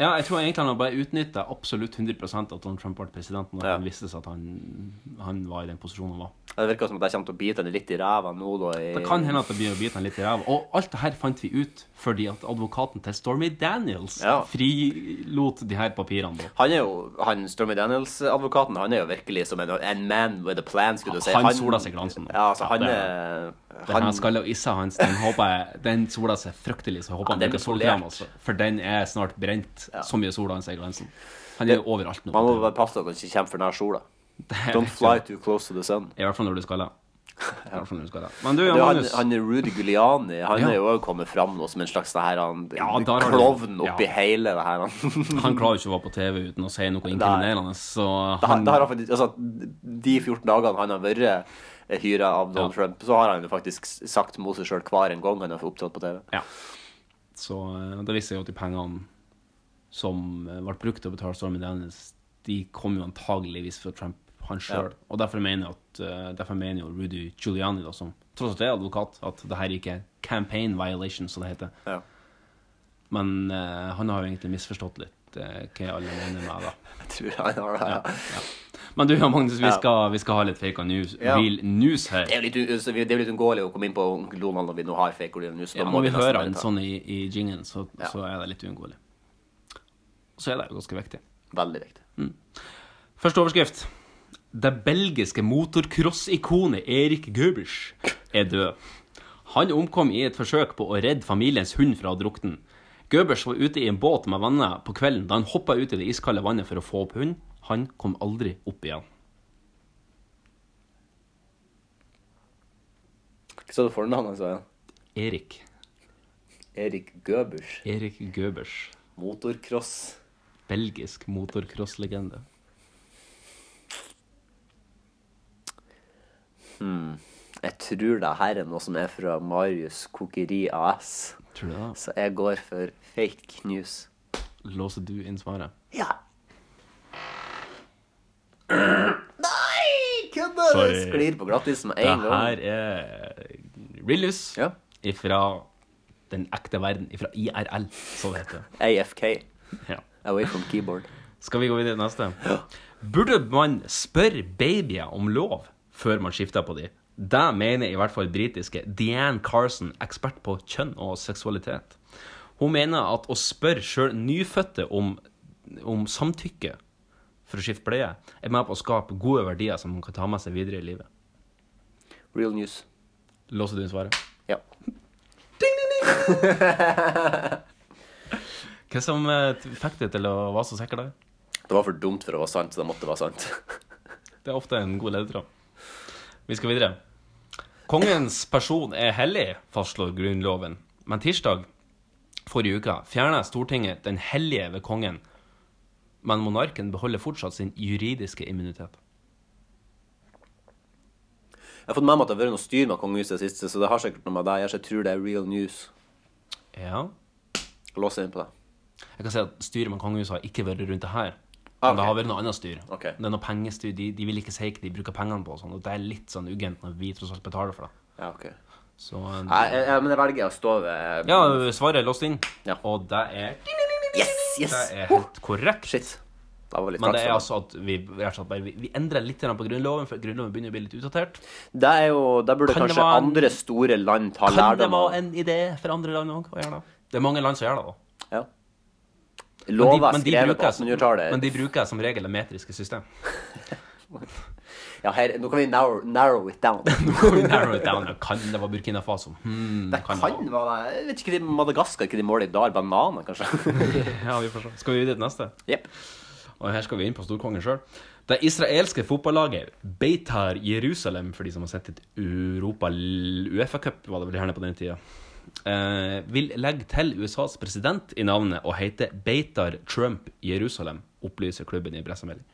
Speaker 2: Ja, jeg tror egentlig han har bare utnytta absolutt 100 at Donald Trump ble president når han visste seg at han, han var i den posisjonen han var.
Speaker 3: Det virker som at jeg kommer til å bite han litt i ræva nå, da. I,
Speaker 2: Det kan hende at det blir å bite han litt i ræva. Og alt det her fant vi ut fordi at advokaten til Stormy Daniels frilot de her papirene. da.
Speaker 3: Han er jo, han Stormy Daniels-advokaten, han er jo virkelig som en, en man with a plan, skulle du si.
Speaker 2: Han sola seg glansen.
Speaker 3: Ja, altså, han
Speaker 2: det-
Speaker 3: er
Speaker 2: Den her skalla issa hans, den håper jeg Den sola seg fryktelig, så jeg håper
Speaker 3: Ja,
Speaker 2: han
Speaker 3: den
Speaker 2: bruker
Speaker 3: blir polert.
Speaker 2: solkrem, altså. For den er snart brent. Så mye sola han ser glansen. Han
Speaker 3: Det-
Speaker 2: er jo overalt nå.
Speaker 3: Man må bare passe at han ikke kommer for nær sola.
Speaker 2: er
Speaker 3: Don't
Speaker 2: rett,
Speaker 3: fly too close to the sun.
Speaker 2: I hvert fall når du skaller. i hvert fall når du skal det. Men du,
Speaker 3: Det er han,
Speaker 2: Magnus.
Speaker 3: han er Rudy Giuliani han
Speaker 2: Ja.
Speaker 3: er jo også kommet fram nå som en slags det her, han,
Speaker 2: der har du-
Speaker 3: klovn oppi
Speaker 2: ja.
Speaker 3: hele det her. Han,
Speaker 2: Han klarer jo ikke å være på TV uten å si noe inkriminerende, så
Speaker 3: Det har,
Speaker 2: han,
Speaker 3: det har han faktisk, altså, de 14 dagene han har vært hyra av Donald Trump, så har han jo faktisk s- sagt mot seg sjøl hver en gang han har opptrådt på TV.
Speaker 2: Så eh, det viser jo at de pengene som eh, ble brukt til å betale Stormy Daniels, de kom jo antageligvis fra Trump han
Speaker 3: Ja.
Speaker 2: sjøl. Og derfor mener, jeg at, eh, derfor mener jo Rudy Giuliani, da, som tross alt er advokat, at det her ikke er campaign violation, som det heter. Men eh, han har jo egentlig misforstått litt eh, hva alle mener med det.
Speaker 3: Jeg tror han har det, ja.
Speaker 2: Men du, Magnus, vi
Speaker 3: Ja.
Speaker 2: skal, vi skal ha litt fake news,
Speaker 3: Ja.
Speaker 2: real news her.
Speaker 3: Det er jo litt, u- så vi- det er jo litt unngåelig å komme inn på onkel Donald når vi nå har fake Orion News. så
Speaker 2: Ja,
Speaker 3: da må
Speaker 2: når vi
Speaker 3: nesten
Speaker 2: hører
Speaker 3: bare
Speaker 2: en
Speaker 3: ta-
Speaker 2: sånn i, i jingen, så, så er det litt uunngåelig. Så er det jo ganske viktig.
Speaker 3: Veldig viktig.
Speaker 2: Mm. Første overskrift. Det belgiske motocross-ikonet Erik Goebbels er død. Han omkom i et forsøk på å redde familiens hund fra å drukne. Goebbels var ute i en båt med venner på kvelden da han hoppa ut i det iskalde vannet for å få opp hunden. Han kom aldri opp igjen.
Speaker 3: Hva sa du fornavnet hans igjen?
Speaker 2: Erik.
Speaker 3: Erik Goebbels.
Speaker 2: Erik Goebbels.
Speaker 3: Motorcross.
Speaker 2: Belgisk motocross-legende.
Speaker 3: Hmm. Jeg tror det her er noe som er fra Marius Kokeri AS.
Speaker 2: Tror du det?
Speaker 3: Så jeg går for fake news.
Speaker 2: Låser du inn svaret?
Speaker 3: Ja. Nei! Kødder du?
Speaker 2: Sorry.
Speaker 3: Sklir på glattisen med en gang.
Speaker 2: Det her er real news fra den ekte verden. Fra IRL, så det heter.
Speaker 3: AFK.
Speaker 2: Ja.
Speaker 3: Away from keyboard.
Speaker 2: Skal vi gå videre til neste? Burde man spørre babyer om lov før man skifter på de? Det mener i hvert fall britiske Diane Carson, ekspert på kjønn og seksualitet. Hun mener at å spørre sjøl nyfødte om, om samtykke for å skifte bleie, er med på å skape gode verdier som man kan ta med seg videre i livet.
Speaker 3: Real news.
Speaker 2: Låser du inn svaret?
Speaker 3: Ja.
Speaker 2: Hva som eh, fikk deg til å være så sikker der?
Speaker 3: Det var for dumt for å være sant, så det måtte være sant.
Speaker 2: Det er ofte en god ledetråd. Vi skal videre. Kongens person er hellig, fastslår Grunnloven. Men tirsdag forrige uke fjernet Stortinget den hellige ved kongen. Men monarken beholder fortsatt sin juridiske immunitet.
Speaker 3: Jeg har fått med meg at det har vært noe styr med kongehuset i det siste, så det har sikkert noe med deg. Jeg ikke tror det er real news.
Speaker 2: Ja.
Speaker 3: Lås inn på det.
Speaker 2: Jeg kan si at Styret med kongehuset har ikke vært rundt det her. Men det har vært noe annet styr. Det er noe pengestyr. De, de vil ikke si hva de bruker pengene på. og Sånn, og det er litt sånn uggent når vi tross alt betaler for det.
Speaker 3: Ja, ok.
Speaker 2: Så, eh,
Speaker 3: Nei, jeg, jeg, men jeg velger å stå ved
Speaker 2: Ja, svaret er låst inn. Og det er
Speaker 3: Yes! yes.
Speaker 2: Det er helt korrekt.
Speaker 3: Det var litt
Speaker 2: Men det er
Speaker 3: flaks,
Speaker 2: altså at vi, rett og slett bare, vi, vi endrer litt grann på Grunnloven, for Grunnloven begynner å bli litt utdatert.
Speaker 3: Det er jo, der burde
Speaker 2: Kan det
Speaker 3: kanskje
Speaker 2: være en-
Speaker 3: andre store land ta
Speaker 2: Kan det
Speaker 3: lærdom av
Speaker 2: være en idé for andre land òg å gjøre det? Det er mange land som gjør det. da.
Speaker 3: Ja. Lov
Speaker 2: Men de-
Speaker 3: er
Speaker 2: men de
Speaker 3: skrevet på
Speaker 2: bruker som-
Speaker 3: 1800-tallet.
Speaker 2: Men de bruker som regel det metriske system.
Speaker 3: Ja, her, nå kan vi narrow, narrow it down.
Speaker 2: Narrow it down. Kan det være Burkina Faso? Hmm,
Speaker 3: Det
Speaker 2: kan
Speaker 3: kan
Speaker 2: det
Speaker 3: være Jeg vet ikke, de- Madagaskar, ikke de måler i dag bananer, kanskje?
Speaker 2: Ja, vi får se. Skal vi videre til neste? Og her skal vi inn på storkongen sjøl. Det israelske fotballaget Beitar Jerusalem, for de som har sett et Europa Uefa-cup, var det vel gjerne på den tida, eh, vil legge til USAs president i navnet og hete Beitar Trump Jerusalem, opplyser klubben i pressemelding.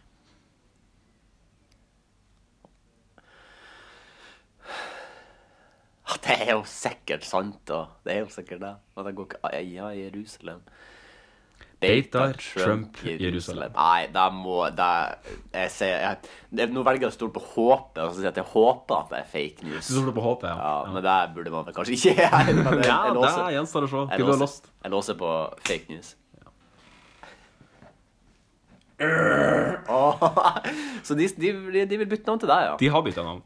Speaker 3: Ja, det er jo sikkert sant, da. Det er jo sikkert det. Men det går ikke ah, Ja, Jerusalem.
Speaker 2: Beitar, Trump, Jerusalem.
Speaker 3: Nei, det må det, jeg, sier, jeg, det, Nå velger jeg å stole på håpet. Altså, si at jeg håper at det er fake news.
Speaker 2: Du stoler på håpet, ja.
Speaker 3: Ja, Men det burde man vel kanskje ikke gjøre. men jeg-
Speaker 2: Ja,
Speaker 3: jeg låser-
Speaker 2: det gjenstår å se.
Speaker 3: jeg
Speaker 2: Hva du har
Speaker 3: låser-
Speaker 2: låst?
Speaker 3: Jeg låser på fake news. Åh, så de, de, de vil bytte navn til deg, ja?
Speaker 2: De har bytta navn.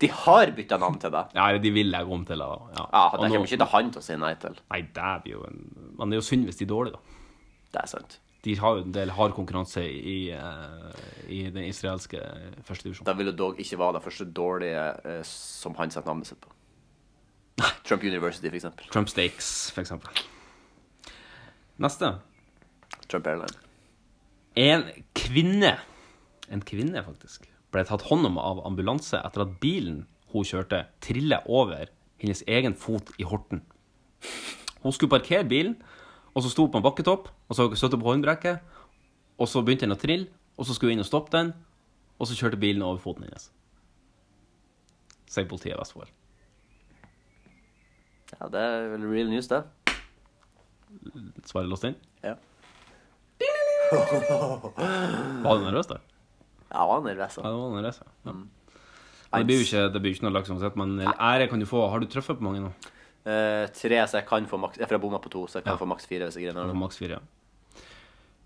Speaker 3: De har bytta navn til deg?
Speaker 2: Ja, eller de vil legge om til det. Ja,
Speaker 3: Ja, det kommer ikke til han til å si nei til.
Speaker 2: Nei, det blir jo en Men det er jo synd hvis de er dårlige, da.
Speaker 3: Det er sant.
Speaker 2: De har jo en del hard konkurranse i, eh, i den israelske førstedivisjonen.
Speaker 3: Det ville dog ikke være det første dårlige eh, som han setter navnet sitt på. Trump University, for eksempel.
Speaker 2: Trump Stakes, for eksempel. Neste.
Speaker 3: Trump Airline.
Speaker 2: En kvinne, en kvinne faktisk, ble tatt hånd om av ambulanse etter at bilen hun kjørte, triller over hennes egen fot i horten. Hun skulle parkere bilen, og så sto hun på en bakketopp, og så støtte på håndbrekket, og så begynte den å trille, og så skulle hun inn og stoppe den, og så kjørte bilen over foten hennes. Sier politiet i Vestfold.
Speaker 3: Ja, det er vel real news, det.
Speaker 2: Svaret låst inn?
Speaker 3: Ja.
Speaker 2: Var du nervøs, da?
Speaker 3: Jeg var nervøs.
Speaker 2: Ja, du var nervøs, ja. ja. Men Det blir jo ikke, det blir jo ikke noe laks uansett, men ære kan du få. Har du truffet på mange nå?
Speaker 3: Eh, tre, så jeg kan få maks Jeg får bomma på to, så jeg kan få maks fire hvis jeg
Speaker 2: Ja,
Speaker 3: griner.
Speaker 2: for maks fire, ja.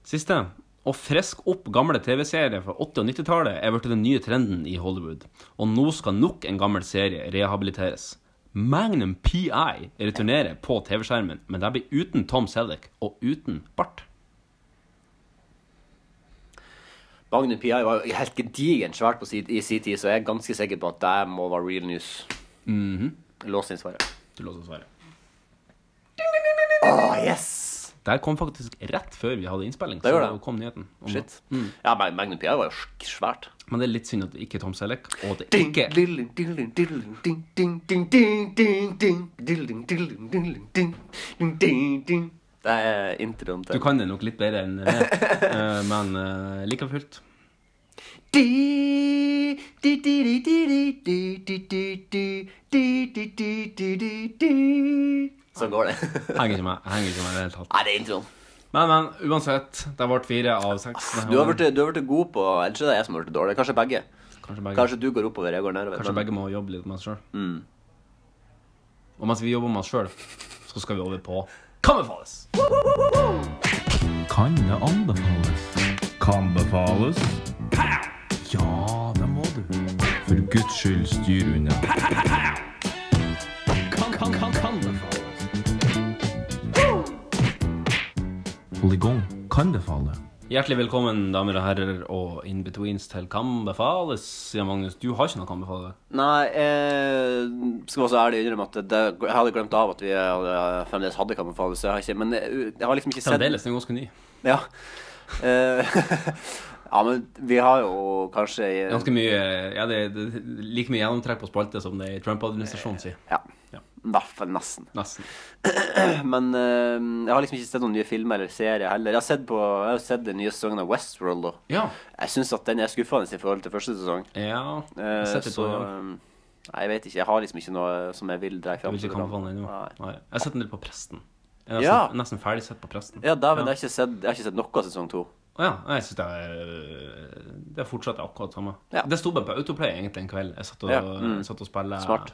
Speaker 2: Siste. Å friske opp gamle TV-serier fra 80- og 90-tallet er blitt den nye trenden i Hollywood, og nå skal nok en gammel serie rehabiliteres. Magnum PI returnerer på TV-skjermen, men det blir uten Tom Selleck og uten bart.
Speaker 3: Magnum PI var jo helt gedigent svært på sin, i sin tid, så jeg er ganske sikker på at det må være real news. Mhm. Lås inn svaret.
Speaker 2: Du låser svaret.
Speaker 3: Åh, yes!
Speaker 2: Der kom faktisk rett før vi hadde innspilling.
Speaker 3: Det
Speaker 2: så
Speaker 3: gjorde det.
Speaker 2: kom nyheten. om-
Speaker 3: Shit.
Speaker 2: Mm.
Speaker 3: Ja, Mag- Magnum PI var jo sk- svært.
Speaker 2: Men det er litt synd at det ikke er Tom Selleck, og at det
Speaker 3: Ding,
Speaker 2: ikke
Speaker 3: dilling, dilling, dilling, ding, ding, ding, ding, ding, ding, dilling, dilling, dilling, ding, ding, ding, ding. Det er introen til
Speaker 2: Du kan det nok litt bedre enn det, eh, men eh, like fullt.
Speaker 3: Di, di, di, di, di, di, di, di, di, di, di, di, di, di, di. Sånn går det.
Speaker 2: Henger ikke med. Henger ikke med i det hele tatt.
Speaker 3: Nei, det er introen.
Speaker 2: Men, men, uansett. Det ble fire av seks.
Speaker 3: Ah, Du har vært, du har vært god på Eller ikke det er jeg som har vært dårlig. Kanskje begge.
Speaker 2: Kanskje begge,
Speaker 3: Kanskje du går oppover, jeg går nedover.
Speaker 2: kanskje
Speaker 3: men-
Speaker 2: begge må jobbe litt med oss sjøl.
Speaker 3: Mm.
Speaker 2: Og mens vi jobber med oss sjøl, så skal vi over på Kan befales?
Speaker 13: Kan det anbefales? Kan befales? Ja, det må du. For guds skyld, styr unna.
Speaker 2: Kan, kan, kan, kan befales?
Speaker 13: Hold i gang. Kan befale?
Speaker 2: Hjertelig velkommen, damer og herrer, og in betweens til Kan befales, sier Magnus. Du har ikke noe kan befale?
Speaker 3: Nei, eh, skal vi også ærlig innrømme at det, jeg hadde glemt av at vi hadde- fremdeles hadde Kammerfall. Så jeg har ikke Men jeg, jeg har liksom ikke sett
Speaker 2: Fremdeles. Den er ganske ny.
Speaker 3: Ja. Eh, ja, men vi har jo kanskje eh,
Speaker 2: Ganske mye Ja, det er det er like mye gjennomtrekk på spalte som det er i Trump-administrasjonen sin.
Speaker 3: Ja. Nesten. Nesten.
Speaker 2: Nesten.
Speaker 3: Men eh, jeg har liksom ikke sett noen nye filmer eller serier heller. Jeg har sett, på, jeg har sett den nye sesongen av Westworld. Da.
Speaker 2: Ja.
Speaker 3: Jeg syns at den er skuffende i forhold til første sesong.
Speaker 2: Ja, jeg
Speaker 3: Eh,
Speaker 2: har sett litt på
Speaker 3: så
Speaker 2: den,
Speaker 3: eh, Nei, jeg vet ikke. Jeg har liksom ikke noe som jeg vil dra
Speaker 2: Jeg
Speaker 3: fram.
Speaker 2: vil ikke anbefale den ennå. Nei. Jeg har sett den litt på Presten. Jeg er
Speaker 3: Ja.
Speaker 2: nesten, nesten ferdig sett på Presten.
Speaker 3: Ja, dæven, jeg, har ikke sett- jeg har ikke sett noe av sesong to.
Speaker 2: Å ja. Nei, Jeg syns det er Det fortsatt er akkurat samme. Det sto bare på autoplay egentlig en kveld. Jeg satt og,
Speaker 3: Ja, mm.
Speaker 2: jeg satt og spilte
Speaker 3: Smart.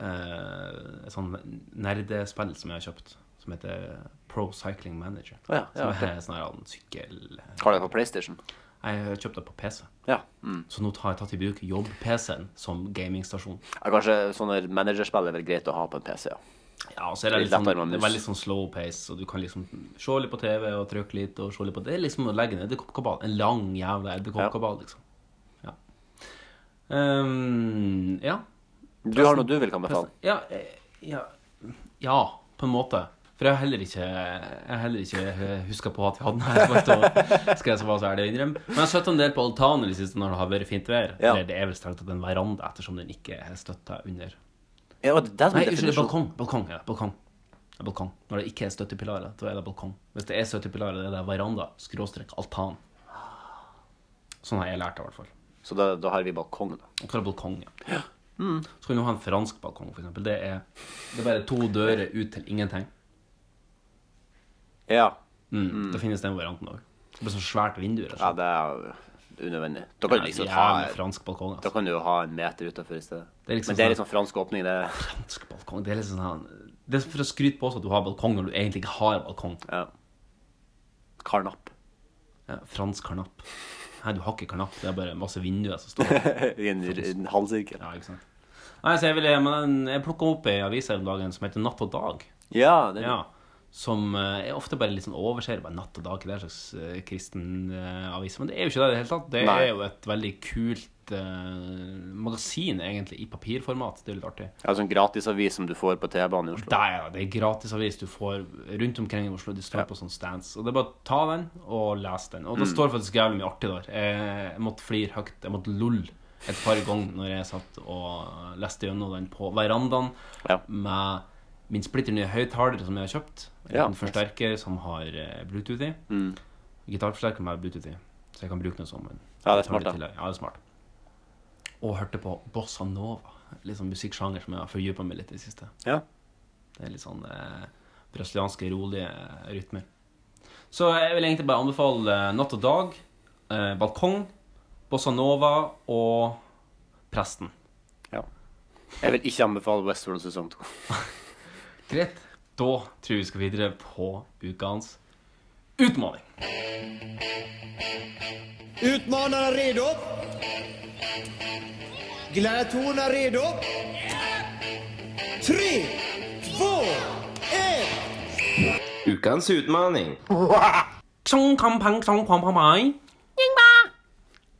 Speaker 2: eh, et sånn nerdespill som jeg har kjøpt, som heter Pro Cycling Manager.
Speaker 3: Å ja, ja,
Speaker 2: som
Speaker 3: ok.
Speaker 2: er sånn her en sykkel...
Speaker 3: Har du det på PlayStation?
Speaker 2: Jeg har kjøpt det på PC.
Speaker 3: Ja. Mm.
Speaker 2: Så nå har jeg tatt i bruk jobb-PC-en som gamingstasjon.
Speaker 3: Ja, kanskje sånne managerspill er vel greit å ha på en PC, ja.
Speaker 2: Ja, og så er det,
Speaker 3: Litt
Speaker 2: litt sånn,
Speaker 3: lettere med
Speaker 2: det er
Speaker 3: mus.
Speaker 2: veldig sånn slow pace, og du kan liksom se litt på TV og trykke litt og se litt på Det er liksom å legge en edderkoppkabal. En lang jævla edderkoppkabal, liksom. Ja. Ehm, ja.
Speaker 3: Du har noe du vil kan befale?
Speaker 2: Ja, eh, ja. ja, på en måte. For jeg har heller ikke, jeg har heller ikke huska på at vi hadde den her. på et år, Skal jeg så være så ærlig å innrømme. Men jeg har sett en del på altanen i det siste når det har vært fint vær.
Speaker 3: Ja.
Speaker 2: Eller det er vel strengt tatt en veranda, ettersom den ikke er støtta under
Speaker 3: Ja, og det er det som
Speaker 2: Nei, unnskyld, det er
Speaker 3: er definisjonen.
Speaker 2: balkong. Balkong, ja. Balkong. Det er balkong. Når det ikke er støttepilarer, da er det balkong. Hvis det er støttepilarer, da er det veranda, skråstrek, altan. Sånn har jeg lært det, i hvert fall.
Speaker 3: Så da, da har vi balkong, da.
Speaker 2: Og hva er balkong, ja. Mm. Så kan du ha en fransk balkong, for eksempel. Det er, det er bare to dører ut til ingenting.
Speaker 3: Ja.
Speaker 2: Mm. Det finnes den varianten òg. Det blir sånn svært vindu. rett og
Speaker 3: Ja,
Speaker 2: slett.
Speaker 3: det er jo unødvendig. Da kan du
Speaker 2: Nei,
Speaker 3: liksom
Speaker 2: jævlig
Speaker 3: ha
Speaker 2: fransk balkong, altså.
Speaker 3: Da kan du jo ha en meter utenfor i stedet.
Speaker 2: Det er liksom
Speaker 3: Men det er
Speaker 2: sånn-
Speaker 3: liksom fransk åpning, det.
Speaker 2: Fransk balkong, det er liksom sånn her- Det er for å skryte på seg at du har balkong når du egentlig ikke har balkong.
Speaker 3: Ja. Karnapp.
Speaker 2: Ja, fransk karnapp. Nei, du har ikke karnapp, det er bare masse vinduer som står
Speaker 3: I en, i en halvsirkel.
Speaker 2: Ja, ikke sant. Nei, så jeg, ville, men jeg plukka opp ei avis her om dagen som heter Natt og dag.
Speaker 3: Ja, det er-
Speaker 2: Ja, som eh, jeg ofte bare litt sånn overser. Bare Natt og dag, det er en slags eh, kristen eh, avis. Men det er jo ikke det i det hele tatt. Det
Speaker 3: Nei.
Speaker 2: er jo et veldig kult eh, magasin, egentlig, i papirformat. Det er jo litt artig.
Speaker 3: Ja, sånn gratisavis som du får på T-banen i Oslo.
Speaker 2: Nei, ja, det er gratisavis du får rundt omkring i Oslo. De står på sånn stands. Og det er bare å ta den og lese den. Og det
Speaker 3: Mm.
Speaker 2: står faktisk jævlig mye artig der. Eh, Jeg måtte flire høyt. Jeg måtte lolle et par ganger når jeg satt og leste gjennom den på verandaen med min splitter nye høyttaler som jeg har kjøpt. En
Speaker 3: Ja.
Speaker 2: liten forsterker som har eh, Bluetooth i.
Speaker 3: Mm.
Speaker 2: Gitarforsterker med Bluetooth i, så jeg kan bruke den som en
Speaker 3: Ja, det er
Speaker 2: gitar
Speaker 3: smart, da.
Speaker 2: til- Ja, det er smart. Og hørte på bossa nova, litt sånn musikksjanger som jeg har fordypa meg litt i det siste.
Speaker 3: Ja.
Speaker 2: Det er litt sånn eh, brasilianske, rolige rytmer. Så jeg vil egentlig bare anbefale eh, Natt og dag, eh, Balkong, Bossa Nova og Presten.
Speaker 3: Ja. Jeg vil ikke anbefale Westworld sesong to.
Speaker 2: Greit. Da tror jeg vi skal videre på ukens utfordring.
Speaker 14: Utmanarna redo? Gladiatorerna redo? Tre, två, ett!
Speaker 15: Ukens utfordring.
Speaker 2: Chong kam pang chong pang pang mai.
Speaker 9: Ding bang,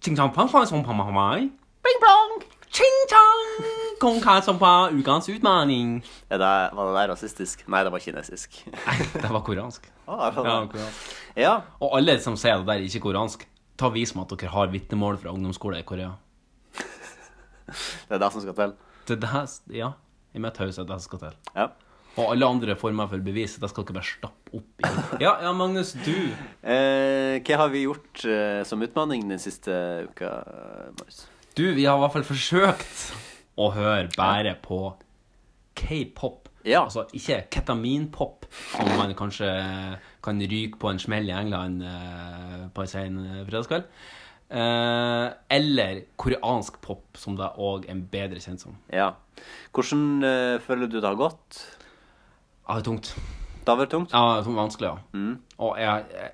Speaker 2: Ching chang pang pang chong pang pang mai.
Speaker 9: bing blong, ching chong.
Speaker 2: Kong ka chong pa ukens utfordring.
Speaker 3: Er det, var det der rasistisk? Nei, det var kinesisk.
Speaker 2: Det var koreansk.
Speaker 3: Ah, det var det.
Speaker 2: Og alle som sier det der er ikke koreansk, ta vis meg at dere har vitnemål fra ungdomsskolen i Korea.
Speaker 3: Det er det som skal til.
Speaker 2: Det der, ja, i mitt hus er det det som skal til.
Speaker 3: Ja.
Speaker 2: Og alle andre former for bevis, det skal dere bare stappe opp i. Ja, ja Magnus, du
Speaker 3: Eh, hva har vi gjort eh, som utmanning den siste uka, eh, Marius?
Speaker 2: Du, vi har i hvert fall forsøkt å høre bare på k-pop. Altså ikke ketaminpop, som man kanskje kan ryke på en smell i England eh, på en sen fredagskveld. Eh, eller koreansk pop, som det òg er bedre kjent som.
Speaker 3: Ja. Hvordan eh, føler du det har gått?
Speaker 2: Ja, det er tungt. Mm.
Speaker 3: Det har vært tungt?
Speaker 2: Ja, det var vanskelig, ja. Og jeg, jeg,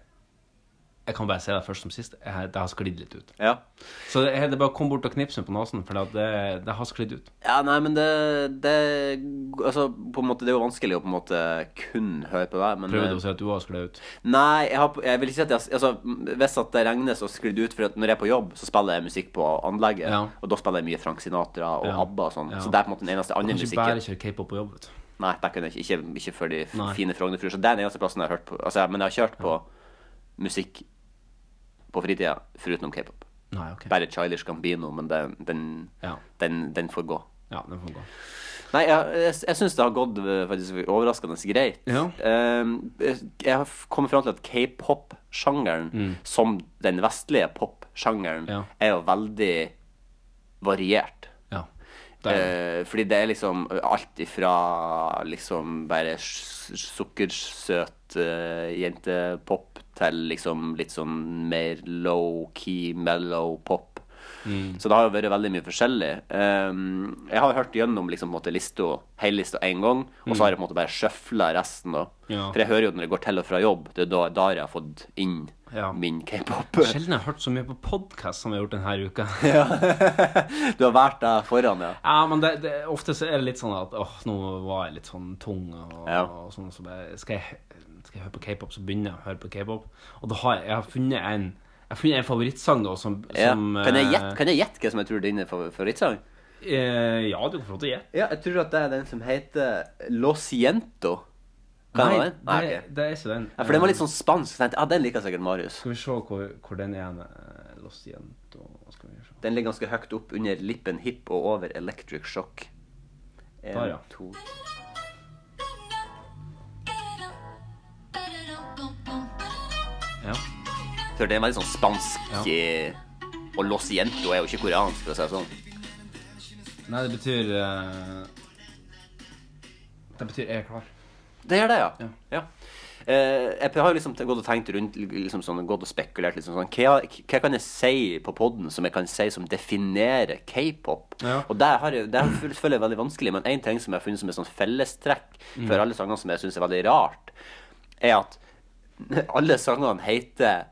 Speaker 2: jeg kan bare si det først som sist, jeg, det har sklidd litt ut.
Speaker 3: Ja.
Speaker 2: Så det er det bare å komme bort og knipse meg på nesen, for det, det, det har sklidd ut.
Speaker 3: Ja, nei, men det, det Altså, på en måte, det er jo vanskelig å på en måte kun høre på deg, men eh,
Speaker 2: Prøvde å si at du har sklidd ut.
Speaker 3: Nei, jeg, har, jeg vil ikke si at jeg, altså, Hvis at det regner, så sklir det ut. For at når jeg er på jobb, så spiller jeg musikk på anlegget.
Speaker 2: Ja.
Speaker 3: Og da spiller jeg mye Frank Sinatra og
Speaker 2: Ja.
Speaker 3: ABBA og sånn.
Speaker 2: Ja.
Speaker 3: Så det er på en måte den eneste
Speaker 2: Du
Speaker 3: andre
Speaker 2: kan ikke
Speaker 3: musikken.
Speaker 2: bare kjøre k-pop på jobb, vet du.
Speaker 3: Nei, det kunne jeg ikke. Ikke, ikke for de f-
Speaker 2: Nei.
Speaker 3: fine Frognerfruer. Så det er den eneste plassen jeg har hørt på. Altså, jeg- men jeg har kjørt på musikk på fritida foruten om k-pop.
Speaker 2: Nei, ok.
Speaker 3: Bare Childish Gambino, men den, den, den, den får gå.
Speaker 2: Ja, den får gå.
Speaker 3: Nei, jeg, jeg, jeg syns det har gått eh, faktisk overraskende greit.
Speaker 2: Ja.
Speaker 3: Ehm, jeg jeg har f- kommet fram til at k-pop-sjangeren,
Speaker 2: Mm.
Speaker 3: som den vestlige pop-sjangeren,
Speaker 2: Ja.
Speaker 3: er jo veldig variert.
Speaker 2: Ja.
Speaker 3: Eh, fordi det er liksom alt ifra liksom bare s- sukkersøt eh, jentepop til liksom litt sånn mer low-key, mellow pop.
Speaker 2: Mm.
Speaker 3: Så det har jo vært veldig mye forskjellig. Ehm, jeg har hørt gjennom liksom, på en måte, lista, hele lista én gang, og
Speaker 2: Mm.
Speaker 3: så har jeg på en måte bare sjøfla resten. da.
Speaker 2: Ja.
Speaker 3: For jeg hører jo når jeg går til og fra jobb, det er da, da har jeg fått inn
Speaker 2: Ja.
Speaker 3: min k-pop.
Speaker 2: Sjelden har jeg hørt så mye på podkast som jeg har gjort denne uka.
Speaker 3: Du har vært der foran, ja.
Speaker 2: Ja, men det, det, ofte så er det litt sånn at åh, nå var jeg litt sånn tung og, og sånn. Så bare, skal, jeg, skal jeg høre på k-pop, så begynner jeg å høre på k-pop. Og da har jeg, jeg har funnet en jeg har funnet en favorittsang da, som,
Speaker 3: Ja.
Speaker 2: som
Speaker 3: Kan jeg
Speaker 2: eh,
Speaker 3: gjette kan jeg gjette hva som jeg tror er din favor- favorittsang?
Speaker 2: eh, ja, du kan få lov til å gjette.
Speaker 3: Ja, jeg tror at det er den som heter eh, Lo Siento. Kan
Speaker 2: Nei,
Speaker 3: det være den? Nei,
Speaker 2: det,
Speaker 3: ok.
Speaker 2: det er ikke den. Eh,
Speaker 3: Ja, for den var litt sånn spansk. så Jeg tenkte, ja, den liker sikkert Marius.
Speaker 2: Skal vi se hvor, hvor den er. eh, Los Jento, skal vi se.
Speaker 3: Den ligger ganske høyt opp under lippen hip og over electric shock. En,
Speaker 2: Der, ja.
Speaker 3: to
Speaker 2: Ja.
Speaker 3: For det er veldig sånn spansk
Speaker 2: Ja.
Speaker 3: eh, Og Los Siento er jo ikke koreansk, for å si det sånn.
Speaker 2: Nei, det betyr eh, Det betyr 'jeg er klar'.
Speaker 3: Det gjør det, ja. ja. Eh, jeg har jo liksom gått og tenkt rundt liksom sånn, gått og spekulert liksom sånn, hva, hva kan jeg si på podden som jeg kan si som definerer k-pop? Og der, har jeg, der føl- føler jeg veldig vanskelig, men en ting som jeg har funnet som et sånn fellestrekk
Speaker 2: Mm.
Speaker 3: for alle sangene som jeg synes er veldig rart, er at alle sangene heter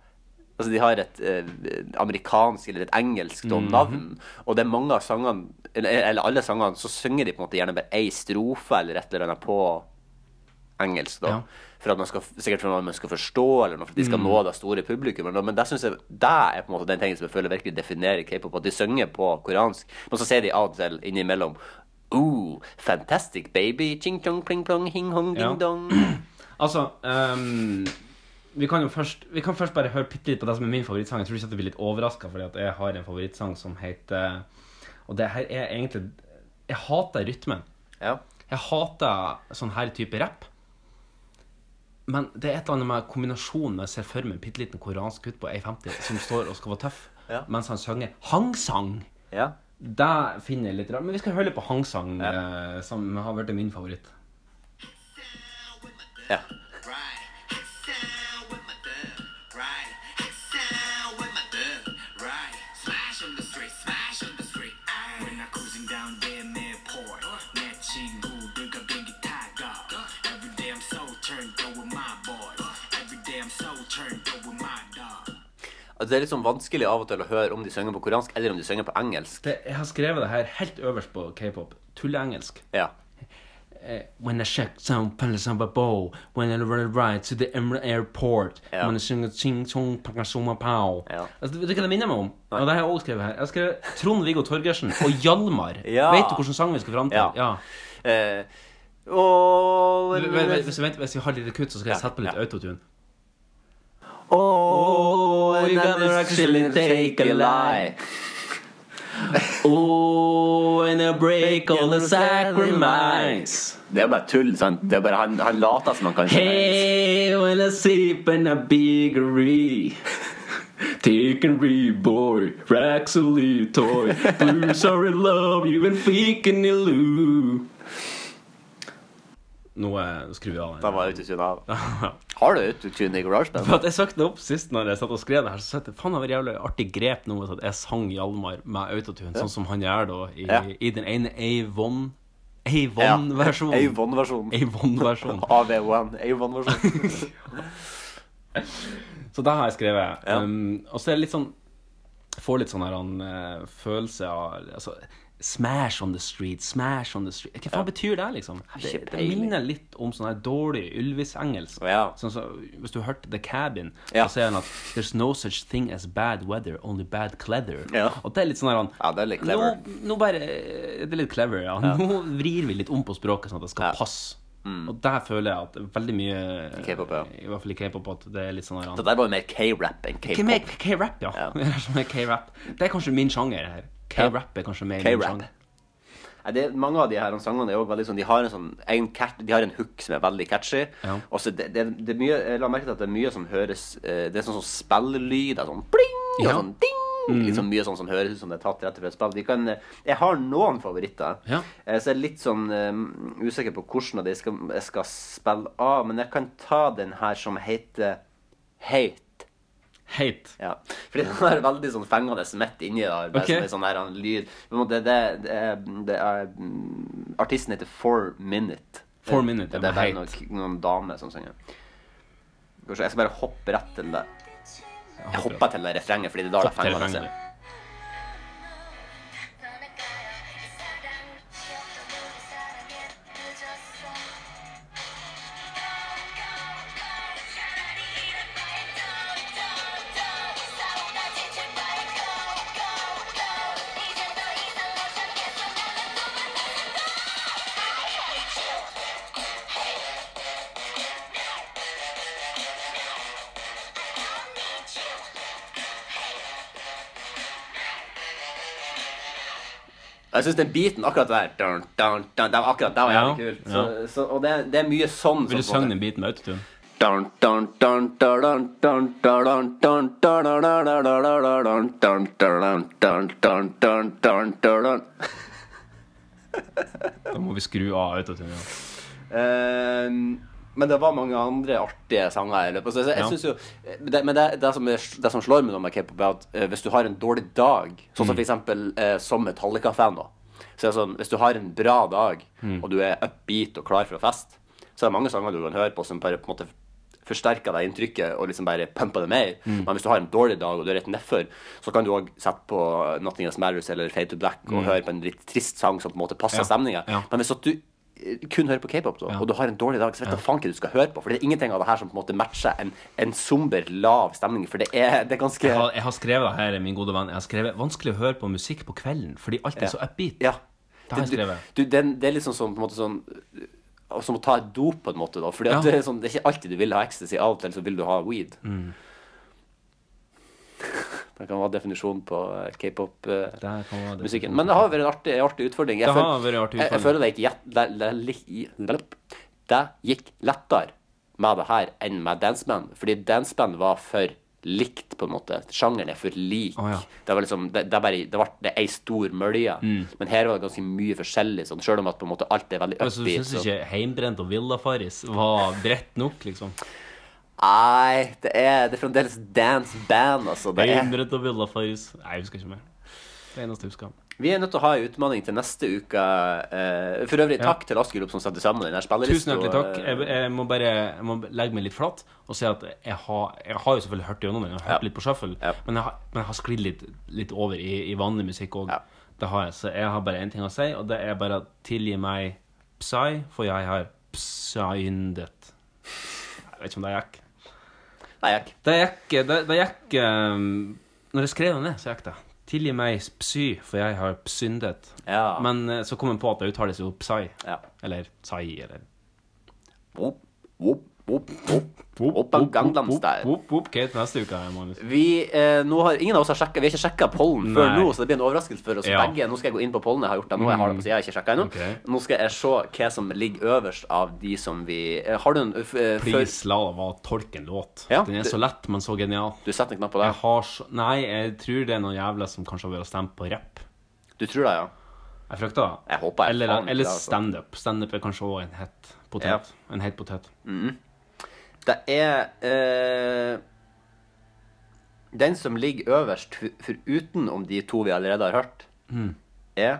Speaker 3: Altså, de har et eh, amerikansk eller et engelsk da,
Speaker 2: Mhm.
Speaker 3: navn, og det er mange av sangene eller, eller alle sangene, så synger de på en måte gjerne bare ei strofe eller et eller annet på engelsk, da. For at man skal, sikkert for at man skal forstå, eller noe, for at de skal
Speaker 2: Mm.
Speaker 3: nå det store publikummet. da. Men det synes jeg det er på en måte den tingen som jeg føler virkelig definerer k-pop. At de synger på koreansk, men så sier de av og til innimellom Ooh, fantastic baby, ching chong, pling plong, hing hong, ding
Speaker 2: Ja.
Speaker 3: dong.
Speaker 2: Altså ehm, vi kan jo først, vi kan først bare høre bitte litt på det som er min favorittsang. Jeg tror ikke at du blir litt overraska, fordi at jeg har en favorittsang som heter Og det her er egentlig Jeg hater rytmen. Jeg hater sånn her type rapp. Men det er et eller annet med kombinasjonen med jeg ser for meg en bitte liten koreansk gutt på 1,50 som står og skal være tøff,
Speaker 3: Ja.
Speaker 2: mens han synger hangsang. Det finner jeg litt rart. Men vi skal høre litt på hangsang, eh, som har vært min favoritt.
Speaker 3: Ja. Altså, Det er litt sånn vanskelig av og til å høre om de synger på koreansk eller om de synger på engelsk.
Speaker 2: Det, jeg har skrevet det her helt øverst på k-pop. Tulleengelsk.
Speaker 3: Ja.
Speaker 2: Eh, When I check some palace on my bow, when I run a ride to the Emerald Airport,
Speaker 3: Ja.
Speaker 2: when I sing a ching chong pakasoma pow. Altså, vet du hva det minner meg om? Og det har jeg også skrevet her. Jeg har skrevet Trond-Viggo Torgersen og Hjalmar.
Speaker 3: Ja.
Speaker 2: Vet du hvilken sang vi skal fram til? Ja.
Speaker 3: Eh, og
Speaker 2: Vent, vent, vent, hvis, vent, hvis vi har litt kutt, så skal jeg
Speaker 3: Ja,
Speaker 2: sette på litt autotune.
Speaker 3: Oh,
Speaker 2: you gotta actually take a lie. Oh, and I break all the sacrifice.
Speaker 3: Det er bare tull, sant? Det er bare han, han later som han kan
Speaker 2: Hey, when I sleep in a biggery. Take and reborn, racks a little toy. Blue, sorry, love you and faking you loo. Nå eh, skrur vi av.
Speaker 3: Da var autotune av. Har du autotune i
Speaker 2: For
Speaker 3: garasjen?
Speaker 2: at jeg søkte det opp sist når jeg satt og skrev det her, så sa jeg at faen, det var et jævlig artig grep nå at jeg sang Hjalmar med autotune,
Speaker 3: Ja.
Speaker 2: sånn som han gjør da i,
Speaker 3: Ja.
Speaker 2: i den ene Avon
Speaker 3: Ja.
Speaker 2: Avon-versjonen.
Speaker 3: Avon-versjonen.
Speaker 2: Avon-versjonen.
Speaker 3: AV1. Avon-versjonen.
Speaker 2: Så det har jeg skrevet. Um, og så er det litt sånn Får litt sånn her en eh, følelse av altså, Smash on the street, smash on the street Hva faen betyr det, liksom? Det,
Speaker 3: ikke
Speaker 2: det
Speaker 3: peiling.
Speaker 2: minner litt om sånn her dårlig Ylvis-engelsk. Sånn som hvis du hørte The Cabin,
Speaker 3: Ja.
Speaker 2: så sier han at There's no such thing as bad weather, only bad cleather.
Speaker 3: Ja.
Speaker 2: Og det er litt sånn her han
Speaker 3: Ja, det er litt
Speaker 2: nå,
Speaker 3: clever.
Speaker 2: nå bare eh, Det er litt clever, ja.
Speaker 3: Ja. Mm.
Speaker 2: Nå vrir vi litt om på språket sånn at det skal passe. Og der føler jeg at veldig mye I hvert fall i k-pop at det er litt sånn her
Speaker 3: Det der var jo mer K-rap enn
Speaker 2: K- mer
Speaker 3: K-pop.
Speaker 2: K-rap, ja. Det er som er K-rap. Det er kanskje min sjanger her. K-rap er kanskje mer min
Speaker 3: K-rap.
Speaker 2: sjanger.
Speaker 3: Nei, det, mange av de her sangene er også veldig sånn De har en sånn en cat, De har en hook som er veldig catchy.
Speaker 2: Ja.
Speaker 3: Og så det, det, det er mye Jeg la merke til at det er mye som høres eh, Det er sånn, sånn spillelyd. Sånn pling! og
Speaker 2: Ja. Mm.
Speaker 3: Sånn ding! Liksom mye sånn som høres ut som det er tatt rett fra et spill. De kan, eh, jeg har noen favoritter.
Speaker 2: Ja.
Speaker 3: Eh, Så jeg er litt sånn eh, usikker på hvordan av de skal, jeg skal spille av. Men jeg kan ta den her som heter Hate.
Speaker 2: Hate.
Speaker 3: Ja. Fordi den er veldig sånn fengende midt inni der. Bare
Speaker 2: Ok.
Speaker 3: som en sånn her en lyd. På en måte, det, det, er, det er mm, Artisten heter Four Minute.
Speaker 2: Four Minute, ja,
Speaker 3: Det, det er bare
Speaker 2: men
Speaker 3: noen, noen damer som synger. Skal vi se, Jeg skal bare hoppe rett til det. Jeg
Speaker 2: hopper
Speaker 3: hopper til det refrenget, fordi det er da det er
Speaker 2: Hopp til
Speaker 3: fengende.
Speaker 2: refrenget.
Speaker 3: Jeg syns den biten akkurat der dun, dun, dun, Det var akkurat det var
Speaker 2: Ja,
Speaker 3: jævlig kult. Så, så, og det, det er mye sånn.
Speaker 2: Vil du
Speaker 3: som
Speaker 2: synge
Speaker 3: på en måte-
Speaker 2: den biten med autotune?
Speaker 3: Dun, dun, dun, dun, dun, dun, dun, dun, dun, dun, dun, dun, dun, dun, dun, dun, dun, dun, dun, dun.
Speaker 2: Da må vi skru av autotune. Ja.
Speaker 3: Ehm, men det var mange andre artige sanger i løpet. av- Så jeg, jeg
Speaker 2: Ja.
Speaker 3: synes jo, det, men det, det, som er, det som slår meg nå med k-pop, er at eh, hvis du har en dårlig dag,
Speaker 2: Mm.
Speaker 3: sånn som for eksempel eh, som Metallica-fan, da så er det sånn, Hvis du har en bra dag,
Speaker 2: Mm.
Speaker 3: og du er upbeat og klar for å feste, så er det mange sanger du kan høre på som bare på en måte forsterker det inntrykket og liksom bare pumper det mer.
Speaker 2: Mm.
Speaker 3: Men hvis du har en dårlig dag og du er rett nedfor, så kan du òg sette på Nothing Else Matters eller Fade to Black og
Speaker 2: Mm.
Speaker 3: høre på en litt trist sang som på en måte passer
Speaker 2: Ja.
Speaker 3: stemningen
Speaker 2: Ja.
Speaker 3: Men hvis at du eh, kun hører på k-pop, da, og du har en dårlig dag, så vet du faen ikke hva du skal høre på. For det er ingenting av det her som på en måte matcher en, en somber, lav stemning. For det er, det er ganske
Speaker 2: Jeg har, jeg har skrevet det her, min gode venn. Jeg har skrevet 'Vanskelig å høre på musikk på kvelden fordi alt
Speaker 3: Ja.
Speaker 2: er så upbeat'.
Speaker 3: Ja.
Speaker 2: Det har jeg
Speaker 3: Det-
Speaker 2: skrevet.
Speaker 3: Du, den, det er liksom sånn på en måte sånn og som å ta et dop, på en måte. da Fordi
Speaker 2: Ja.
Speaker 3: at det, er sånn, det er ikke alltid du vil ha ecstasy. Av og til så vil du ha weed.
Speaker 2: Mm.
Speaker 3: Det kan være definisjonen på eh,
Speaker 2: Der kan være
Speaker 3: k-pop-musikken. Men det har vært en artig, en artig utfordring. Jeg
Speaker 2: Det har
Speaker 3: føl-
Speaker 2: vært en artig
Speaker 3: jeg- Jeg
Speaker 2: utfordring.
Speaker 3: føler det gikk, jet- det, det, lik- det gikk lettere med det her enn med Dance Band. Fordi Dance Band var for likt, på en måte. Sjangeren er for lik. Det var liksom, det, det, er bare, det, var, det er ei stor mølje.
Speaker 2: Mm.
Speaker 3: Men her var det ganske mye forskjellig, sånn, sjøl om at på en måte alt er veldig
Speaker 2: Men så Altså, du
Speaker 3: upbeat.
Speaker 2: syns
Speaker 3: så-
Speaker 2: ikke heimbrent og villafaris var bredt nok, liksom?
Speaker 3: Nei, det er, det er fremdeles dance band, altså. Det er
Speaker 2: Heimbrent og villafaris Nei, jeg husker ikke mer. Det eneste jeg husker.
Speaker 3: Vi er nødt til å ha en utfordring til neste uke. eh, For øvrig, takk til Askerup som setter sammen denne
Speaker 2: Tusen
Speaker 3: spillelista.
Speaker 2: hjertelig takk.
Speaker 3: eh,
Speaker 2: Jeg, jeg må bare jeg må legge meg litt flat og si at jeg har, jeg har jo selvfølgelig hørt gjennom den. Jeg har hørt litt på shuffle, men, jeg har, men jeg har sklidd litt, litt over i, i vanlig musikk òg. Det har jeg. Så jeg har bare én ting å si, og det er bare at tilgi meg Psy, for jeg har psyndet. Jeg vet ikke om det gikk.
Speaker 3: Det gikk.
Speaker 2: Det gikk, det, det gikk ehm, Når jeg skrev det ned, så gikk det. Tilgi meg psy, for jeg har syndet. Men eh, så kom jeg på at det uttales jo psy. Eller psy, eller
Speaker 3: Wop, wop, wop, wop. Opp av Gangnam Style.
Speaker 2: Wop, wop, Hva heter neste uke, Magnus?
Speaker 3: Vi, eh, nå har, ingen av oss har sjekket, vi har ikke sjekka pollen før
Speaker 2: Nei.
Speaker 3: nå, så det blir en overraskelse for oss
Speaker 2: Ja. Mm.
Speaker 3: begge. Nå skal jeg gå inn på pollen. Jeg har gjort det nå. Jeg har det på siden, jeg har ikke sjekket ennå. Nå skal jeg se hva som ligger øverst av de som vi eh, Har du en eh, f- eh, før-
Speaker 2: Please, la det være tolk en låt.
Speaker 3: Ja,
Speaker 2: Den er
Speaker 3: det-
Speaker 2: så lett, men så genial.
Speaker 3: Du setter en knapp på det?
Speaker 2: Jeg har så, nei, jeg tror det er noen jævla som kanskje har vært og stemt på rapp.
Speaker 3: Du tror det, ja?
Speaker 2: Jeg frykter det.
Speaker 3: Jeg håper jeg
Speaker 2: Eller,
Speaker 3: faen ikke det,
Speaker 2: eller
Speaker 3: altså.
Speaker 2: standup. Standup er kanskje også en het potet. En het potet.
Speaker 3: Mhm. Det er eh, Den som ligger øverst, fu- foruten om de to vi allerede har hørt,
Speaker 2: Mm.
Speaker 3: er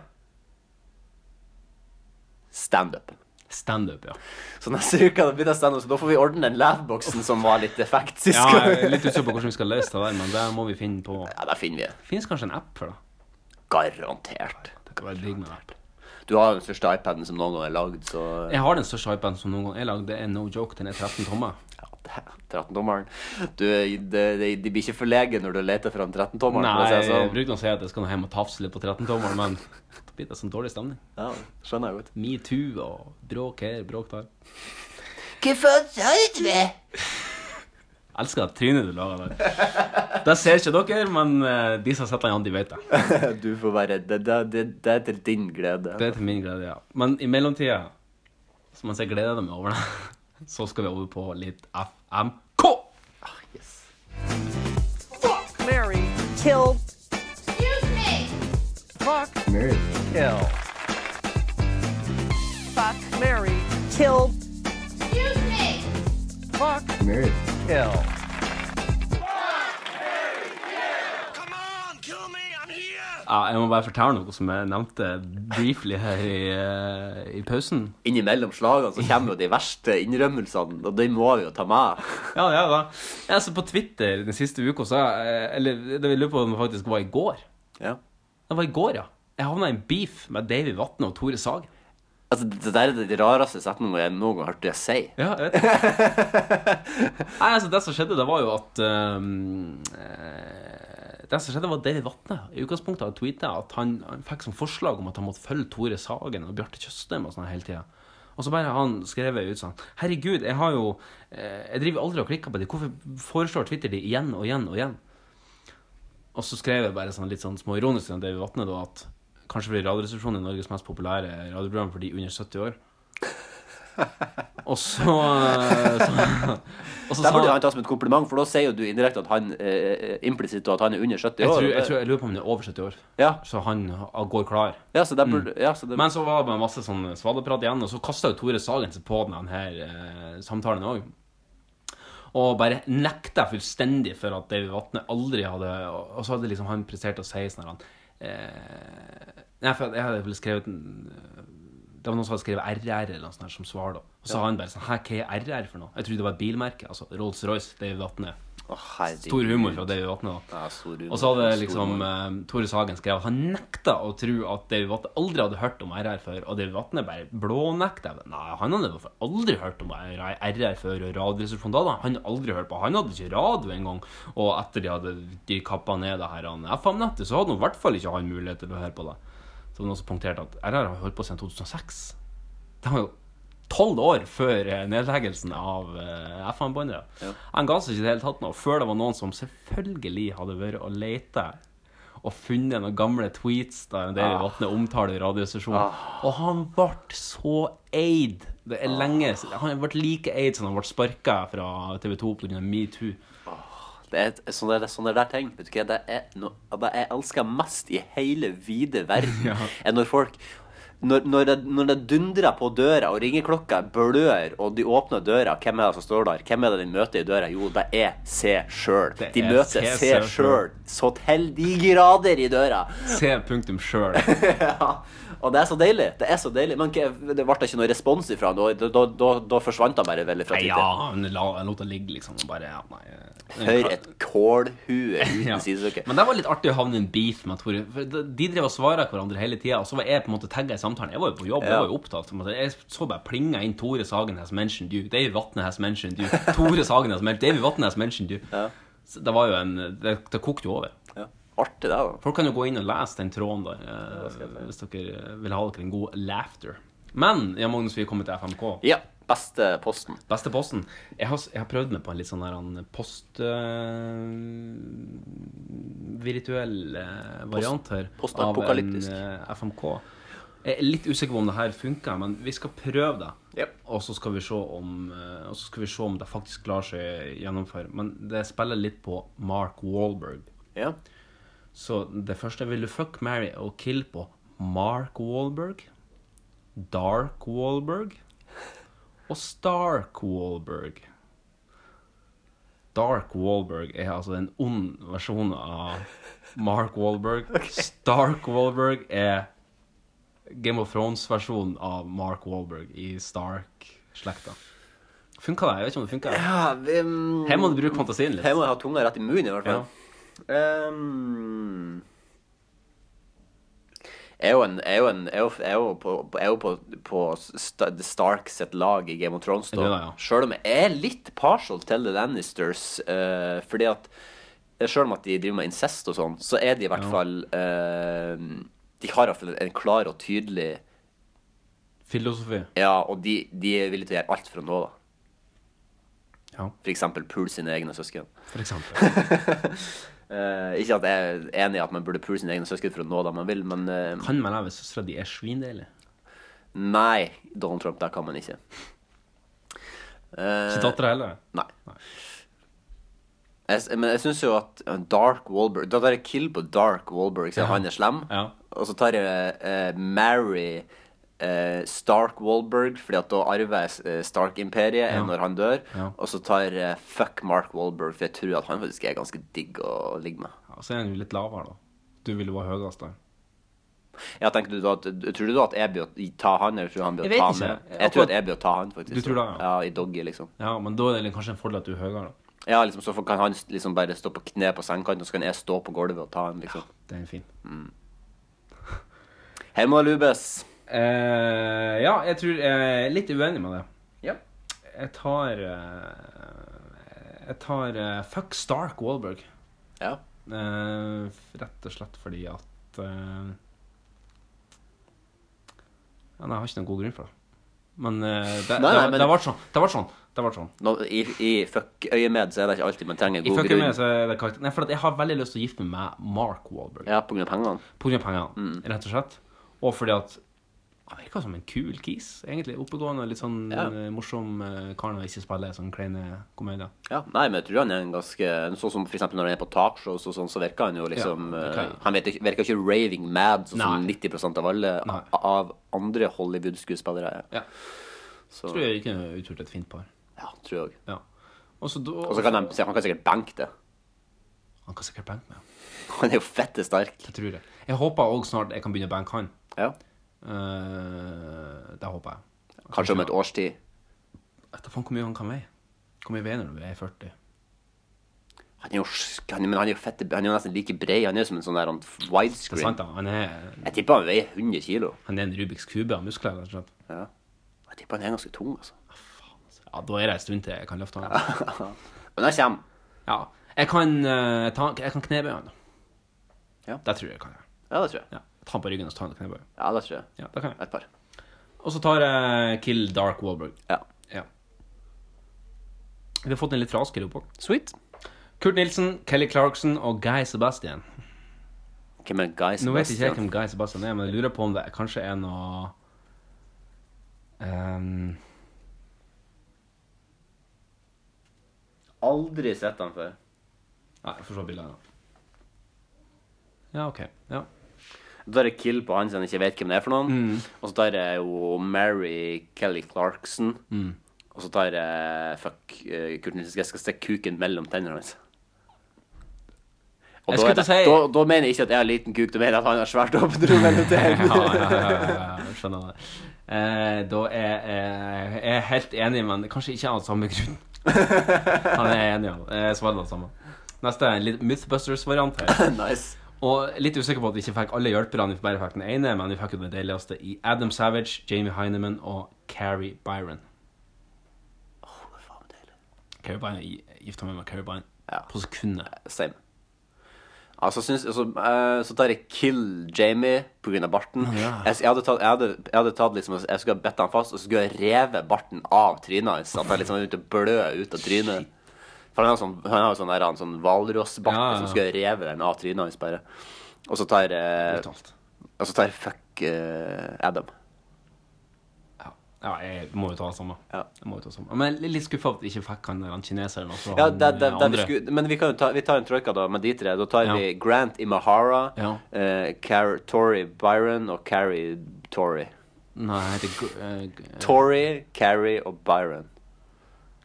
Speaker 3: standup.
Speaker 2: Standup, ja.
Speaker 3: Så neste uke da blir det standup, så da får vi ordne den lavboksen som var litt defekt sist
Speaker 2: Ja, jeg er
Speaker 3: gang.
Speaker 2: litt usikker på hvordan vi skal løse det der, men det må vi finne på.
Speaker 3: Ja, det finner vi.
Speaker 2: Fins kanskje en app for det?
Speaker 3: Garantert.
Speaker 2: Det kan være digg med en app.
Speaker 3: Du har jo den største iPaden som noen gang er lagd, så
Speaker 2: Jeg har den største iPaden som noen gang er lagd. Det er no joke. Den er 13 tommer.
Speaker 3: 13-tommeren. Du, det, det, de blir ikke forlegen når du leter fram 13-tommeren.
Speaker 2: Nei,
Speaker 3: for å si det sånn.
Speaker 2: jeg bruker å si at jeg skal nå hjem og tafse litt på 13-tommeren, men da blir det sånn dårlig stemning.
Speaker 3: Ja, skjønner jeg godt.
Speaker 2: Metoo og bråk her, bråk der.
Speaker 8: Hvorfor sa du det?
Speaker 2: Jeg elsker det trynet du lager der. Det ser ikke dere, men eh, de som sitter igjen, de vet det.
Speaker 3: Du får være redd. Det, det, det, det er til din glede.
Speaker 2: Det er til min glede, ja. Men i mellomtida, så mens jeg gleder meg over det, så skal vi over på litt FMK.
Speaker 8: Fuck, Mary, kill. Excuse me. Fuck, kill. Fuck, Mary, kill. Excuse me. Fuck, kill.
Speaker 2: Ja, jeg må bare fortelle noe som jeg nevnte briefly her i, eh, i pausen.
Speaker 3: Innimellom slagene så kommer jo de verste innrømmelsene, og de må vi jo ta med.
Speaker 2: Ja, det er det. Jeg så på Twitter den siste uka, så jeg, eller det jeg lurer på om det faktisk var i går.
Speaker 3: Ja.
Speaker 2: Det var i går, ja. Jeg havna i en beef med Davy Vatne og Tore Sagen.
Speaker 3: Altså, Det der er de rareste setningene jeg noen gang har hørt deg si.
Speaker 2: Ja, jeg vet det. Nei, altså, det som skjedde, det var jo at um, eh, Det som skjedde, var at Davy Vatne i utgangspunktet hadde tweetet at han, han fikk som forslag om at han måtte følge Tore Sagen og Bjarte Tjøstheim og sånn hele tida. Og så bare han skrev ut sånn Herregud, jeg har jo eh, Jeg driver aldri og klikker på det. Hvorfor foreslår Twitter det igjen og igjen og igjen? Og så skrev jeg bare sånn litt sånn småironisk til Davy Vatne da at kanskje blir Radioresepsjonen er Norges mest populære radioprogram for de under 70 år. Og så, eh, så, og så
Speaker 3: Der burde
Speaker 2: sa-
Speaker 3: han ta som et kompliment, for da sier jo du indirekte at han eh, implisitt og at han er under 70 år.
Speaker 2: Jeg, tror,
Speaker 3: og det-
Speaker 2: jeg, tror, jeg lurer på om han er over 70 år, så han ha- går klar.
Speaker 3: Ja, så der burde- ja, så det-
Speaker 2: Mm. Men så var det bare masse sånn svadeprat igjen, og så kasta jo Tore Sagen seg på denne her, eh, samtalen òg. Og bare nekta fullstendig for at Davy Vatne aldri hadde Og og så hadde liksom han prestert å si sånn her han, eh, Nei, for jeg hadde vel skrevet en, Det var noen som hadde skrevet RR eller noe sånt her som svar, da. Og så
Speaker 3: Ja.
Speaker 2: sa han bare sånn Hæ, hva er RR for noe? Jeg trodde det var et bilmerke. Altså Rolls-Royce, Davy Vatne.
Speaker 3: herregud.
Speaker 2: Stor humor fra Davy Vatne, da.
Speaker 3: Ja, stor humor.
Speaker 2: Og så hadde
Speaker 3: Stor
Speaker 2: liksom
Speaker 3: humor.
Speaker 2: eh, Tore Sagen skrevet at han nekta å tro at Davy Vatne aldri hadde hørt om RR før. Og Davy Vatne bare blånekta. Nei, han hadde for- aldri hørt om RR før. Og Radioresepsjonen da hadde han aldri hørt på. Han hadde ikke radio engang. Og etter de hadde de kappa ned det her han FM-nettet, så hadde han i hvert fall ikke han mulighet til å høre på det. Så var det noen som punkterte at RR har holdt på siden 2006. Det var jo tolv år før eh, nedleggelsen av eh, FM-båndet. Han ga seg ikke i det hele tatt nå, før det var noen som selvfølgelig hadde vært og leita og funnet noen gamle tweets der Deilig
Speaker 16: Ah.
Speaker 2: Vatne omtaler radiostasjonen. Og han ble så eid. Det er lenge siden. Han ble like eid som han ble sparka fra TV 2 pga. metoo.
Speaker 3: Det er et, sånne, der- sånne der ting vet du hva, det er noe av det jeg elsker mest i hele vide verden, er når folk når, når, det, når det dundrer på døra, og ringeklokka blør, og de åpner døra, hvem er det som står der? Hvem er det de møter i døra? Jo, det er Se sjøl. De
Speaker 2: er
Speaker 3: møter
Speaker 2: Se
Speaker 3: Se
Speaker 2: selv.
Speaker 3: sjøl så til de grader i døra.
Speaker 2: Se punktum sjøl.
Speaker 3: Og det er så deilig. Det er så deilig. Men ikke, det ble ikke noe respons ifra han. Da, da, da, da forsvant han bare veldig fra
Speaker 2: Nei,
Speaker 3: Twitter.
Speaker 2: ja, han la, han lot det ligge, liksom. og Bare, ja, nei. eh,
Speaker 3: For et kålhue uten
Speaker 2: Ja.
Speaker 3: sidestykke.
Speaker 2: Men det var litt artig å havne i en beef med Tore. For de de drev og svara hverandre hele tida, og så var jeg på en måte tagga i samtalen. Jeg var jo på jobb,
Speaker 3: Ja.
Speaker 2: jeg var jo opptatt. på en måte. Jeg så bare plinga inn Tore Sagen has mentioned you. Davy Vatne has mentioned you. Tore Sagen has mentioned Davy Vatne has mentioned you. Så det var jo en Det, det kokte jo over.
Speaker 3: Artig, det, da.
Speaker 2: Folk kan jo gå inn og lese den tråden der, eh, hvis dere eh, vil ha dere en god laughter. Men ja, Magnus, vi er kommet til FMK.
Speaker 3: Ja, Beste posten.
Speaker 2: Beste posten. Jeg har, jeg har prøvd meg på en litt sånn der en post... øh, virtuell eh, variant her.
Speaker 3: Post-
Speaker 2: av en,
Speaker 3: postapokalyptisk.
Speaker 2: eh, FMK. Jeg er litt usikker på om det her funker, men vi skal prøve det. Og så skal vi se om eh, Og så skal vi se om det faktisk lar seg gjennomføre. Men det spiller litt på Mark Wahlberg. Så det første vil du fuck, marry og kill på Mark Wahlberg, Dark Wahlberg og Stark Wahlberg. Dark Wahlberg er altså en ond versjon av Mark Wahlberg. Stark Wahlberg er Game of Thrones-versjonen av Mark Wahlberg i Stark-slekta. Funka det? Jeg vet ikke om det funka.
Speaker 3: Ja, vi, mm,
Speaker 2: Her må du bruke fantasien litt.
Speaker 3: Her må jeg ha tunga rett i munnen, i hvert fall. Ehm, jeg er jo, en, jeg er jo, en, jeg er jo, jeg er jo på, på- jeg er jo på, på Sta- The Stark sitt lag i Game of Thrones,
Speaker 2: Det er
Speaker 3: da.
Speaker 2: det, ja.
Speaker 3: Sjøl om jeg er litt partial til The Lannisters, eh, fordi at Sjøl om at de driver med incest og sånn, så er de i hvert
Speaker 2: Ja.
Speaker 3: fall eh, De har i hvert fall en klar og tydelig
Speaker 2: Filosofi.
Speaker 3: ja, og de, de er villige til å gjøre alt for å nå det.
Speaker 2: Ja.
Speaker 3: For eksempel pule sine egne søsken.
Speaker 2: For eksempel.
Speaker 3: Eh, ikke at jeg er enig i at man burde pule sine egne søsken for å nå det man vil, men eh,
Speaker 2: Kan man leve søstera di er svindeilig?
Speaker 3: Nei, Donald Trump, det kan man ikke. Uh,
Speaker 2: Ikke dattera heller?
Speaker 3: Nei. Jeg, s- men jeg syns jo at Dark Wallberg Da tar jeg kill på Dark Wallberg, siden
Speaker 2: Ja.
Speaker 3: han er slem.
Speaker 2: Ja.
Speaker 3: Og så tar jeg eh, Mary eh, Stark Wallberg, fordi at da arver jeg eh, Stark-imperiet
Speaker 2: Ja.
Speaker 3: når han dør.
Speaker 2: Ja.
Speaker 3: Og så tar jeg eh, fuck Mark Wallberg, for jeg tror at han faktisk er ganske digg å ligge med.
Speaker 2: Ja, så er han jo litt lavere, da. Du vil jo være høyest der.
Speaker 3: Ja, tenker du da at, tror du da at jeg blir å ta han, eller tror du han blir
Speaker 2: Jeg
Speaker 3: å
Speaker 2: vet
Speaker 3: ta
Speaker 2: ikke.
Speaker 3: meg? Jeg
Speaker 2: Akkurat-
Speaker 3: tror at jeg blir å ta han, faktisk.
Speaker 2: Du tror det,
Speaker 3: ja. I doggy, liksom.
Speaker 2: Ja, men da er det kanskje en fordel at du er høyere, da.
Speaker 3: Ja, liksom, så kan han liksom bare stå på kne på sengekanten, og så kan jeg stå på gulvet og ta han, liksom.
Speaker 2: Den er fin.
Speaker 3: Hei, må lubes.
Speaker 2: Eh, ja, jeg tror jeg er litt uenig med det.
Speaker 3: Ja.
Speaker 2: Jeg tar eh, Jeg tar eh, Fuck Stark Wallberg.
Speaker 3: Ja.
Speaker 2: rett og slett fordi at eh, ja, nei, Jeg har ikke noen god grunn for det. Men eh, det,
Speaker 3: Nei, nei,
Speaker 2: det,
Speaker 3: men-
Speaker 2: det ble sånn. Det ble sånn. Det ble sånn.
Speaker 3: Nå, I i fuck-øyemed så er det ikke alltid man trenger
Speaker 2: I
Speaker 3: god
Speaker 2: fucker
Speaker 3: grunn.
Speaker 2: med, så er det karakter... Nei, for at jeg har veldig lyst til å gifte meg med Mark Wahlberg.
Speaker 3: Ja, på grunn av pengene.
Speaker 2: På grunn av pengene,
Speaker 3: Mm.
Speaker 2: rett og slett. Og fordi at han virker som en kul kis, egentlig. Oppegående, litt sånn
Speaker 3: Ja.
Speaker 2: eh, morsom eh, kar når han ikke spiller sånne kleine komedier.
Speaker 3: Ja, nei, men jeg tror han er en ganske Sånn som for eksempel når han er på talkshows og sånn, så virker han jo liksom
Speaker 2: Ja, virker-
Speaker 3: eh, Han vet, ikke- virker ikke raving mad, sånn som
Speaker 2: Nei.
Speaker 3: 90 av alle av andre Hollywood-skuespillere er.
Speaker 2: Ja.
Speaker 3: Så
Speaker 2: Tror jeg ikke er utrolig et fint par.
Speaker 3: Ja, tror jeg òg.
Speaker 2: Ja. Og så da-
Speaker 3: Og så kan han, han kan sikkert benke det.
Speaker 2: Han kan sikkert banke meg.
Speaker 3: Han er jo fette sterk.
Speaker 2: Det tror jeg. Jeg håper òg snart jeg kan begynne å banke han.
Speaker 3: Ja.
Speaker 2: Eh, det håper jeg.
Speaker 3: Kanskje om et års tid.
Speaker 2: Vet da faen hvor mye han kan veie. Hvor mye veier når du er 40?
Speaker 3: Han er jo, sk- han, men han er jo fette, han er jo nesten like bred. Han er jo som en sånn der han, widescreen.
Speaker 2: Det er sant, da. Han er,
Speaker 3: Jeg tipper han veier 100 kilo.
Speaker 2: han er en Rubiks kube av muskler, rett og slett.
Speaker 3: Ja. Jeg tipper han er ganske tung, altså.
Speaker 2: Ja, da er det en stund til jeg kan løfte han.
Speaker 3: Men jeg kommer.
Speaker 2: Ja. Jeg kan, eh, ta, jeg kan knebøye han.
Speaker 3: Ja.
Speaker 2: Det tror jeg jeg kan.
Speaker 3: Ja, det tror jeg.
Speaker 2: Ja. Ta han på ryggen og så ta han og knebøye.
Speaker 3: Ja, det tror jeg.
Speaker 2: Ja, det kan jeg.
Speaker 3: Et par.
Speaker 2: Og så tar jeg Kill Dark Wallberg.
Speaker 3: Ja.
Speaker 2: Vi har fått en litt raskere oppå. Sweet. Kurt Nilsen, Kelly Clarkson og Guy Sebastian.
Speaker 3: Hvem er Guy
Speaker 2: Nå vet ikke jeg
Speaker 3: Sebastian?
Speaker 2: hvem Guy Sebastian er, men jeg lurer på om det kanskje er noe ehm,
Speaker 3: Aldri sett han før.
Speaker 2: Nei, jeg får se bildet. her da. Ja, OK. Ja.
Speaker 3: Da er det Kill på han som jeg ikke vet hvem det er for noen.
Speaker 2: Mm.
Speaker 3: Og så tar jeg jo Mary Kelly Clarkson.
Speaker 2: Mm.
Speaker 3: Og så tar jeg Fuck eh, Kurt Nilsen. Jeg skal stikke kuken mellom tennene hans. Og
Speaker 2: Jeg
Speaker 3: da,
Speaker 2: skulle
Speaker 3: er det,
Speaker 2: til å si-
Speaker 3: da, da mener jeg ikke at jeg har liten kuk, da mener jeg at han har svært åpne mellom tennene.
Speaker 2: ja, ja, ja, ja, jeg skjønner det. Eh, da er eh, jeg er helt enig, men kanskje ikke av samme grunn. Han er enig, ja. Eh, Svaret er det samme. Neste er en litt Mythbusters-variant her.
Speaker 3: nice.
Speaker 2: Og litt usikker på at vi ikke fikk alle hjelperne, vi bare fikk den ene, men vi fikk jo den deiligste i Adam Savage, Jamie Heineman og Carrie Byron. Carrie Byron, jeg gifta meg med Carrie Byron på sekundet.
Speaker 3: Same. Altså, syns, altså, eh, så tar jeg Kill Jamie pga. barten.
Speaker 2: Ja.
Speaker 3: Jeg, jeg, hadde tatt, jeg, hadde, jeg hadde tatt liksom Jeg skulle ha bedt han fast, og så skulle jeg revet barten av trynet hans. At han liksom begynte å blø ut av trynet. For han har sånn, han har jo sånn, der, han sånn hvalrossbart,
Speaker 2: Ja, ja, ja.
Speaker 3: så skulle jeg revet den av trynet hans bare. Og så tar jeg Og så tar jeg fuck eh, Adam.
Speaker 2: Ja, jeg må jo ta det samme. Jeg må jo ta det samme. Men jeg er litt skuffa at jeg ikke fikk han, han kineseren. og så
Speaker 3: Ja,
Speaker 2: han,
Speaker 3: det, det,
Speaker 2: eh,
Speaker 3: det, vi
Speaker 2: andre.
Speaker 3: skulle, men vi, kan jo ta, vi tar en troika da, med de tre. Da tar
Speaker 2: Ja.
Speaker 3: vi Grant Imahara,
Speaker 2: Ja.
Speaker 3: eh, Car Tory Byron og Carrie Tory.
Speaker 2: Nei, han heter Gr- eh, G- eh,
Speaker 3: Tory, Carrie og Byron.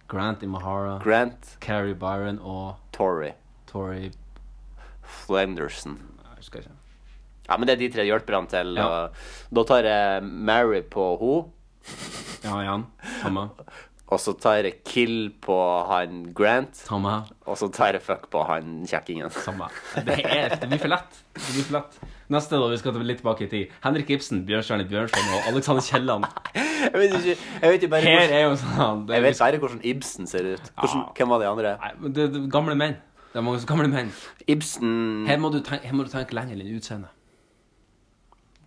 Speaker 2: Grant Imahara.
Speaker 3: Grant
Speaker 2: Carrie Byron og
Speaker 3: Tory.
Speaker 2: Tory
Speaker 3: Flanderson.
Speaker 2: Jeg husker ikke.
Speaker 3: Ja, men det er de tre hjelperne til.
Speaker 2: Ja.
Speaker 3: og Da tar jeg Mary på ho,
Speaker 2: Ja, Jan. Samme.
Speaker 3: og så tar jeg Kill på han Grant,
Speaker 2: Samme.
Speaker 3: og så tar jeg Fuck på han kjekkingen.
Speaker 2: Samme. Det, er, det blir for lett. Det blir for lett. Neste, da. Vi skal litt tilbake i tid. Henrik Ibsen, Bjørnstjerne Bjørnson og Alexander Kielland.
Speaker 3: Jeg vet ikke, jeg vet jo bare
Speaker 2: Her
Speaker 3: hvordan-
Speaker 2: er jo sånn det,
Speaker 3: Jeg vet bare hvordan Ibsen ser ut. Hvordan, Hvem var de andre?
Speaker 2: Nei, men det, det, Gamle menn. Det er mange som gamle menn.
Speaker 3: Ibsen
Speaker 2: Her må du tenke, her må du tenke lenger enn utseendet.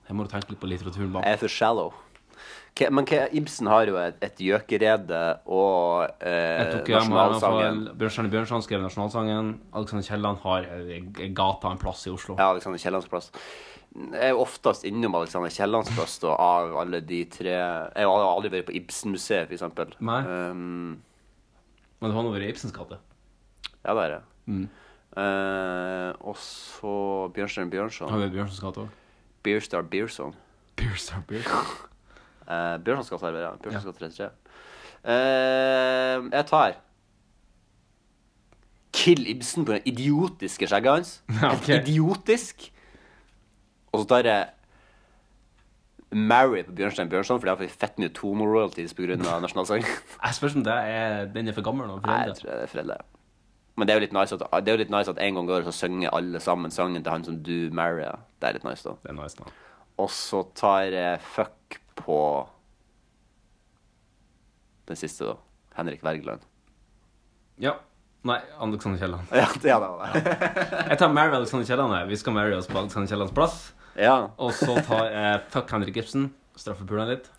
Speaker 2: Her må du tenke litt på litteraturen bak.
Speaker 3: Jeg er for shallow. Hva- Men hva, Ibsen har jo et, et gjøkerede og
Speaker 2: Jeg
Speaker 3: eh,
Speaker 2: tok hjem her med
Speaker 3: nasjonalsangen.
Speaker 2: for Bjørnstjerne Bjørnson skrev nasjonalsangen. Alexander Kielland har eh, gata en plass i Oslo.
Speaker 3: Ja, Alexander Kiellands plass. Jeg er jo oftest innom Alexander Kiellands plass da, av alle de tre Jeg har aldri vært på Ibsen-museet, for eksempel.
Speaker 2: Nei.
Speaker 3: Um,
Speaker 2: Men det var noe over i Ibsens gate.
Speaker 3: ja, det er det.
Speaker 2: Mm.
Speaker 3: Eh, og så Bjørnstjerne
Speaker 2: Har vi
Speaker 3: Bjørnson.
Speaker 2: Bjørnsons gate òg?
Speaker 3: Beerstar Beerson.
Speaker 2: Bjørnstar Bjørnson.
Speaker 3: Uh, Bjørnsons gate her, ja. Bjørnsons gate 33. Eh, jeg tar Kill Ibsen på den idiotiske skjegget hans. Helt
Speaker 2: ok.
Speaker 3: idiotisk. Og så tar jeg Mary på Bjørnstein Bjørnson, fordi han får fett mye Tomo-royalties pga. nasjonalsangen.
Speaker 2: Jeg spørs om det er, den er for gammel nå. for
Speaker 3: Nei,
Speaker 2: eldre.
Speaker 3: jeg tror det er foreldre. Men det er jo litt nice at, det er jo litt nice at en gang i året så synger alle sammen sangen til han som du marrier. Det er litt nice, da.
Speaker 2: Det er nice, da.
Speaker 3: Og så tar jeg fuck på den siste, da. Henrik Wergeland.
Speaker 2: Ja. Nei, Alexander Kielland.
Speaker 3: Ja, det er det.
Speaker 2: Jeg tar Mary Alexander Kielland. jeg. Vi skal marry oss på Alexander Kiellands plass.
Speaker 3: Ja.
Speaker 2: Og så tar jeg fuck Henrik Ibsen. Straffepuleren litt.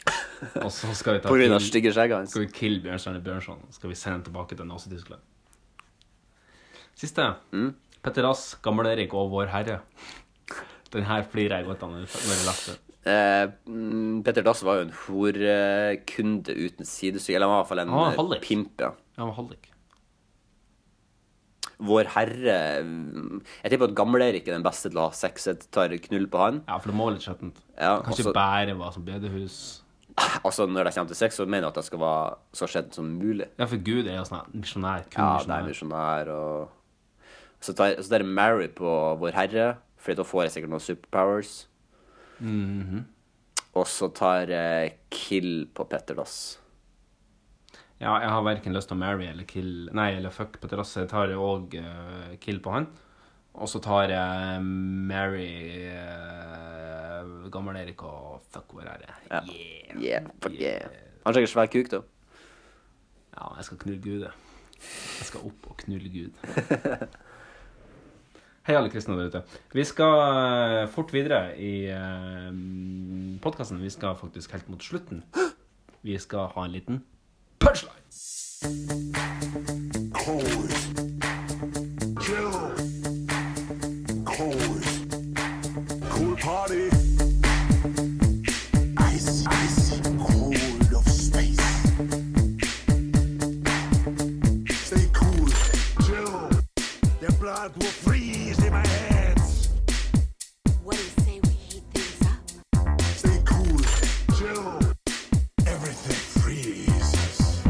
Speaker 2: Og så skal vi ta
Speaker 3: På grunn av
Speaker 2: Kill-
Speaker 3: stygge skjegget hans.
Speaker 2: Skal vi kill Bjørnstjerne Bjørnson? Skal vi sende han tilbake til Nazi-Tyskland? Siste.
Speaker 3: Mm.
Speaker 2: Petter Dass, Gammel-Erik og Vår Herre. Den her flirer jeg godt av når jeg leser det.
Speaker 3: Eh, mm, Petter Dass var jo en horekunde uten sidestykke. Eller han var i hvert fall en
Speaker 2: Han var
Speaker 3: eh,
Speaker 2: hallik.
Speaker 3: pimp, ja.
Speaker 2: Ja, men hallik.
Speaker 3: Vår Herre mm, Jeg tipper at Gamle-Erik er den beste til å ha sex. Jeg tar knull på han.
Speaker 2: Ja, for det må være litt skjettent.
Speaker 3: Ja,
Speaker 2: Kan ikke
Speaker 3: altså-
Speaker 2: bære hva som bedehus.
Speaker 3: Altså, når det kommer til sex, så mener jeg at det skal være så skjedd som mulig.
Speaker 2: Ja, for Gud er jo sånn her misjonær. Kun
Speaker 3: Ja, det er
Speaker 2: misjonær.
Speaker 3: misjonær og Så tar så tar jeg Mary på Vår Herre, Fordi da får jeg sikkert noen superpowers.
Speaker 2: Mhm.
Speaker 3: Og så tar jeg Kill på Petter Dass.
Speaker 2: Ja, jeg har verken lyst til å marry eller kill Nei, eller fuck på terrasse. Jeg tar òg uh, kill på han. Og så tar jeg marry uh, gammel Erik og fuck hvor er det?
Speaker 3: Ja. Yeah, fuck yeah. Han har sikkert svær kuk, da.
Speaker 2: Ja, jeg skal knulle Gud, jeg. Jeg skal opp og knulle Gud. Hei, alle kristne der ute. Vi skal eh, fort videre i eh, podkasten. Vi skal faktisk helt mot slutten. Vi skal ha en liten punchline.
Speaker 14: Chill. Cold. Cool party. Ice, ice, cold of space. Stay cool, chill. The blood will freeze in my hands. What do you say we heat things up? Stay cool, chill. Everything freezes.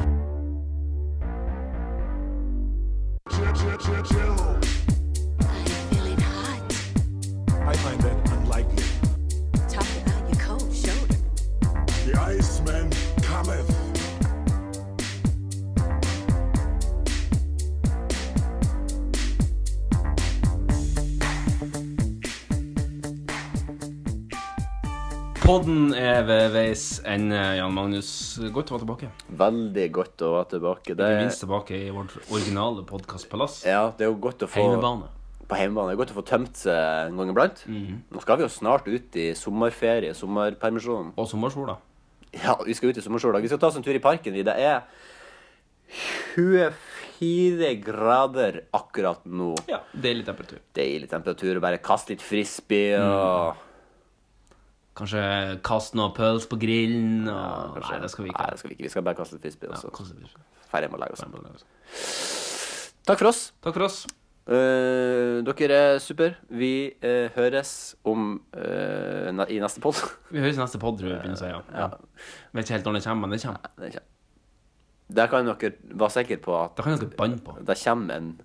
Speaker 14: Chill, chill, chill, chill. I find that unlikely. Talk about your cold shoulder. The Iceman cometh.
Speaker 2: Podden er ved veis ende. Jan Magnus, godt å være tilbake.
Speaker 3: Veldig godt å være tilbake. Det,
Speaker 2: Ikke minst tilbake i vårt originale podkastpalass.
Speaker 3: ja, det er jo godt å få
Speaker 2: Heimebane.
Speaker 3: På heimebane. Det er godt å få tømt seg en gang iblant.
Speaker 2: Mhm.
Speaker 3: Nå skal vi jo snart ut i sommerferie, sommerpermisjon.
Speaker 2: Og sommersola.
Speaker 3: Ja, vi skal ut i sommersola. Vi skal ta oss en tur i parken. Det er 24 grader akkurat nå.
Speaker 2: Ja, Deilig temperatur.
Speaker 3: Deilig temperatur. og Bare kaste litt frisbee
Speaker 2: Mm.
Speaker 3: og
Speaker 2: Kanskje kaste noen pøls på grillen. Og... Ah, nei, det skal vi ikke.
Speaker 3: Nei, det skal vi ikke. Vi skal bare kaste litt frisbee.
Speaker 2: Ja, kaste litt frisbee.
Speaker 3: Ferdig med å legge oss. Takk for oss.
Speaker 2: Takk for oss.
Speaker 3: Eh, dere er super. Vi eh, høres om eh, na- i neste podd.
Speaker 2: Vi høres i neste pod, tror jeg. vi begynner å si, Ja. Ja. Vet ikke helt når det kommer, men det kommer.
Speaker 3: Det kommer. Der kan dere være sikre på at
Speaker 2: Da kan dere banne på.
Speaker 3: det kommer en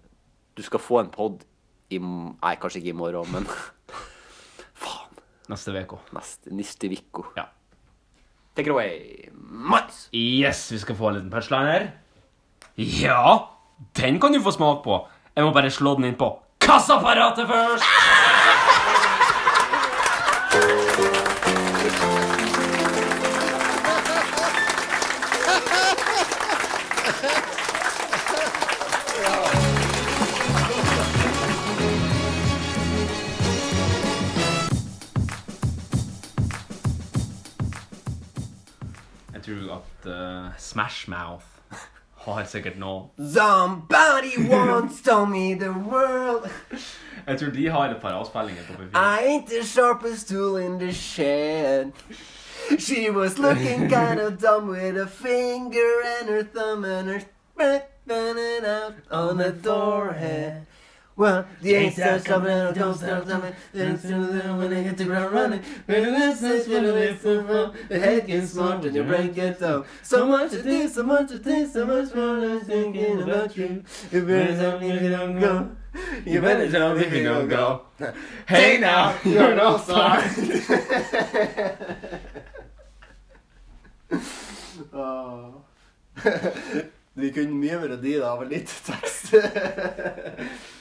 Speaker 3: Du skal få en pod i m- Nei, kanskje ikke i morgen, men
Speaker 2: Neste uke.
Speaker 3: neste, neste uke.
Speaker 2: Ja.
Speaker 3: Take it away, Mats.
Speaker 2: Yes, vi skal få en liten punchline her. Ja, den kan du få smak på. Jeg må bare slå den inn på kassaapparatet først. Jeg tror at eh, Smash Mouth Oh, har sikkert noe
Speaker 16: Somebody once told me the world
Speaker 2: Jeg tror de har et par avspillinger på P4.
Speaker 16: I ain't the sharpest tool in the shed. She was looking kind of dumb with a finger and her thumb and her smack running out on the door head. Well, the ain't that coming and don't stop coming. Then soon when they hit the ground running, when this is when it's from the head gets smart and your brain gets up. So much to think, so much to think, so much more to thinking about you. You better tell me if you don't go. You better tell me if you don't go. Hey now, you're no star. Vi kunne mye melodi, da, men litt tekst.